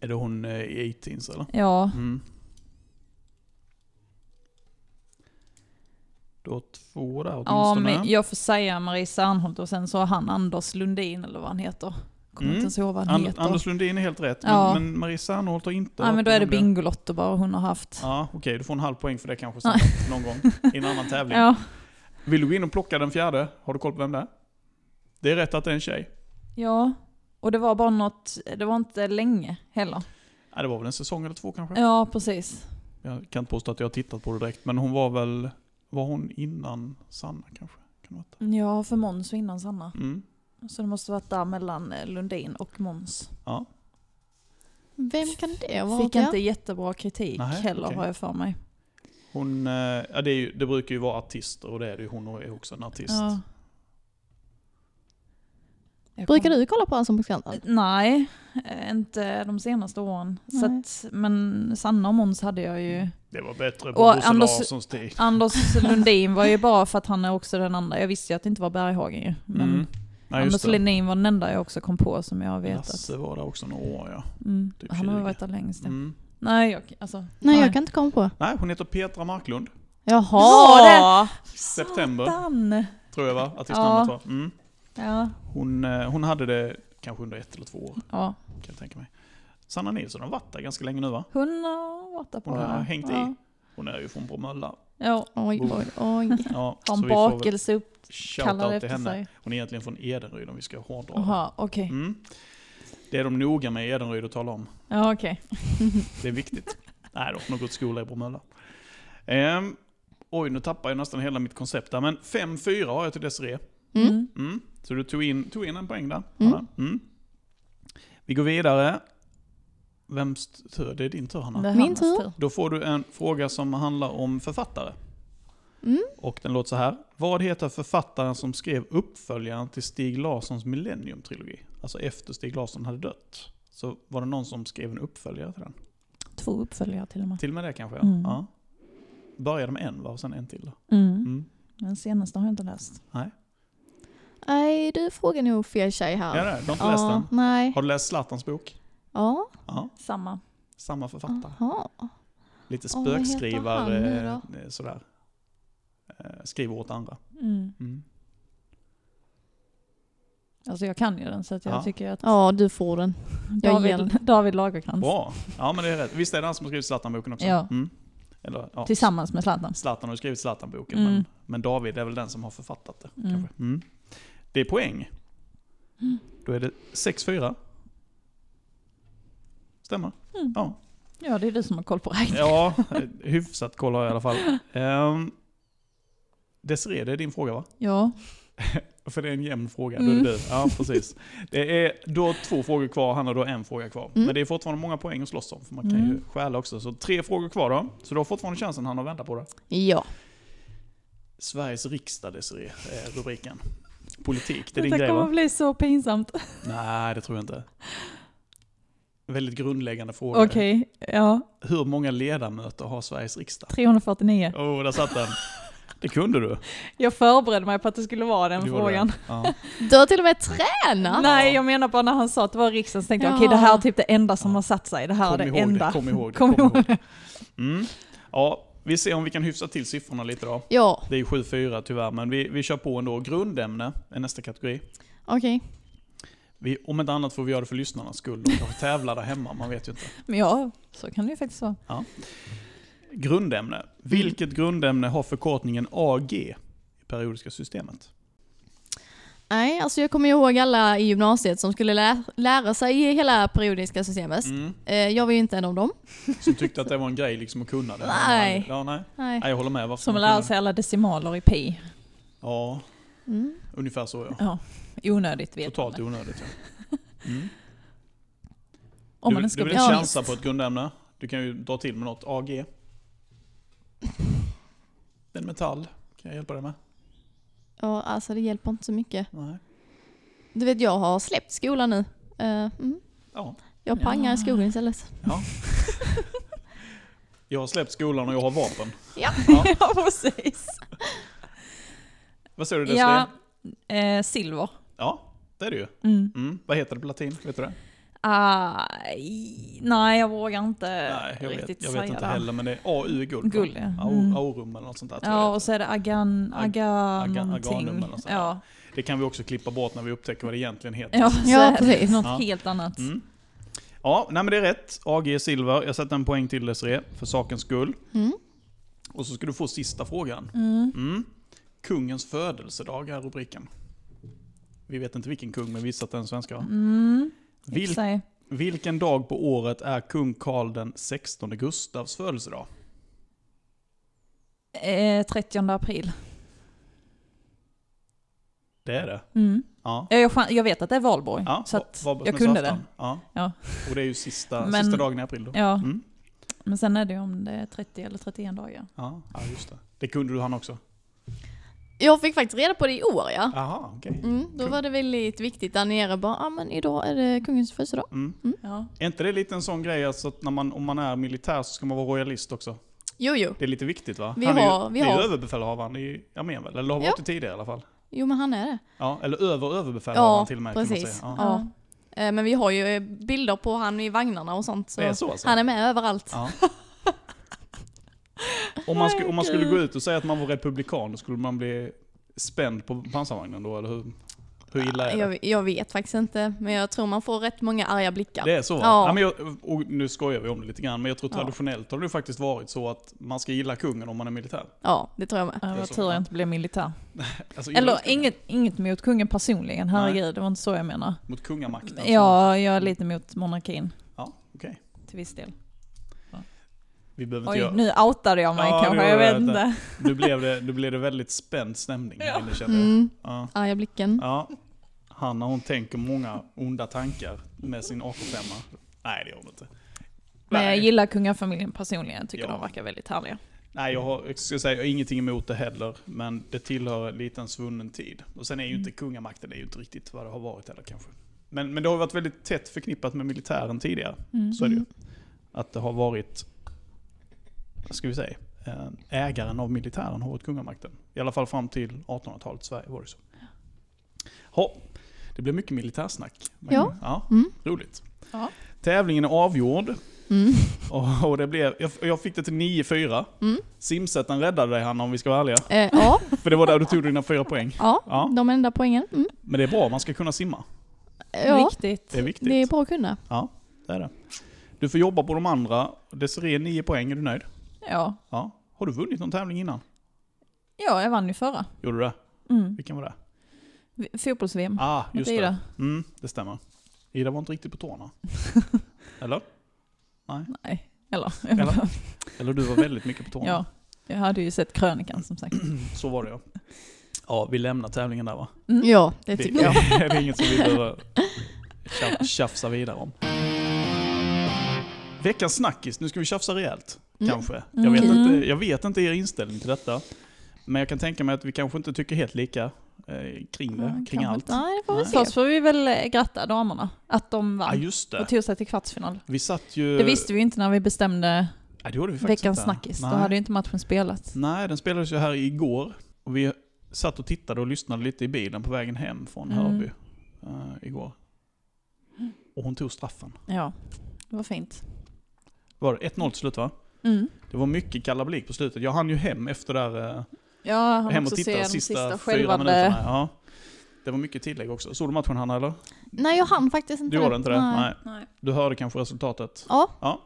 [SPEAKER 2] Är det hon eh, i 18s eller?
[SPEAKER 3] Ja,
[SPEAKER 2] Mm. Du har två där
[SPEAKER 3] ja
[SPEAKER 2] åtminstone.
[SPEAKER 3] men jag får säga Marie Serneholt och sen så har han Anders Lundin eller vad han heter. Kommer
[SPEAKER 2] Mm.
[SPEAKER 3] inte ens ihåg vad han
[SPEAKER 2] And,
[SPEAKER 3] heter.
[SPEAKER 2] Anders Lundin är helt rätt,
[SPEAKER 3] Ja.
[SPEAKER 2] men, men Marie Serneholt har inte...
[SPEAKER 3] Nej men då är det
[SPEAKER 2] Bingo.
[SPEAKER 3] Bingolotto bara hon har haft.
[SPEAKER 2] Ja, okej, du får en halv poäng för det kanske
[SPEAKER 3] Ja.
[SPEAKER 2] sen, någon gång i en annan tävling.
[SPEAKER 3] Ja,
[SPEAKER 2] Vill du gå in och plocka den fjärde? Har du koll på vem det är? Det är rätt att det är en tjej.
[SPEAKER 3] ja. Och det var bara något, det var inte länge heller.
[SPEAKER 2] Ja, det var väl en säsong eller två kanske?
[SPEAKER 3] Ja, precis.
[SPEAKER 2] Jag kan inte påstå att jag har tittat på det direkt, men hon var väl... Var hon innan Sanna kanske? Kan det vara det?
[SPEAKER 3] Ja, för Måns och innan Sanna.
[SPEAKER 2] Mm.
[SPEAKER 3] Så det måste varit där mellan eh, Lundin och Måns.
[SPEAKER 1] Vem kan det vara?
[SPEAKER 3] Fick inte jättebra kritik
[SPEAKER 2] Nej,
[SPEAKER 3] heller
[SPEAKER 2] okej.
[SPEAKER 3] har jag för mig.
[SPEAKER 2] Hon... eh, Ja, det, är ju, det brukar ju vara artister och det är det ju. Hon är också en artist.
[SPEAKER 3] Ja. Jag
[SPEAKER 1] Brukar
[SPEAKER 3] kom-
[SPEAKER 1] du kolla på Allsång på Skansen?
[SPEAKER 3] Nej, eh, inte de senaste åren. Så
[SPEAKER 1] Nej.
[SPEAKER 3] att, men Sanna och Måns hade jag ju.
[SPEAKER 2] Det var bättre på
[SPEAKER 3] Och
[SPEAKER 2] Bosse
[SPEAKER 3] Anders-
[SPEAKER 2] Larssons tid.
[SPEAKER 3] Anders Lundin var ju bara för att han är också den andra. Jag visste ju att det inte var Berghagen ju. Men
[SPEAKER 2] Mm. Nej, just
[SPEAKER 3] Anders
[SPEAKER 2] det.
[SPEAKER 3] Lundin var den enda jag också kom på som jag vet att...
[SPEAKER 2] Lasse var där också några år, ja.
[SPEAKER 3] Mm,
[SPEAKER 2] typ
[SPEAKER 3] han har
[SPEAKER 2] 20.
[SPEAKER 3] väl varit där längst. ja.
[SPEAKER 2] Mm.
[SPEAKER 3] Nej, jag, alltså...
[SPEAKER 1] Nej, jag kan inte komma på.
[SPEAKER 2] Nej, hon heter Petra Marklund.
[SPEAKER 1] Jaha!
[SPEAKER 3] Ja!
[SPEAKER 2] September,
[SPEAKER 3] Satan!
[SPEAKER 2] tror jag va? Artistnamnet var. Mm.
[SPEAKER 3] Ja.
[SPEAKER 2] Hon, eh, hon hade det kanske under ett eller två år,
[SPEAKER 3] ja.
[SPEAKER 2] kan jag tänka mig. Sanna Nilsson har varit där ganska länge nu va?
[SPEAKER 3] Hon har varit där på
[SPEAKER 2] Hon har
[SPEAKER 3] det.
[SPEAKER 2] hängt i.
[SPEAKER 3] ja.
[SPEAKER 2] Hon är ju från Bromölla.
[SPEAKER 3] Ja,
[SPEAKER 1] Oj,
[SPEAKER 2] Boom.
[SPEAKER 1] oj, oj.
[SPEAKER 2] Ja,
[SPEAKER 3] har
[SPEAKER 2] så
[SPEAKER 3] en
[SPEAKER 2] vi får väl
[SPEAKER 3] bakelse upp
[SPEAKER 2] shoutout
[SPEAKER 3] kallad
[SPEAKER 2] till
[SPEAKER 3] efter
[SPEAKER 2] henne.
[SPEAKER 3] sig.
[SPEAKER 2] Hon är egentligen från Edenryd om vi ska hårdra det.
[SPEAKER 3] Jaha, okej.
[SPEAKER 2] Mm. Det är de noga med i Edenryd att tala om.
[SPEAKER 3] Ja, okej.
[SPEAKER 2] Det är viktigt. Nej då, hon har gått skola i Bromölla. Ehm, oj, nu tappar jag nästan hela mitt koncept där. Men 5-4 har jag till Desiree.
[SPEAKER 1] Mm.
[SPEAKER 3] Mm.
[SPEAKER 2] Mm. Så du tog in, tog in en poäng där.
[SPEAKER 1] Mm.
[SPEAKER 2] Hanna. Mm. Vi går vidare. Vems tur? Det är din tur Hanna.
[SPEAKER 3] Det är
[SPEAKER 1] Min
[SPEAKER 3] Hannas
[SPEAKER 1] tur.
[SPEAKER 2] Då får du en fråga som handlar om författare.
[SPEAKER 1] Mm.
[SPEAKER 2] Och den låter så här. Vad heter författaren som skrev uppföljaren till Stig Larssons Millennium-trilogi? Alltså efter Stig Larsson hade dött. Så var det någon som skrev en uppföljare till den.
[SPEAKER 3] Två uppföljare till och med.
[SPEAKER 2] Till och med det kanske?
[SPEAKER 3] Mm.
[SPEAKER 2] Ja. Började med en va, och sen en till. då.
[SPEAKER 3] Mm.
[SPEAKER 2] Mm.
[SPEAKER 3] Den senaste har jag inte läst.
[SPEAKER 1] Nej, du frågar nog fel tjej här.
[SPEAKER 2] Ja, det är det. Du har inte läst den?
[SPEAKER 1] Nej.
[SPEAKER 2] Har du läst Zlatans bok?
[SPEAKER 1] Ja.
[SPEAKER 2] Ja,
[SPEAKER 3] Samma.
[SPEAKER 2] samma författare.
[SPEAKER 1] Aha.
[SPEAKER 2] Lite
[SPEAKER 1] Åh, vad heter han nu
[SPEAKER 2] spökskrivare,
[SPEAKER 1] då?
[SPEAKER 2] eh, sådär. Eh, Skriver åt andra.
[SPEAKER 3] Mm.
[SPEAKER 2] Mm.
[SPEAKER 3] Alltså jag kan ju den så att jag
[SPEAKER 2] Ja.
[SPEAKER 3] tycker att
[SPEAKER 1] Ja, du får den. jag ger
[SPEAKER 3] David, David Lagercrantz
[SPEAKER 2] Bra! Ja men det är rätt. Visst är det han som har skrivit Zlatan-boken också?
[SPEAKER 3] Ja.
[SPEAKER 2] Mm. Eller, ja.
[SPEAKER 3] tillsammans med Zlatan.
[SPEAKER 2] Zlatan har ju skrivit Zlatan-boken,
[SPEAKER 3] Mm.
[SPEAKER 2] men, men David är väl den som har författat det.
[SPEAKER 3] Mm.
[SPEAKER 2] Kanske. Mm. Det är poäng. Då är det 6-4. Stämmer?
[SPEAKER 3] Mm.
[SPEAKER 2] Ja.
[SPEAKER 3] Ja, det är du som har koll på räkning.
[SPEAKER 2] Ja, hyfsat koll har jag i alla fall. Um, Desiree, det är din fråga va?
[SPEAKER 3] Ja.
[SPEAKER 2] För det är en jämn fråga,
[SPEAKER 3] Mm.
[SPEAKER 2] då är det du. Ja, precis. Det är, du har två frågor kvar, Hanna du har en fråga kvar. Men det är fortfarande många poäng att slåss om, för man kan ju
[SPEAKER 3] Mm.
[SPEAKER 2] stjäla också. Så tre frågor kvar då. Så du har fortfarande chansen Hanna att vända på det.
[SPEAKER 1] Ja.
[SPEAKER 2] Sveriges riksdag Desiree, är rubriken. Politik, det är din
[SPEAKER 3] Detta
[SPEAKER 2] grej
[SPEAKER 3] kommer
[SPEAKER 2] va?
[SPEAKER 3] bli så pinsamt.
[SPEAKER 2] Nej, det tror jag inte. Väldigt grundläggande fråga.
[SPEAKER 3] Okej, ja.
[SPEAKER 2] Hur många ledamöter har Sveriges riksdag?
[SPEAKER 3] 349.
[SPEAKER 2] Åh, oh, där satt den. Det kunde du.
[SPEAKER 3] Jag förberedde mig på att det skulle vara den
[SPEAKER 2] Du gjorde
[SPEAKER 3] frågan.
[SPEAKER 2] det. Ja.
[SPEAKER 1] Du har till och med tränat.
[SPEAKER 3] Nej, jag menar bara när han sa att det var riksdagen så tänkte jag
[SPEAKER 1] Ja.
[SPEAKER 3] okej det här är typ det enda som
[SPEAKER 2] Ja.
[SPEAKER 3] har satt sig. Det här
[SPEAKER 2] Kom
[SPEAKER 3] är det
[SPEAKER 2] ihåg
[SPEAKER 3] enda.
[SPEAKER 2] det, kom ihåg det.
[SPEAKER 3] Kom
[SPEAKER 2] Kom
[SPEAKER 3] ihåg
[SPEAKER 2] ihåg det. Mm. Ja, vi ser om vi kan hyfsa till siffrorna lite då.
[SPEAKER 1] Ja,
[SPEAKER 2] Det är 7-4 tyvärr, men vi, vi kör på ändå. Grundämne är nästa kategori.
[SPEAKER 1] okej.
[SPEAKER 2] Vi, om inte annat får vi göra det för lyssnarnas skull. De kanske tävlar där hemma, man vet ju inte.
[SPEAKER 3] Men ja, så kan det ju faktiskt vara.
[SPEAKER 2] Grundämne. Vilket grundämne har förkortningen AG i periodiska systemet?
[SPEAKER 1] Nej, alltså jag kommer ihåg alla i gymnasiet som skulle lä- lära sig i hela periodiska systemet.
[SPEAKER 2] Mm.
[SPEAKER 1] Eh, jag var ju inte en av dem.
[SPEAKER 2] Som tyckte att det var en grej liksom att kunna det.
[SPEAKER 1] Nej.
[SPEAKER 2] Ja, nej.
[SPEAKER 1] Nej.
[SPEAKER 2] nej jag håller med. Varför
[SPEAKER 3] Som
[SPEAKER 2] man
[SPEAKER 3] lär
[SPEAKER 2] kunna-
[SPEAKER 3] sig alla decimaler i pi.
[SPEAKER 2] Ja,
[SPEAKER 1] Mm.
[SPEAKER 2] ungefär så ja.
[SPEAKER 3] Ja, onödigt vet
[SPEAKER 2] Totalt
[SPEAKER 3] man.
[SPEAKER 2] onödigt ja. Mm.
[SPEAKER 3] Om
[SPEAKER 2] du,
[SPEAKER 3] man
[SPEAKER 2] du
[SPEAKER 3] ska
[SPEAKER 2] vill
[SPEAKER 3] bli
[SPEAKER 2] inte
[SPEAKER 1] Ja,
[SPEAKER 2] chansa på ett grundämne? Du kan ju dra till med något. AG? En metall? Kan jag hjälpa dig med?
[SPEAKER 1] Ja, alltså det hjälper inte så mycket.
[SPEAKER 2] Nej.
[SPEAKER 1] Du vet, jag har släppt skolan nu. Eh, mm.
[SPEAKER 2] Ja.
[SPEAKER 1] Jag pangar i skogen istället.
[SPEAKER 2] Jag har släppt skolan och jag har vapen.
[SPEAKER 3] Ja, precis.
[SPEAKER 2] Vad säger du Desirée?
[SPEAKER 3] Ja,
[SPEAKER 2] Ja.
[SPEAKER 3] eh, silver.
[SPEAKER 2] ja, det är det ju.
[SPEAKER 3] Mm.
[SPEAKER 2] Mm. Vad heter det på latin? Vet du det?
[SPEAKER 3] Aj, nej, jag vågar inte
[SPEAKER 2] Nej, jag
[SPEAKER 3] riktigt
[SPEAKER 2] vet, jag vet
[SPEAKER 3] säga
[SPEAKER 2] inte
[SPEAKER 3] det.
[SPEAKER 2] heller. Men det är AU guld. va?
[SPEAKER 3] Guld, ja.
[SPEAKER 2] Au-
[SPEAKER 3] Mm.
[SPEAKER 2] Aurum eller något sånt där. tror jag
[SPEAKER 3] Ja,
[SPEAKER 2] det
[SPEAKER 3] och så är det agan,
[SPEAKER 2] Ag-
[SPEAKER 3] aga,
[SPEAKER 2] aga-
[SPEAKER 3] någonting.
[SPEAKER 2] aganum eller något sånt där.
[SPEAKER 3] ja.
[SPEAKER 2] heter. Det kan vi också klippa bort när vi upptäcker vad det egentligen heter.
[SPEAKER 3] ja, så
[SPEAKER 1] Ja,
[SPEAKER 3] är det
[SPEAKER 1] precis.
[SPEAKER 3] något
[SPEAKER 2] Ja.
[SPEAKER 3] helt annat.
[SPEAKER 2] Mm. Ja, nej men det är rätt. AG silver. Jag sätter en poäng till Desirée, för sakens skull.
[SPEAKER 1] Mm.
[SPEAKER 2] Och så ska du få sista frågan.
[SPEAKER 3] Mm.
[SPEAKER 2] Mm. Kungens födelsedag är rubriken. Vi vet inte vilken kung, men vi gissar att det är den svenska.
[SPEAKER 3] Mm. i och för
[SPEAKER 2] Vil-
[SPEAKER 3] sig.
[SPEAKER 2] vilken dag på året är kung Karl den 16 Gustavs födelsedag?
[SPEAKER 3] Eh, 30 april.
[SPEAKER 2] Det är det.
[SPEAKER 3] Mm.
[SPEAKER 2] Ja.
[SPEAKER 3] Ja, Jag, chan- jag vet att det är valborg,
[SPEAKER 2] ja.
[SPEAKER 3] så att
[SPEAKER 2] Va- va-
[SPEAKER 3] jag
[SPEAKER 2] men
[SPEAKER 3] kunde
[SPEAKER 2] saftan.
[SPEAKER 3] den.
[SPEAKER 2] Ja.
[SPEAKER 3] Ja.
[SPEAKER 2] Och det är ju sista,
[SPEAKER 3] Men-
[SPEAKER 2] sista dagen i april då.
[SPEAKER 3] Ja,
[SPEAKER 2] Mm.
[SPEAKER 3] men sen är det ju om det är 30 eller 31 dagar.
[SPEAKER 2] Ja. ja, just det. Det kunde du han också.
[SPEAKER 1] Jag fick faktiskt reda på det i år, ja.
[SPEAKER 2] Aha, okej.
[SPEAKER 1] Mm, då
[SPEAKER 2] Kung.
[SPEAKER 1] var det väldigt viktigt där nere. Bara, ah, men idag är det kungens födelsedag.
[SPEAKER 2] Mm.
[SPEAKER 3] Ja.
[SPEAKER 2] Är inte det lite en sån grej alltså att när man, om man är militär så ska man vara royalist också?
[SPEAKER 1] Jo, jo.
[SPEAKER 2] Det är lite viktigt va?
[SPEAKER 1] Vi
[SPEAKER 2] han är ju,
[SPEAKER 1] har- vi
[SPEAKER 2] det är ju
[SPEAKER 1] har-
[SPEAKER 2] överbefälhavaren i armén väl? Eller har
[SPEAKER 1] Ja.
[SPEAKER 2] varit det tidigare i alla fall?
[SPEAKER 1] Jo, men han är det.
[SPEAKER 2] Ja, eller över överbefälhavaren
[SPEAKER 1] Ja,
[SPEAKER 2] till och med kan man
[SPEAKER 1] precis.
[SPEAKER 2] säga. Ja.
[SPEAKER 1] Ja. Eh, Men vi har ju eh, bilder på han i vagnarna och sånt. Så
[SPEAKER 2] Det är så alltså?
[SPEAKER 1] Han är med överallt.
[SPEAKER 2] Ja. om, man sku, om man skulle gå ut och säga att man var republikan, då skulle man bli spänd på pansarvagnen då, eller hur? Hur illa är det?
[SPEAKER 1] Jag, jag vet faktiskt inte, men jag tror man får rätt många arga blickar.
[SPEAKER 2] Det är så? va?
[SPEAKER 1] Ja.
[SPEAKER 2] Ja, men jag, och nu skojar vi om det lite grann, men jag tror
[SPEAKER 1] Ja.
[SPEAKER 2] traditionellt har det faktiskt varit så att man ska gilla kungen om man är militär.
[SPEAKER 1] Ja, det tror jag med.
[SPEAKER 3] Ja,
[SPEAKER 2] Det är
[SPEAKER 3] vad
[SPEAKER 2] så.
[SPEAKER 3] tur jag inte blev militär.
[SPEAKER 2] Alltså, gilla
[SPEAKER 3] Eller
[SPEAKER 2] kungen
[SPEAKER 3] inget, inget mot kungen personligen, herregud, det var inte så jag menar.
[SPEAKER 2] Mot kungamakten. så-
[SPEAKER 3] Ja, jag är lite mot monarkin
[SPEAKER 2] ja okej.
[SPEAKER 3] till viss del.
[SPEAKER 2] Mm. Vi behöver inte
[SPEAKER 3] Oj,
[SPEAKER 2] göra... Nu.
[SPEAKER 3] nu outade jag mig
[SPEAKER 2] Ja,
[SPEAKER 3] kanske,
[SPEAKER 2] nu
[SPEAKER 3] jag
[SPEAKER 2] har jag
[SPEAKER 3] vet
[SPEAKER 2] rätt
[SPEAKER 3] inte.
[SPEAKER 2] blev det, nu blev det väldigt spänd stämning här inne känner jag.
[SPEAKER 1] Mm,
[SPEAKER 2] Ja.
[SPEAKER 1] arga blicken.
[SPEAKER 2] ja. Hanna hon tänker många onda tankar med sin AK5. Nej det gör hon inte.
[SPEAKER 3] Men jag
[SPEAKER 2] Nej.
[SPEAKER 3] gillar kungafamiljen personligen, jag tycker
[SPEAKER 2] Ja.
[SPEAKER 3] de verkar väldigt härliga.
[SPEAKER 2] Nej, jag har, jag ska säga, jag har ingenting emot det heller, men det tillhör lite en svunnen tid. Och sen är ju inte kungamakten, det är ju inte riktigt vad det har varit heller kanske. Men, men det har ju varit väldigt tätt förknippat med militären tidigare,
[SPEAKER 3] Mm.
[SPEAKER 2] så är det ju. Att det har varit, vad ska vi säga, eh, ägaren av militären har varit kungamakten. I alla fall fram till 1800-talet Sverige var det så. Ha, det blev mycket militärsnack. Men-
[SPEAKER 1] Ja.
[SPEAKER 2] ja
[SPEAKER 1] Mm.
[SPEAKER 2] roligt.
[SPEAKER 3] Ja.
[SPEAKER 2] Tävlingen är avgjord.
[SPEAKER 1] Mm.
[SPEAKER 2] Och, och det blev, jag, jag fick det till 9-4.
[SPEAKER 1] Mm.
[SPEAKER 2] Simsätten räddade dig Hanna om vi ska vara ärliga.
[SPEAKER 1] Eh, ja,
[SPEAKER 2] För det var där du tog dina fyra poäng.
[SPEAKER 1] ja,
[SPEAKER 2] Ja.
[SPEAKER 1] de enda poängen. Mm.
[SPEAKER 2] Men det är bra, man ska kunna simma.
[SPEAKER 1] Ja,
[SPEAKER 3] Viktigt.
[SPEAKER 2] Det är viktigt.
[SPEAKER 1] det är bra att kunna.
[SPEAKER 2] Det är det. Du får jobba på de andra. Desirée 9 poäng, är du nöjd?
[SPEAKER 3] Ja.
[SPEAKER 2] Ja. Har du vunnit någon tävling innan?
[SPEAKER 3] ja, jag vann ju förra.
[SPEAKER 2] Gjorde du det?
[SPEAKER 3] Mm.
[SPEAKER 2] Vilken var det?
[SPEAKER 3] V- Fotbolls-VM.
[SPEAKER 2] Ah,
[SPEAKER 3] Mot
[SPEAKER 2] just det.
[SPEAKER 3] Ida.
[SPEAKER 2] Mm, det stämmer. Ida var inte riktigt på tårna. Eller?
[SPEAKER 3] Nej, eller?
[SPEAKER 2] Eller? Eller du var väldigt mycket på tårna.
[SPEAKER 3] ja, jag hade ju sett krönikan som sagt.
[SPEAKER 2] Så var det ja. Ja, vi lämnar tävlingen där va?
[SPEAKER 3] Mm.
[SPEAKER 1] Ja, det
[SPEAKER 2] Det,
[SPEAKER 1] tycker jag.
[SPEAKER 2] det är inget som vi behöver tjaf- tjafsa vidare om. Veckans snackis, nu ska vi tjafsa rejält.
[SPEAKER 1] Mm.
[SPEAKER 2] Kanske. Jag vet,
[SPEAKER 3] Mm.
[SPEAKER 2] inte, jag vet inte er inställning till detta. Men jag kan tänka mig att vi kanske inte tycker helt lika eh, kring det,
[SPEAKER 3] Mm,
[SPEAKER 1] Ja,
[SPEAKER 2] kring
[SPEAKER 1] kanske
[SPEAKER 2] allt.
[SPEAKER 1] inte. Nej, det får vi
[SPEAKER 2] Nej.
[SPEAKER 1] se.
[SPEAKER 3] Först får vi väl eh, gratta damerna, att de
[SPEAKER 2] Ja,
[SPEAKER 3] vann
[SPEAKER 2] just det.
[SPEAKER 3] och tog sig till kvartsfinal.
[SPEAKER 2] Vi satt ju...
[SPEAKER 3] Det visste vi ju inte när vi bestämde
[SPEAKER 2] Nej, det gjorde vi faktiskt
[SPEAKER 3] veckans
[SPEAKER 2] inte.
[SPEAKER 3] snackis, då
[SPEAKER 2] Nej.
[SPEAKER 3] hade ju inte matchen spelats.
[SPEAKER 2] Nej, den spelades ju här igår. Och vi satt och tittade och lyssnade lite i bilen på vägen hem från
[SPEAKER 3] Mm.
[SPEAKER 2] Hörby eh, igår. Och hon tog straffen.
[SPEAKER 3] Ja, det var fint.
[SPEAKER 2] Var det 1-0 till slut va?
[SPEAKER 3] Mm.
[SPEAKER 2] Det var mycket kalabalik på slutet. Jag hann ju hem efter där, eh,
[SPEAKER 3] Ja, han
[SPEAKER 2] hem
[SPEAKER 3] också
[SPEAKER 2] och
[SPEAKER 3] se
[SPEAKER 2] titta de
[SPEAKER 3] de
[SPEAKER 2] sista, fyra
[SPEAKER 3] sista självande
[SPEAKER 2] minuterna. Ja. Det var mycket tillägg också. Såg du matchen Hanna eller?
[SPEAKER 1] Nej, jag hann faktiskt inte
[SPEAKER 2] Du gjorde inte det? Nej.
[SPEAKER 3] Nej.
[SPEAKER 2] Du hörde kanske resultatet?
[SPEAKER 1] Ja,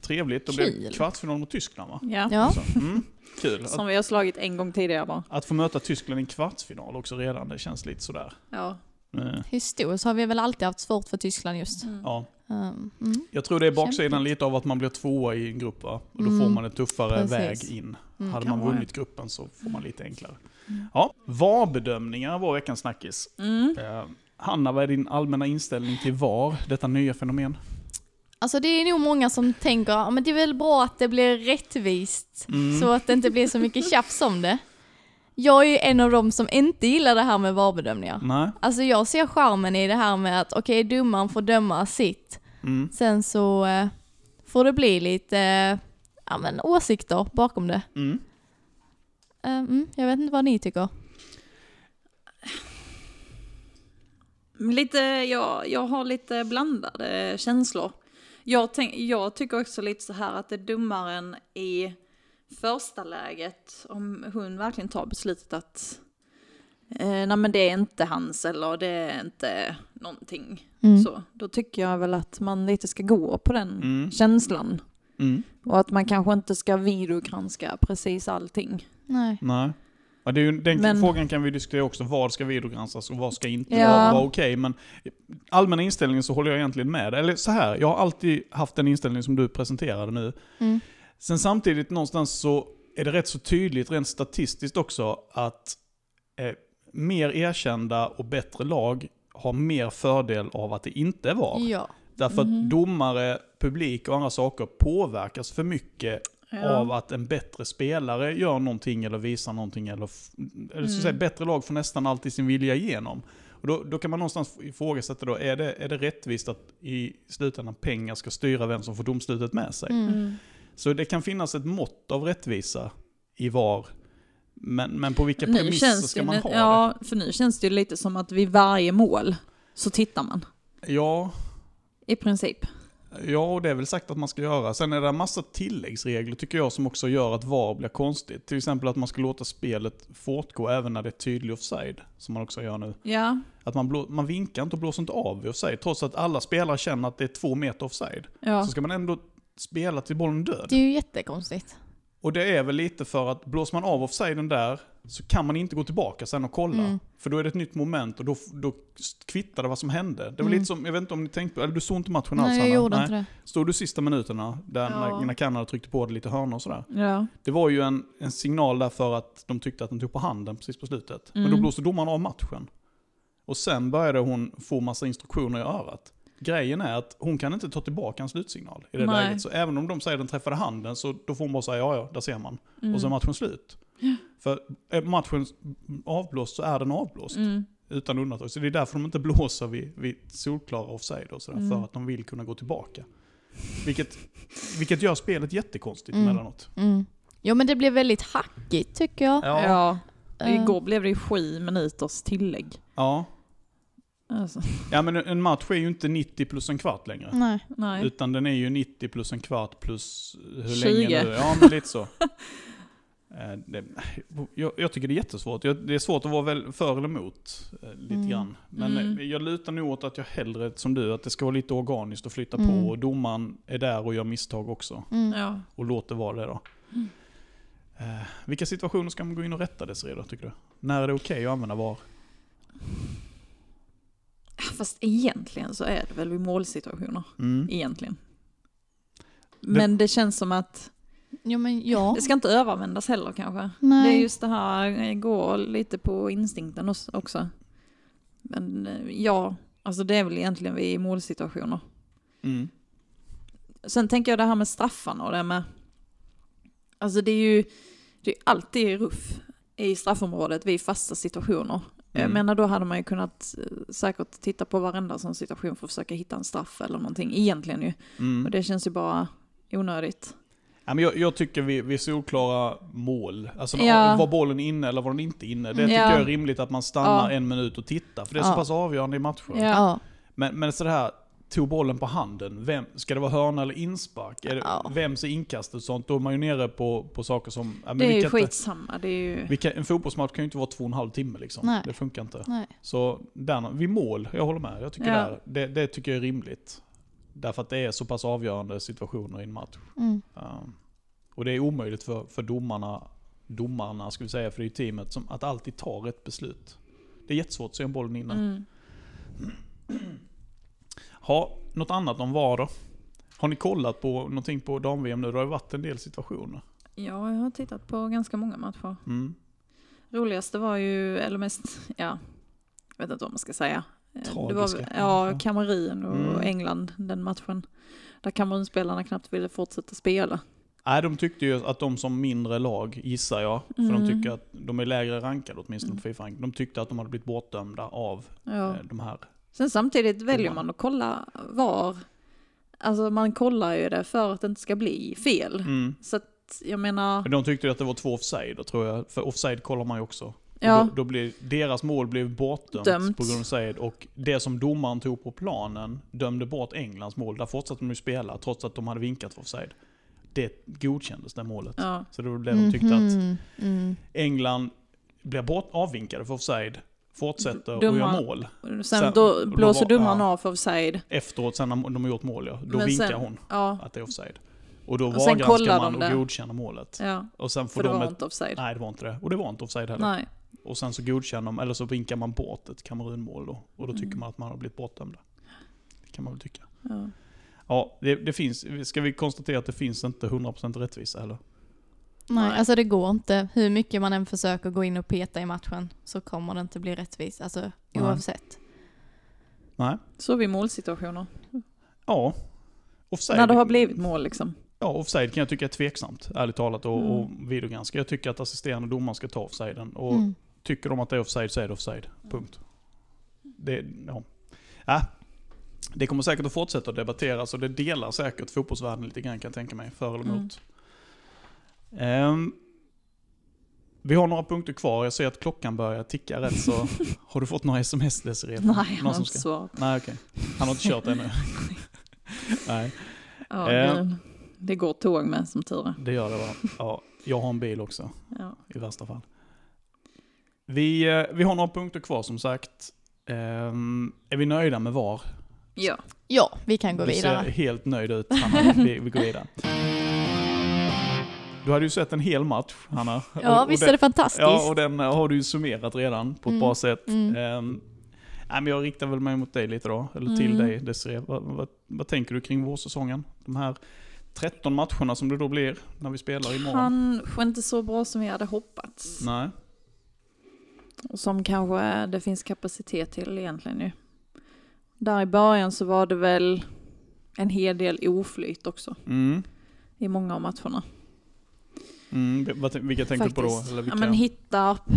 [SPEAKER 2] Trevligt, då blev det
[SPEAKER 1] Kul.
[SPEAKER 2] kvartsfinal mot Tyskland va?
[SPEAKER 3] Ja.
[SPEAKER 1] ja.
[SPEAKER 2] Så, mm, kul. Att,
[SPEAKER 3] Som vi har slagit en gång tidigare bara.
[SPEAKER 2] att få möta Tyskland i en kvartsfinal också redan, det känns lite sådär.
[SPEAKER 3] Ja.
[SPEAKER 2] Eh,
[SPEAKER 1] Historiskt har vi väl alltid haft svårt för Tyskland just.
[SPEAKER 2] Ja.
[SPEAKER 1] Um, mm.
[SPEAKER 2] Jag tror det är baksidan
[SPEAKER 1] Kämpigt.
[SPEAKER 2] lite av att man blir tvåa i en grupp va? Och då får
[SPEAKER 1] Mm.
[SPEAKER 2] man en tuffare
[SPEAKER 1] Precis.
[SPEAKER 2] väg in.
[SPEAKER 1] Mm.
[SPEAKER 2] Hade
[SPEAKER 3] kan
[SPEAKER 2] man
[SPEAKER 3] vara.
[SPEAKER 2] vunnit gruppen så får man lite enklare. Ja, VAR-bedömningar var veckans snackis.
[SPEAKER 3] Mm.
[SPEAKER 2] Eh, Hanna, vad är din allmänna inställning till VAR, detta nya fenomen?
[SPEAKER 1] Alltså det är nog många som tänker "Ja, men det är väl bra att det blir rättvist
[SPEAKER 2] Mm.
[SPEAKER 1] så att det inte blir så mycket tjafs om det. Jag är ju en av dem som inte gillar det här med VAR-bedömningar.
[SPEAKER 2] Nej?
[SPEAKER 1] Alltså jag ser charmen i det här med att okej, domaren får döma sitt.
[SPEAKER 2] Mm.
[SPEAKER 1] Sen så eh, får det bli lite eh, ja, men åsikter bakom det.
[SPEAKER 2] Mm.
[SPEAKER 1] Eh, mm, jag vet inte vad ni tycker.
[SPEAKER 3] Lite, jag, jag har lite blandade känslor. Jag, tänk, jag tycker också lite så här att det är domaren i första läget, om hon verkligen tar beslutet att eh, nej men det är inte hans eller det är inte någonting.
[SPEAKER 1] Mm.
[SPEAKER 3] Så, då tycker jag väl att man lite ska gå på den
[SPEAKER 2] Mm.
[SPEAKER 3] känslan.
[SPEAKER 2] Mm.
[SPEAKER 3] Och att man kanske inte ska videogranska precis allting.
[SPEAKER 1] Nej.
[SPEAKER 2] Nej. Ja, det är ju, den
[SPEAKER 3] Men-
[SPEAKER 2] frågan kan vi diskutera också. Vad ska videogranskas och vad ska inte
[SPEAKER 3] Ja.
[SPEAKER 2] vara, vara okej? Men allmänna inställningen så håller jag egentligen med. Eller så här, jag har alltid haft den inställning som du presenterade nu.
[SPEAKER 1] Mm.
[SPEAKER 2] Sen samtidigt någonstans så är det rätt så tydligt rent statistiskt också att eh, mer erkända och bättre lag har mer fördel av att det inte är VAR.
[SPEAKER 1] Ja.
[SPEAKER 2] Därför
[SPEAKER 3] Mhm.
[SPEAKER 2] att domare, publik och andra saker påverkas för mycket av att en bättre spelare gör någonting eller visar någonting. Eller, f- eller så att
[SPEAKER 3] Mm.
[SPEAKER 2] säga, bättre lag får nästan alltid sin vilja igenom. Och då, då kan man någonstans ifrågasätta då, är det, är det rättvist att i slutändan pengar ska styra vem som får domslutet med sig?
[SPEAKER 1] Mm.
[SPEAKER 2] Så det kan finnas ett mått av rättvisa i VAR. Men, men på vilka
[SPEAKER 3] Nu
[SPEAKER 2] premisser
[SPEAKER 3] känns det
[SPEAKER 2] ska
[SPEAKER 3] ju,
[SPEAKER 2] man
[SPEAKER 3] nä-
[SPEAKER 2] ha
[SPEAKER 3] ja, för nu känns det ju lite som att vid varje mål så tittar man.
[SPEAKER 2] det? Ja,
[SPEAKER 3] I princip.
[SPEAKER 2] Ja, och det är väl sagt att man ska göra. Sen är det en massa tilläggsregler tycker jag som också gör att VAR blir konstigt. Till exempel att man ska låta spelet fortgå även när det är tydlig offside, som man också gör nu.
[SPEAKER 3] Ja,
[SPEAKER 2] Att man, blå, man vinkar inte och blåser inte av vid offside, trots att alla spelare känner att det är två meter offside.
[SPEAKER 3] ja.
[SPEAKER 2] Så ska man ändå spela till bollen
[SPEAKER 1] Det
[SPEAKER 2] död.
[SPEAKER 1] är ju jättekonstigt.
[SPEAKER 2] Och det är väl lite för att blåser man av offsiden där, så kan man inte gå tillbaka sen och kolla.
[SPEAKER 1] Mm.
[SPEAKER 2] För då är det ett nytt moment och då, då kvittar det vad som hände. Det var
[SPEAKER 1] Mm.
[SPEAKER 2] lite som, jag vet inte om ni tänkte på, eller du såg inte matchen alls
[SPEAKER 1] Nej, jag
[SPEAKER 2] Hanna?
[SPEAKER 1] gjorde inte det.
[SPEAKER 2] Stod du sista minuterna, där
[SPEAKER 3] Ja.
[SPEAKER 2] när, när Kanada tryckte på det lite hörnor och sådär.
[SPEAKER 3] ja.
[SPEAKER 2] Det var ju en, en signal där för att de tyckte att de tog på handen precis på slutet. Men då
[SPEAKER 3] Mm.
[SPEAKER 2] blåste domaren av matchen. Och sen började hon få massa instruktioner i örat. Grejen är att hon kan inte ta tillbaka en slutsignal i det
[SPEAKER 3] Nej.
[SPEAKER 2] läget. Så även om de säger att den träffade handen så då får hon bara säga ja, ja, där ser man.
[SPEAKER 3] Mm.
[SPEAKER 2] Och så är matchen slut. För är matchen avblåst så är den avblåst.
[SPEAKER 3] Mm.
[SPEAKER 2] Utan undantag. Så det är därför de inte blåser vid, vid solklara offside och sådär.
[SPEAKER 3] Mm.
[SPEAKER 2] För att de vill kunna gå tillbaka. Vilket, vilket gör spelet jättekonstigt
[SPEAKER 1] Mm.
[SPEAKER 2] emellanåt.
[SPEAKER 1] Mm. Jo men det blev väldigt hackigt tycker jag.
[SPEAKER 3] Ja.
[SPEAKER 1] Eh,
[SPEAKER 3] Igår blev det ju sju minuters tillägg.
[SPEAKER 2] ja.
[SPEAKER 3] Alltså,
[SPEAKER 2] Ja men en match är ju inte 90 plus en kvart längre.
[SPEAKER 1] Nej.
[SPEAKER 3] Mm. nej.
[SPEAKER 2] Utan den är ju 90 plus en kvart plus hur
[SPEAKER 3] 20.
[SPEAKER 2] länge nu. Ja men lite så. Eh, det, jag, jag tycker det är jättesvårt. Jag, det är svårt att vara väl för eller emot. eh, Lite
[SPEAKER 1] Mm.
[SPEAKER 2] grann. Men eh,
[SPEAKER 3] Mm.
[SPEAKER 2] jag lutar nog åt att jag hellre, som du, att det ska vara lite organiskt och flytta
[SPEAKER 1] Mm.
[SPEAKER 2] på. Och domaren är där och gör misstag också.
[SPEAKER 1] Mm.
[SPEAKER 3] Ja.
[SPEAKER 2] Och låter vara det då.
[SPEAKER 3] Mm.
[SPEAKER 2] Eh, vilka situationer ska man gå in och rätta Desirée då, tycker du? När är det okej att använda VAR?
[SPEAKER 3] Fast egentligen så är det väl vid målsituationer.
[SPEAKER 2] Mm.
[SPEAKER 3] Egentligen. Men det känns som att
[SPEAKER 1] Jo men ja.
[SPEAKER 3] det ska inte överanvändas heller kanske.
[SPEAKER 1] Nej.
[SPEAKER 3] Det är just det här, eh, gå lite på instinkten os- också. Men eh, ja, alltså det är väl egentligen vid målsituationer.
[SPEAKER 2] Mm.
[SPEAKER 3] Sen tänker jag det här med straffarna och det med... Alltså det är ju det är alltid ruff i straffområdet vid fasta situationer. Jag
[SPEAKER 2] Mm.
[SPEAKER 3] menar då hade man ju kunnat eh, säkert titta på varenda sån situation för att försöka hitta en straff eller någonting egentligen ju.
[SPEAKER 2] Mm.
[SPEAKER 3] Och det känns ju bara onödigt.
[SPEAKER 2] Ja, men jag, jag tycker vi, vi är solklara mål. Alltså, när-
[SPEAKER 3] Ja.
[SPEAKER 2] Var bollen inne eller var den inte inne? Det
[SPEAKER 1] Mm.
[SPEAKER 2] tycker
[SPEAKER 3] Ja.
[SPEAKER 2] jag är rimligt att man stannar
[SPEAKER 3] Ja.
[SPEAKER 2] en minut och tittar. För det är
[SPEAKER 1] Ja.
[SPEAKER 2] så pass avgörande i matchen.
[SPEAKER 3] Ja.
[SPEAKER 1] Ja.
[SPEAKER 2] Men, men sådär, tog bollen på handen. Vem, ska det vara hörna eller inspark? Är det,
[SPEAKER 1] Ja.
[SPEAKER 2] Vems är inkastet och sånt? Då är man ju nere på, på saker som... Ja, men
[SPEAKER 3] det
[SPEAKER 2] vi
[SPEAKER 3] är ju
[SPEAKER 2] kan inte-
[SPEAKER 3] skitsamma, det är ju...
[SPEAKER 2] vi kan, en fotbollsmatch kan ju inte vara två och en halv timme liksom.
[SPEAKER 1] Nej.
[SPEAKER 2] Det funkar inte.
[SPEAKER 1] Nej.
[SPEAKER 2] Så där, vid mål, jag håller med. Jag tycker
[SPEAKER 3] Ja.
[SPEAKER 2] där, det, det tycker jag är rimligt. Därför att det är så pass avgörande situationer i en match.
[SPEAKER 1] Mm.
[SPEAKER 2] Um, och det är omöjligt för, för domarna, domarna ska vi säga, för det är ju teamet, som, att alltid ta rätt beslut. Det är jättesvårt att se om bollen innan.
[SPEAKER 3] Mm.
[SPEAKER 2] Ha, något annat om VAR då? Har ni kollat på någonting på dam-VM nu? Det har ju varit en del situationer.
[SPEAKER 3] Ja, jag har tittat på ganska många matcher.
[SPEAKER 2] Mm.
[SPEAKER 3] Roligaste var ju, eller mest, ja, jag vet inte vad man ska säga. Eh, Det var,
[SPEAKER 2] Tragiska.
[SPEAKER 3] ja,
[SPEAKER 2] Ja.
[SPEAKER 3] Kamerun och
[SPEAKER 2] Mm.
[SPEAKER 3] England, den matchen. Där Kamerunspelarna knappt ville fortsätta spela.
[SPEAKER 2] Nej, de tyckte ju att de som mindre lag, gissar jag, för
[SPEAKER 3] Mm.
[SPEAKER 2] de tycker att de är lägre rankade åtminstone på
[SPEAKER 3] Mm.
[SPEAKER 2] Fifa. De tyckte att de hade blivit bortdömda av
[SPEAKER 3] Ja.
[SPEAKER 2] eh, de här.
[SPEAKER 3] Sen samtidigt väljer
[SPEAKER 2] man-
[SPEAKER 3] man att kolla var. Alltså man kollar ju det för att det inte ska bli fel.
[SPEAKER 2] Mm.
[SPEAKER 3] Så att jag menar,
[SPEAKER 2] Men De tyckte ju att det var två offside, tror jag. För offside kollar man ju också.
[SPEAKER 3] ja,
[SPEAKER 2] Och Då, då blir, deras mål blev bortdömt
[SPEAKER 3] Dömt.
[SPEAKER 2] på grund av offside och det som domaren tog på planen dömde bort Englands mål. Där fortsatte de ju spela trots att de hade vinkat för offside. Det godkändes, det målet.
[SPEAKER 3] ja,
[SPEAKER 2] Så det var det de tyckte att
[SPEAKER 1] Mhm. Mm.
[SPEAKER 2] England blir bort, avvinkade för offside, fortsätter och
[SPEAKER 3] Domaren-
[SPEAKER 2] gör mål.
[SPEAKER 3] sen,
[SPEAKER 2] Sen-
[SPEAKER 3] då
[SPEAKER 2] då
[SPEAKER 3] blåser
[SPEAKER 2] var-
[SPEAKER 3] domaren
[SPEAKER 2] ja.
[SPEAKER 3] av för offside.
[SPEAKER 2] Efteråt, sen när de har gjort mål, ja, då
[SPEAKER 3] Men
[SPEAKER 2] vinkar
[SPEAKER 3] sen-
[SPEAKER 2] hon
[SPEAKER 3] Ja,
[SPEAKER 2] att det är offside. Och då
[SPEAKER 3] Och sen kollar
[SPEAKER 2] vargranskar man
[SPEAKER 3] de
[SPEAKER 2] och
[SPEAKER 3] det.
[SPEAKER 2] godkänner målet.
[SPEAKER 3] ja,
[SPEAKER 2] Och sen får
[SPEAKER 3] för det
[SPEAKER 2] de
[SPEAKER 3] var
[SPEAKER 2] ett...
[SPEAKER 3] inte offside.
[SPEAKER 2] Nej, det var inte det. Och det var inte offside heller.
[SPEAKER 3] Nej.
[SPEAKER 2] Och sen så godkänner de, eller så vinkar man bort ett Kamerunmål då. Och då tycker
[SPEAKER 3] Mm.
[SPEAKER 2] man att man har blivit bortdömd. Det kan man väl tycka.
[SPEAKER 3] Ja.
[SPEAKER 2] Ja, det, det finns, ska vi konstatera att det finns inte 100% rättvisa heller?
[SPEAKER 1] Nej,
[SPEAKER 3] Nej.
[SPEAKER 1] alltså det går inte. Hur mycket man än försöker gå in och peta i matchen så kommer det inte bli rättvist. Alltså
[SPEAKER 2] Nej.
[SPEAKER 1] oavsett.
[SPEAKER 2] Nej.
[SPEAKER 3] Så vid målsituationer.
[SPEAKER 2] Ja. Offside,
[SPEAKER 3] När det har blivit mål liksom.
[SPEAKER 2] Ja, offside kan jag tycka är tveksamt, ärligt talat, och,
[SPEAKER 3] Mm.
[SPEAKER 2] och videogranska. Jag tycker att assisterande domaren ska ta offsiden. Och
[SPEAKER 1] Mm.
[SPEAKER 2] tycker de att det är offside så är det offside.
[SPEAKER 3] Mm.
[SPEAKER 2] Punkt. Det, ja. Ja. det kommer säkert att fortsätta att debatteras och det delar säkert fotbollsvärlden lite grann kan jag tänka mig, för eller
[SPEAKER 3] Mm.
[SPEAKER 2] emot. Ehm, vi har några punkter kvar, jag ser att klockan börjar ticka rätt så har du fått några sms Desirée?
[SPEAKER 3] Nej, han
[SPEAKER 2] Någon
[SPEAKER 3] har
[SPEAKER 2] som
[SPEAKER 3] inte
[SPEAKER 2] ska-
[SPEAKER 3] svarat.
[SPEAKER 2] Nej okej, han har inte kört ännu. Nej,
[SPEAKER 3] Ja,
[SPEAKER 2] Eh.
[SPEAKER 3] det- Det går tåg med som tur är.
[SPEAKER 2] det gör det va? Ja, jag har en bil också.
[SPEAKER 3] Ja.
[SPEAKER 2] i värsta fall. Vi, eh, vi har några punkter kvar som sagt. Ehm, är vi nöjda med VAR?
[SPEAKER 3] ja.
[SPEAKER 1] Ja, vi kan gå
[SPEAKER 2] du
[SPEAKER 1] vidare.
[SPEAKER 2] ser helt nöjd ut Hanna. Vi, vi går vidare. Du hade ju sett en hel match Hanna.
[SPEAKER 1] Ja,
[SPEAKER 2] och
[SPEAKER 1] visst
[SPEAKER 2] den-
[SPEAKER 1] är det fantastiskt.
[SPEAKER 2] Ja, och den eh, har du ju summerat redan på ett
[SPEAKER 1] Mm,
[SPEAKER 2] bra sätt.
[SPEAKER 1] mm.
[SPEAKER 2] Ehm, nej, men jag riktar väl mig mot dig lite då, eller till
[SPEAKER 1] Mm.
[SPEAKER 2] dig Desiree. Vad, vad, vad tänker du kring vårsäsongen? De här 13 matcherna som det då blir när vi spelar imorgon.
[SPEAKER 3] Kanske inte så bra som vi hade hoppats.
[SPEAKER 2] Nej.
[SPEAKER 3] Och som kanske är- det finns kapacitet till egentligen ju. Där i början så var det väl en hel del oflyt också
[SPEAKER 2] Mm.
[SPEAKER 3] i många av matcherna.
[SPEAKER 2] Mm, det- vad, vilka tänker du på
[SPEAKER 3] Faktiskt.
[SPEAKER 2] då? Eller vilka?
[SPEAKER 3] Ja, men Hittarp,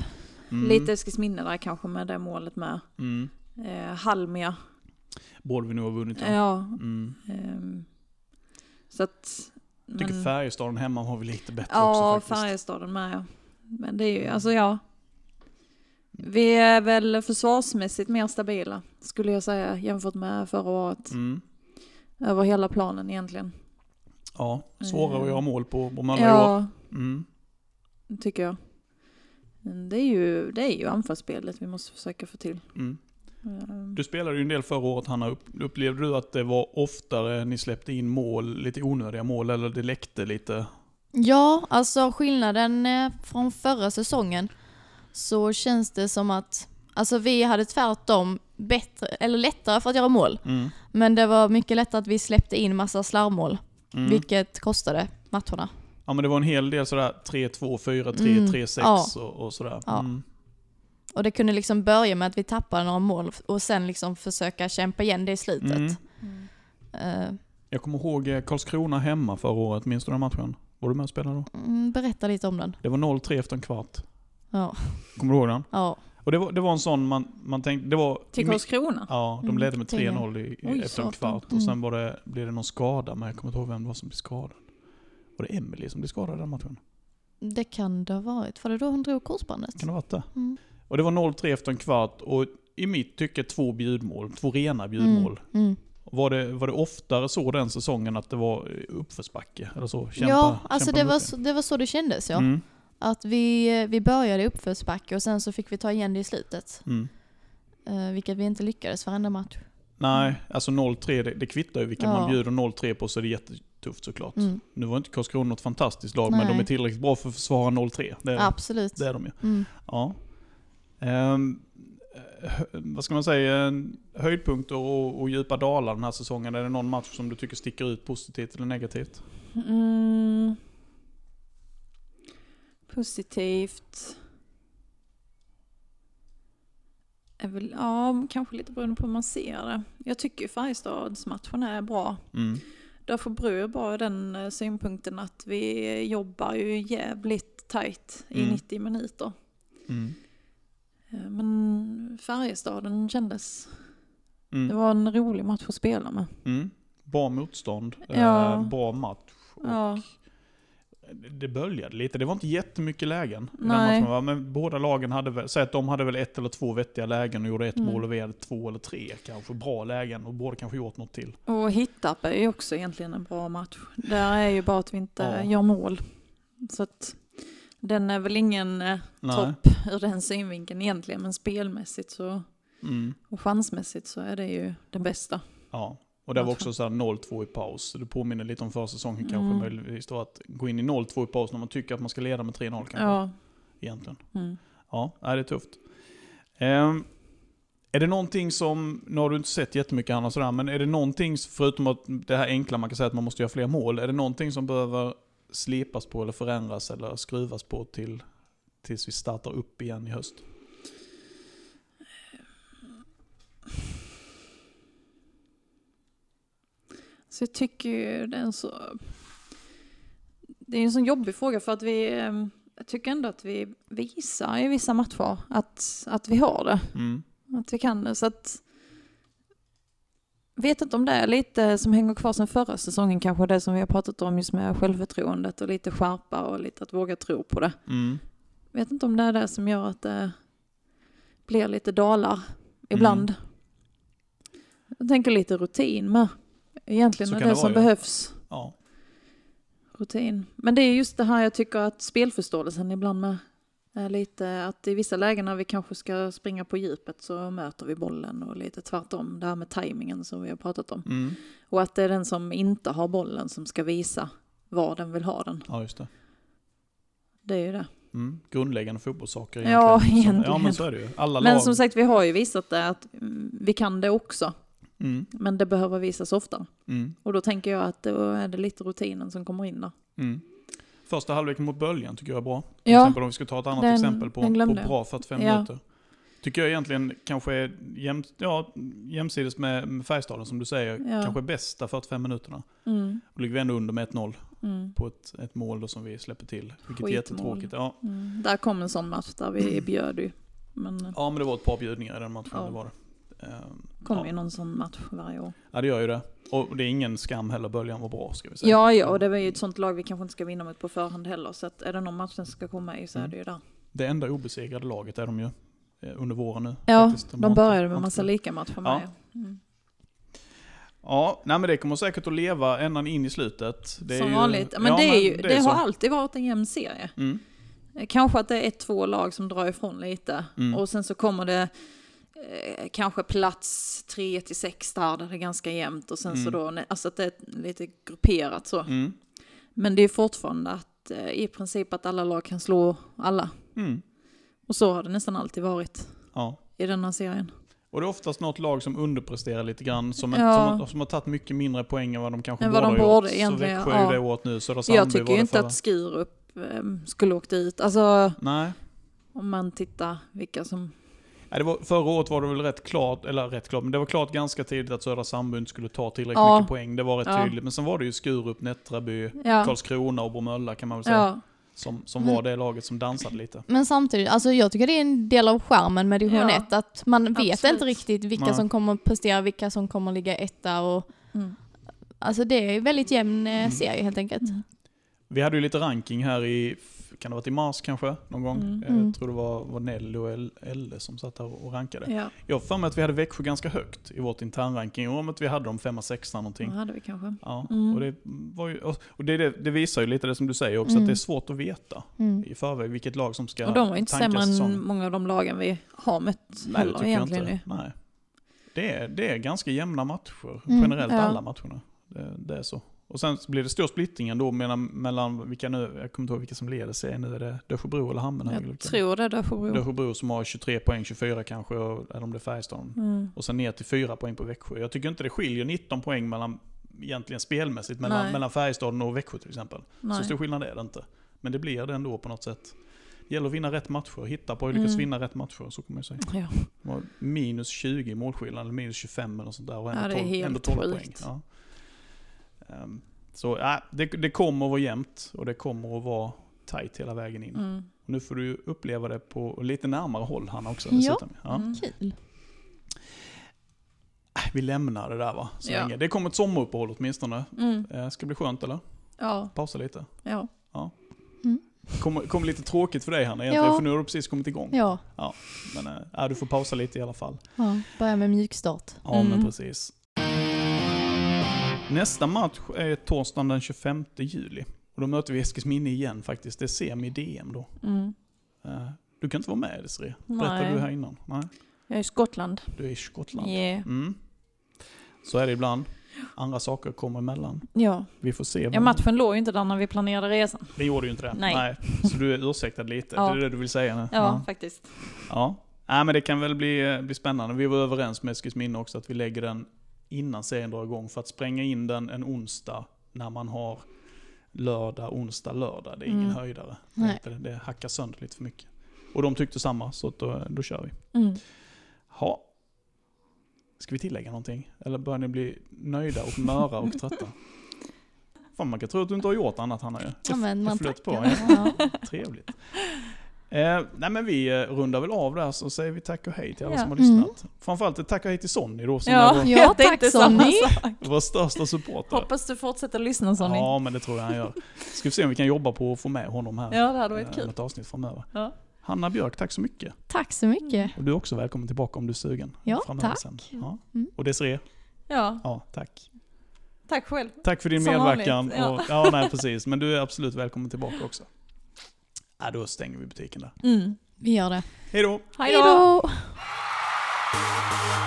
[SPEAKER 2] Mm,
[SPEAKER 3] lite Eskilsminne där kanske med det målet med.
[SPEAKER 2] Mm.
[SPEAKER 3] Eh, Halmia,
[SPEAKER 2] Borde vi nog ha vunnit.
[SPEAKER 3] ja.
[SPEAKER 2] Ja. Mm.
[SPEAKER 3] ehm, så att...
[SPEAKER 2] Jag tycker Färjestaden hemma har vi lite bättre
[SPEAKER 3] Ja,
[SPEAKER 2] också faktiskt.
[SPEAKER 3] Färjestaden med ja. Men det är ju, alltså ja. Vi är väl försvarsmässigt mer stabila skulle jag säga jämfört med förra året.
[SPEAKER 2] Mm.
[SPEAKER 3] Över hela planen egentligen.
[SPEAKER 2] Ja, svårare att göra mål på Bromölla i år.
[SPEAKER 3] Mm. ja,
[SPEAKER 2] Mm.
[SPEAKER 3] tycker jag. Men Det är, ju, det är ju anfallsspelet vi måste försöka få till.
[SPEAKER 2] Mm.
[SPEAKER 3] Ehm,
[SPEAKER 2] Du spelade ju en del förra året Hanna. Upp- Upplevde du att det var oftare ni släppte in mål, lite onödiga mål, eller det läckte lite?
[SPEAKER 1] Ja, alltså skillnaden eh, från förra säsongen så känns det som att alltså vi hade tvärtom bättre, eller lättare för att göra mål.
[SPEAKER 2] Mm.
[SPEAKER 1] Men det var mycket lättare att vi släppte in massa slarvmål,
[SPEAKER 2] Mm.
[SPEAKER 1] vilket kostade matcherna.
[SPEAKER 2] Ja men det var en hel del sådär 3-2, 4-3,
[SPEAKER 1] Mm,
[SPEAKER 2] 3-6
[SPEAKER 1] ja.
[SPEAKER 2] och, och sådär.
[SPEAKER 1] Ja.
[SPEAKER 2] Mm.
[SPEAKER 1] Och det kunde liksom börja med att vi tappade några mål och sen liksom försöka kämpa igen det i slutet.
[SPEAKER 2] Mm.
[SPEAKER 3] Mm.
[SPEAKER 1] Eh,
[SPEAKER 2] Jag kommer ihåg eh, Karlskrona hemma förra året, minns du den matchen? Var du med och spelade då?
[SPEAKER 1] mm, berätta lite om den.
[SPEAKER 2] Det var 0-3 efter en kvart.
[SPEAKER 1] Ja,
[SPEAKER 2] Kommer du ihåg den?
[SPEAKER 1] ja.
[SPEAKER 2] Och det var, det var en sån man, man tänkte, det var...
[SPEAKER 3] Till Karlskrona?
[SPEAKER 2] Ja, de
[SPEAKER 1] Mm,
[SPEAKER 2] ledde med
[SPEAKER 1] tänker jag.
[SPEAKER 2] 3-0 i, i,
[SPEAKER 3] Oj,
[SPEAKER 2] efter en
[SPEAKER 3] satan.
[SPEAKER 2] kvart. Och
[SPEAKER 1] Mm.
[SPEAKER 2] sen var det, blev det någon skada, men jag kommer inte ihåg vem det var som blev skadad. Var det Emelie som blev skadad den matchen?
[SPEAKER 1] Det kan det ha varit. Var det då hon drog korsbandet?
[SPEAKER 2] Kan det ha varit det?
[SPEAKER 1] Mm.
[SPEAKER 2] Och det var 0-3 efter en kvart och i mitt tycke två bjudmål, två rena bjudmål.
[SPEAKER 1] Mm. Mm.
[SPEAKER 2] Var, det, var det oftare så den säsongen att det var eh, uppförsbacke? Eller så? Kämpa,
[SPEAKER 1] ja, alltså
[SPEAKER 2] kämpa
[SPEAKER 1] det
[SPEAKER 2] mot
[SPEAKER 1] var, så, det var så det kändes ja.
[SPEAKER 2] Mm,
[SPEAKER 1] Att vi, eh, vi började i uppförsbacke och sen så fick vi ta igen det i slutet.
[SPEAKER 2] mm.
[SPEAKER 1] Eh, vilket vi inte lyckades varenda match.
[SPEAKER 2] Nej, alltså 0-3, det, det kvittar ju vilka
[SPEAKER 1] Ja.
[SPEAKER 2] man bjuder 0-3 på så är det jättetufft såklart.
[SPEAKER 1] Mm,
[SPEAKER 2] Nu var inte Karlskrona något fantastiskt lag, men
[SPEAKER 1] Nej.
[SPEAKER 2] de är tillräckligt bra för att försvara 0-3. Det är, de.
[SPEAKER 1] absolut.
[SPEAKER 2] det är de ju.
[SPEAKER 1] Mm.
[SPEAKER 2] Ja. Ehm, hö- vad ska man säga? Höjdpunkter och, och djupa dalar den här säsongen. Är det någon match som du tycker sticker ut positivt eller negativt?
[SPEAKER 3] Mm. Positivt. Är väl, ja, kanske lite beroende på hur man ser det. Jag tycker ju Färjestadsmatcherna är bra.
[SPEAKER 2] Mm.
[SPEAKER 3] Därför beror jag bara den eh, synpunkten att vi jobbar ju jävligt tajt i
[SPEAKER 2] Mm.
[SPEAKER 3] 90 minuter.
[SPEAKER 2] Mm.
[SPEAKER 3] Eh, Men Färjestaden kändes. Det
[SPEAKER 2] Mm.
[SPEAKER 3] var en rolig match att spela med.
[SPEAKER 2] Mm. Bra motstånd,
[SPEAKER 3] Ja.
[SPEAKER 2] eh, bra match. Och
[SPEAKER 3] Ja.
[SPEAKER 2] Det böljade lite. Det var inte jättemycket lägen. i Den
[SPEAKER 3] Nej.
[SPEAKER 2] matchen, va? men båda lagen hade väl, säg att de hade väl ett eller två vettiga lägen och gjorde ett
[SPEAKER 3] Mm.
[SPEAKER 2] mål och vi hade två eller tre kanske bra lägen och båda kanske gjort något till.
[SPEAKER 3] Och Hittarp är ju också egentligen en bra match. Där är ju bara att vi inte
[SPEAKER 2] Ja.
[SPEAKER 3] gör mål. Så att den är väl ingen eh,
[SPEAKER 2] Nej.
[SPEAKER 3] topp ur den synvinkeln egentligen. Men spelmässigt så,
[SPEAKER 2] Mm.
[SPEAKER 3] och chansmässigt så är det ju den bästa.
[SPEAKER 2] Ja, och det var
[SPEAKER 3] Matchen.
[SPEAKER 2] också så här 0-2 i paus. Så Det påminner lite om försäsongen
[SPEAKER 3] Mm.
[SPEAKER 2] kanske möjligtvis då att gå in i 0-2 i paus när man tycker att man ska leda med 3-0 kanske.
[SPEAKER 3] Ja.
[SPEAKER 2] Egentligen.
[SPEAKER 3] Mm.
[SPEAKER 2] Ja, nej, det är tufft. Ehm, är det någonting som, nu har du inte sett jättemycket annars sådär, men är det någonting, förutom att det här enkla man kan säga att man måste göra fler mål, är det någonting som behöver slipas på eller förändras eller skruvas på till, tills vi startar upp igen i höst?
[SPEAKER 3] Så jag tycker ju det är en så... Det är ju en sån jobbig fråga för att vi... eh, Jag tycker ändå att vi visar i vissa matcher att, att vi har det.
[SPEAKER 2] Mm.
[SPEAKER 3] Att vi kan det. Så att... Vet inte om det är lite som hänger kvar sedan förra säsongen kanske. Det som vi har pratat om just med självförtroendet och lite skärpa och lite att våga tro på det.
[SPEAKER 2] Mm.
[SPEAKER 3] Vet inte om det är det som gör att det blir
[SPEAKER 2] Mm.
[SPEAKER 3] lite dalar ibland. Jag tänker lite rutin med. Egentligen
[SPEAKER 2] Så
[SPEAKER 3] är
[SPEAKER 2] kan
[SPEAKER 3] det,
[SPEAKER 2] det
[SPEAKER 3] som
[SPEAKER 2] vara, ja.
[SPEAKER 3] behövs
[SPEAKER 2] Ja.
[SPEAKER 3] rutin. Men det är just det här jag tycker att spelförståelsen ibland med är lite att i vissa lägen när vi kanske ska springa på djupet så möter vi bollen och lite tvärtom. Det här med tajmingen som vi har pratat om.
[SPEAKER 2] Mm.
[SPEAKER 3] Och att det är den som inte har bollen som ska visa var den vill ha den.
[SPEAKER 2] ja, just det.
[SPEAKER 3] Det är ju det.
[SPEAKER 2] Mm. Grundläggande fotbollssaker
[SPEAKER 3] Ja,
[SPEAKER 2] egentligen. Som- Ja,
[SPEAKER 3] egentligen.
[SPEAKER 2] men så är det ju. Alla
[SPEAKER 3] Men
[SPEAKER 2] lag.
[SPEAKER 3] som sagt, vi har ju visat det att mm, vi kan det också.
[SPEAKER 2] Mm.
[SPEAKER 3] Men det behöver visas oftare.
[SPEAKER 2] Mm.
[SPEAKER 3] Och då tänker jag att då är det lite rutinen som kommer in där.
[SPEAKER 2] Mm. Första halvleken mot Böljan tycker jag är bra. Till
[SPEAKER 3] Ja.
[SPEAKER 2] exempel om vi ska ta ett annat
[SPEAKER 3] den-
[SPEAKER 2] exempel på,
[SPEAKER 3] den
[SPEAKER 2] på
[SPEAKER 3] glömde jag.
[SPEAKER 2] bra 45
[SPEAKER 3] Ja.
[SPEAKER 2] minuter. Tycker jag egentligen kanske är jäm, ja, jämsides med, med Färjestaden som du säger,
[SPEAKER 3] Ja.
[SPEAKER 2] kanske bästa 45 minuterna.
[SPEAKER 3] Mm,
[SPEAKER 2] Och ligger vi ändå under med 1-0
[SPEAKER 3] mm,
[SPEAKER 2] på ett, ett mål då som vi släpper till. Vilket är
[SPEAKER 3] Skitmål.
[SPEAKER 2] jättetråkigt. Ja.
[SPEAKER 3] mm. Där kom en sån match där vi bjöd ju. Men eh, det
[SPEAKER 2] ja, men det var ett par bjudningar i den matchen.
[SPEAKER 3] Ja.
[SPEAKER 2] Det var det. Ehm,
[SPEAKER 3] kommer
[SPEAKER 2] ja.
[SPEAKER 3] ju någon sån match varje år.
[SPEAKER 2] ja, det gör ju det. Och det är ingen skam heller, Böljan var bra ska vi säga.
[SPEAKER 3] Ja, ja, och det var ju ett sånt lag vi kanske inte ska vinna mot på förhand heller. Så att är det någon match som ska komma i så är det ju där.
[SPEAKER 2] Det enda obesegrade laget är de ju eh, under våren nu.
[SPEAKER 3] Ja,
[SPEAKER 2] faktiskt. har
[SPEAKER 3] de
[SPEAKER 2] inte-
[SPEAKER 3] började
[SPEAKER 2] har
[SPEAKER 3] med
[SPEAKER 2] inte
[SPEAKER 3] massa lika matcher med.
[SPEAKER 2] Ja.
[SPEAKER 3] Mm.
[SPEAKER 2] Ja, nej men det kommer säkert att leva ända in i slutet. Det är
[SPEAKER 3] Som
[SPEAKER 2] ju-
[SPEAKER 3] vanligt. Men
[SPEAKER 2] ja,
[SPEAKER 3] det, är ju,
[SPEAKER 2] men
[SPEAKER 3] det,
[SPEAKER 2] är
[SPEAKER 3] har
[SPEAKER 2] så.
[SPEAKER 3] alltid varit en jämn serie.
[SPEAKER 2] Mm,
[SPEAKER 3] Eh, Kanske att det är ett, två lag som drar ifrån lite.
[SPEAKER 2] Mm.
[SPEAKER 3] Och sen så kommer det eh, kanske plats tre till sex där, där det är ganska jämnt. Och sen så
[SPEAKER 2] Mm.
[SPEAKER 3] då, nej, alltså att det är lite grupperat så.
[SPEAKER 2] mm,
[SPEAKER 3] Men det är fortfarande att eh, i princip att alla lag kan slå alla.
[SPEAKER 2] mm,
[SPEAKER 3] Och så har det nästan alltid varit
[SPEAKER 2] ja.
[SPEAKER 3] i den här serien.
[SPEAKER 2] Och det är oftast något lag som underpresterar lite grann, som,
[SPEAKER 3] Ja.
[SPEAKER 2] som, har- som har tagit mycket mindre poäng än vad de kanske
[SPEAKER 3] Än vad
[SPEAKER 2] borde
[SPEAKER 3] de
[SPEAKER 2] ha
[SPEAKER 3] borde
[SPEAKER 2] gjort. Så
[SPEAKER 3] egentligen,
[SPEAKER 2] Växjö
[SPEAKER 3] ja.
[SPEAKER 2] är det åt nu, Södra
[SPEAKER 3] Jag
[SPEAKER 2] Sandby
[SPEAKER 3] tycker
[SPEAKER 2] var
[SPEAKER 3] ju
[SPEAKER 2] det
[SPEAKER 3] inte
[SPEAKER 2] förra.
[SPEAKER 3] att Skurup eh, skulle åkt dit. Alltså
[SPEAKER 2] Nej.
[SPEAKER 3] om man tittar vilka som...
[SPEAKER 2] Nej, det var, förra året var det väl rätt klart, eller rätt klart, men det var klart ganska tidigt att Södra Sandby inte skulle ta tillräckligt
[SPEAKER 3] Ja.
[SPEAKER 2] mycket poäng. Det var rätt
[SPEAKER 3] Ja.
[SPEAKER 2] tydligt. Men sen var det ju Skurup, Nättraby,
[SPEAKER 3] Ja,
[SPEAKER 2] Karlskrona och Bromölla kan man väl säga.
[SPEAKER 3] ja, Mm.
[SPEAKER 2] Som, som
[SPEAKER 1] Men-
[SPEAKER 2] var det laget som dansade lite.
[SPEAKER 1] Men samtidigt, alltså jag tycker det är en del av skärmen med division
[SPEAKER 3] Ja.
[SPEAKER 1] 1 att man vet
[SPEAKER 3] Absolut.
[SPEAKER 1] inte riktigt vilka
[SPEAKER 2] Nej.
[SPEAKER 1] som kommer prestera, vilka som kommer ligga etta och
[SPEAKER 3] Mm.
[SPEAKER 1] alltså det är en väldigt jämn eh,
[SPEAKER 2] Mm.
[SPEAKER 1] serie helt enkelt.
[SPEAKER 2] Vi hade ju lite ranking här i, kan det ha varit i mars kanske, någon gång?
[SPEAKER 3] Mm.
[SPEAKER 2] Eh,
[SPEAKER 1] Mm.
[SPEAKER 2] Jag tror det var, var Nelly och El- Elle som satt här och rankade.
[SPEAKER 3] ja.
[SPEAKER 2] Jag har för mig att vi hade Växjö ganska högt i vårt internranking, och om att vi hade dem femma, sexa
[SPEAKER 3] det
[SPEAKER 2] någonting.
[SPEAKER 3] hade vi kanske.
[SPEAKER 2] Ja,
[SPEAKER 3] Mm.
[SPEAKER 2] och det, var ju, och och det, det, det visar ju lite det som du säger också, att
[SPEAKER 1] Mm.
[SPEAKER 2] det är svårt att veta
[SPEAKER 1] Mm.
[SPEAKER 2] i förväg vilket lag som ska
[SPEAKER 3] Och de var ju inte
[SPEAKER 2] tanka
[SPEAKER 3] sämre
[SPEAKER 2] säsongen.
[SPEAKER 3] än många av de lagen vi har mött
[SPEAKER 2] Nej, det
[SPEAKER 3] heller
[SPEAKER 2] tycker jag
[SPEAKER 3] egentligen.
[SPEAKER 2] inte.
[SPEAKER 3] nu.
[SPEAKER 2] Nej. Det, är, det är ganska jämna matcher,
[SPEAKER 1] Mm,
[SPEAKER 2] generellt
[SPEAKER 3] ja.
[SPEAKER 2] alla matcherna. Det, det är så. Och sen så blir det stor splittring ändå mellan, mellan vilka nu, jag kommer inte ihåg vilka som leder serien nu, är det Dösjebro eller Hammenhög?
[SPEAKER 3] Jag tror det, Dösjebro.
[SPEAKER 2] Dösjebro som har 23 poäng, 24 kanske, och- eller om det är Färjestaden.
[SPEAKER 3] Mm.
[SPEAKER 2] Och sen ner till 4 poäng på Växjö. Jag tycker inte det skiljer 19 poäng mellan, egentligen spelmässigt, mellan,
[SPEAKER 3] Nej.
[SPEAKER 2] mellan Färjestaden och Växjö till exempel. Så
[SPEAKER 3] Nej.
[SPEAKER 2] stor skillnad är det inte. Men det blir det ändå på något sätt. Det gäller att vinna rätt matcher, hitta på att lyckas
[SPEAKER 3] Mm.
[SPEAKER 2] vinna rätt matcher, så kommer jag säga.
[SPEAKER 3] Ja.
[SPEAKER 2] Det var minus 20 i målskillnad, eller minus 25 eller något sånt där. Och ändå,
[SPEAKER 3] Ja, det är
[SPEAKER 2] 12,
[SPEAKER 3] helt
[SPEAKER 2] ändå 12 poäng.
[SPEAKER 3] sjukt.
[SPEAKER 2] Ja. Ehm, så ja, det, det kommer att vara jämnt och det kommer att vara tight hela vägen in.
[SPEAKER 3] Mm.
[SPEAKER 2] Och nu får du ju uppleva det på lite närmare håll Hanna också.
[SPEAKER 1] Ja.
[SPEAKER 2] dessutom. Ja.
[SPEAKER 3] Mm.
[SPEAKER 1] Kul.
[SPEAKER 2] Äh, Vi lämnar det där va? Så
[SPEAKER 3] Ja.
[SPEAKER 2] länge. Det kommer ett sommaruppehåll åtminstone.
[SPEAKER 3] Mm.
[SPEAKER 2] Eh, ska bli skönt eller?
[SPEAKER 3] Ja,
[SPEAKER 2] Pausa lite.
[SPEAKER 3] ja.
[SPEAKER 2] Kommer kom lite tråkigt för dig Hanna egentligen,
[SPEAKER 1] Ja.
[SPEAKER 2] för nu har du precis kommit igång.
[SPEAKER 1] Ja.
[SPEAKER 2] Men eh, ja, du får pausa lite i alla fall.
[SPEAKER 1] ja, börja med mjukstart.
[SPEAKER 2] Ja, men
[SPEAKER 3] Mm.
[SPEAKER 2] precis. Nästa match är torsdagen den 25 juli. Och då möter vi Eskilsminne igen faktiskt. Det är semi-DM då.
[SPEAKER 3] Mm.
[SPEAKER 2] Eh, Du kan inte vara med Desirée. Berättade
[SPEAKER 3] Nej.
[SPEAKER 2] du här innan? Nej.
[SPEAKER 3] Jag är i Skottland.
[SPEAKER 2] Du är i Skottland.
[SPEAKER 3] Yeah.
[SPEAKER 2] Mm. Så är det ibland. Andra saker kommer emellan.
[SPEAKER 3] Ja.
[SPEAKER 2] Vi får se.
[SPEAKER 3] ja, matchen låg ju inte där när vi planerade resan.
[SPEAKER 2] Det gjorde ju inte det.
[SPEAKER 3] Nej.
[SPEAKER 2] Så du är ursäktad lite.
[SPEAKER 3] Ja.
[SPEAKER 2] Det är det du vill säga nu.
[SPEAKER 3] Ja, faktiskt.
[SPEAKER 2] Ja. Nej, men det kan väl bli, eh, bli spännande. Vi var överens med Eskilsminne också att vi lägger den innan serien drar igång. För att spränga in den en onsdag när man har lördag, onsdag, lördag. Det är ingen
[SPEAKER 3] Mm.
[SPEAKER 2] höjdare.
[SPEAKER 1] Nej.
[SPEAKER 2] Det, det hackar sönder lite för mycket. Och de tyckte samma, så att eh, då, då kör vi.
[SPEAKER 3] Mm.
[SPEAKER 2] Ha. Ska vi tillägga någonting? Eller börjar ni bli nöjda och möra och trötta? Fan, man kan tro att du inte har gjort annat Hanna ju.
[SPEAKER 1] Ja, men man
[SPEAKER 2] flöt på,
[SPEAKER 1] tackar. Ja.
[SPEAKER 2] Trevligt. Eh, nej men vi eh, rundar väl av där så säger vi tack och hej till alla
[SPEAKER 3] Ja.
[SPEAKER 2] som har
[SPEAKER 1] Mm.
[SPEAKER 2] lyssnat. Framförallt ett tack och hej till Sonny då som
[SPEAKER 3] Ja.
[SPEAKER 2] är
[SPEAKER 1] Ja,
[SPEAKER 3] Det är inte
[SPEAKER 1] tack Sonny.
[SPEAKER 2] vår, vår största supporter.
[SPEAKER 3] Hoppas du fortsätter lyssna Sonny. Ja,
[SPEAKER 2] Ja men det tror jag han gör. Ska vi se om vi kan jobba på att få med honom här.
[SPEAKER 3] det hade varit
[SPEAKER 2] eh,
[SPEAKER 3] kul.
[SPEAKER 2] Något avsnitt framöver.
[SPEAKER 3] Ja.
[SPEAKER 2] Hanna Björk, tack så mycket.
[SPEAKER 1] Tack så mycket.
[SPEAKER 2] Och du är också välkommen tillbaka om du är sugen.
[SPEAKER 1] Ja,
[SPEAKER 2] framöver
[SPEAKER 1] tack.
[SPEAKER 2] Sen. Ja.
[SPEAKER 1] Mm.
[SPEAKER 2] Och Desiree,
[SPEAKER 3] Ja,
[SPEAKER 2] ja tack.
[SPEAKER 3] Tack själv.
[SPEAKER 2] Tack för din
[SPEAKER 3] Som
[SPEAKER 2] medverkan.
[SPEAKER 3] vanligt, ja.
[SPEAKER 2] Och, ja, nej, precis. Men du är absolut välkommen tillbaka också. Ja, då
[SPEAKER 3] Mm.
[SPEAKER 2] stänger vi butiken där.
[SPEAKER 1] Vi gör det.
[SPEAKER 2] Hej då!
[SPEAKER 3] Hej då!
[SPEAKER 1] Hejdå!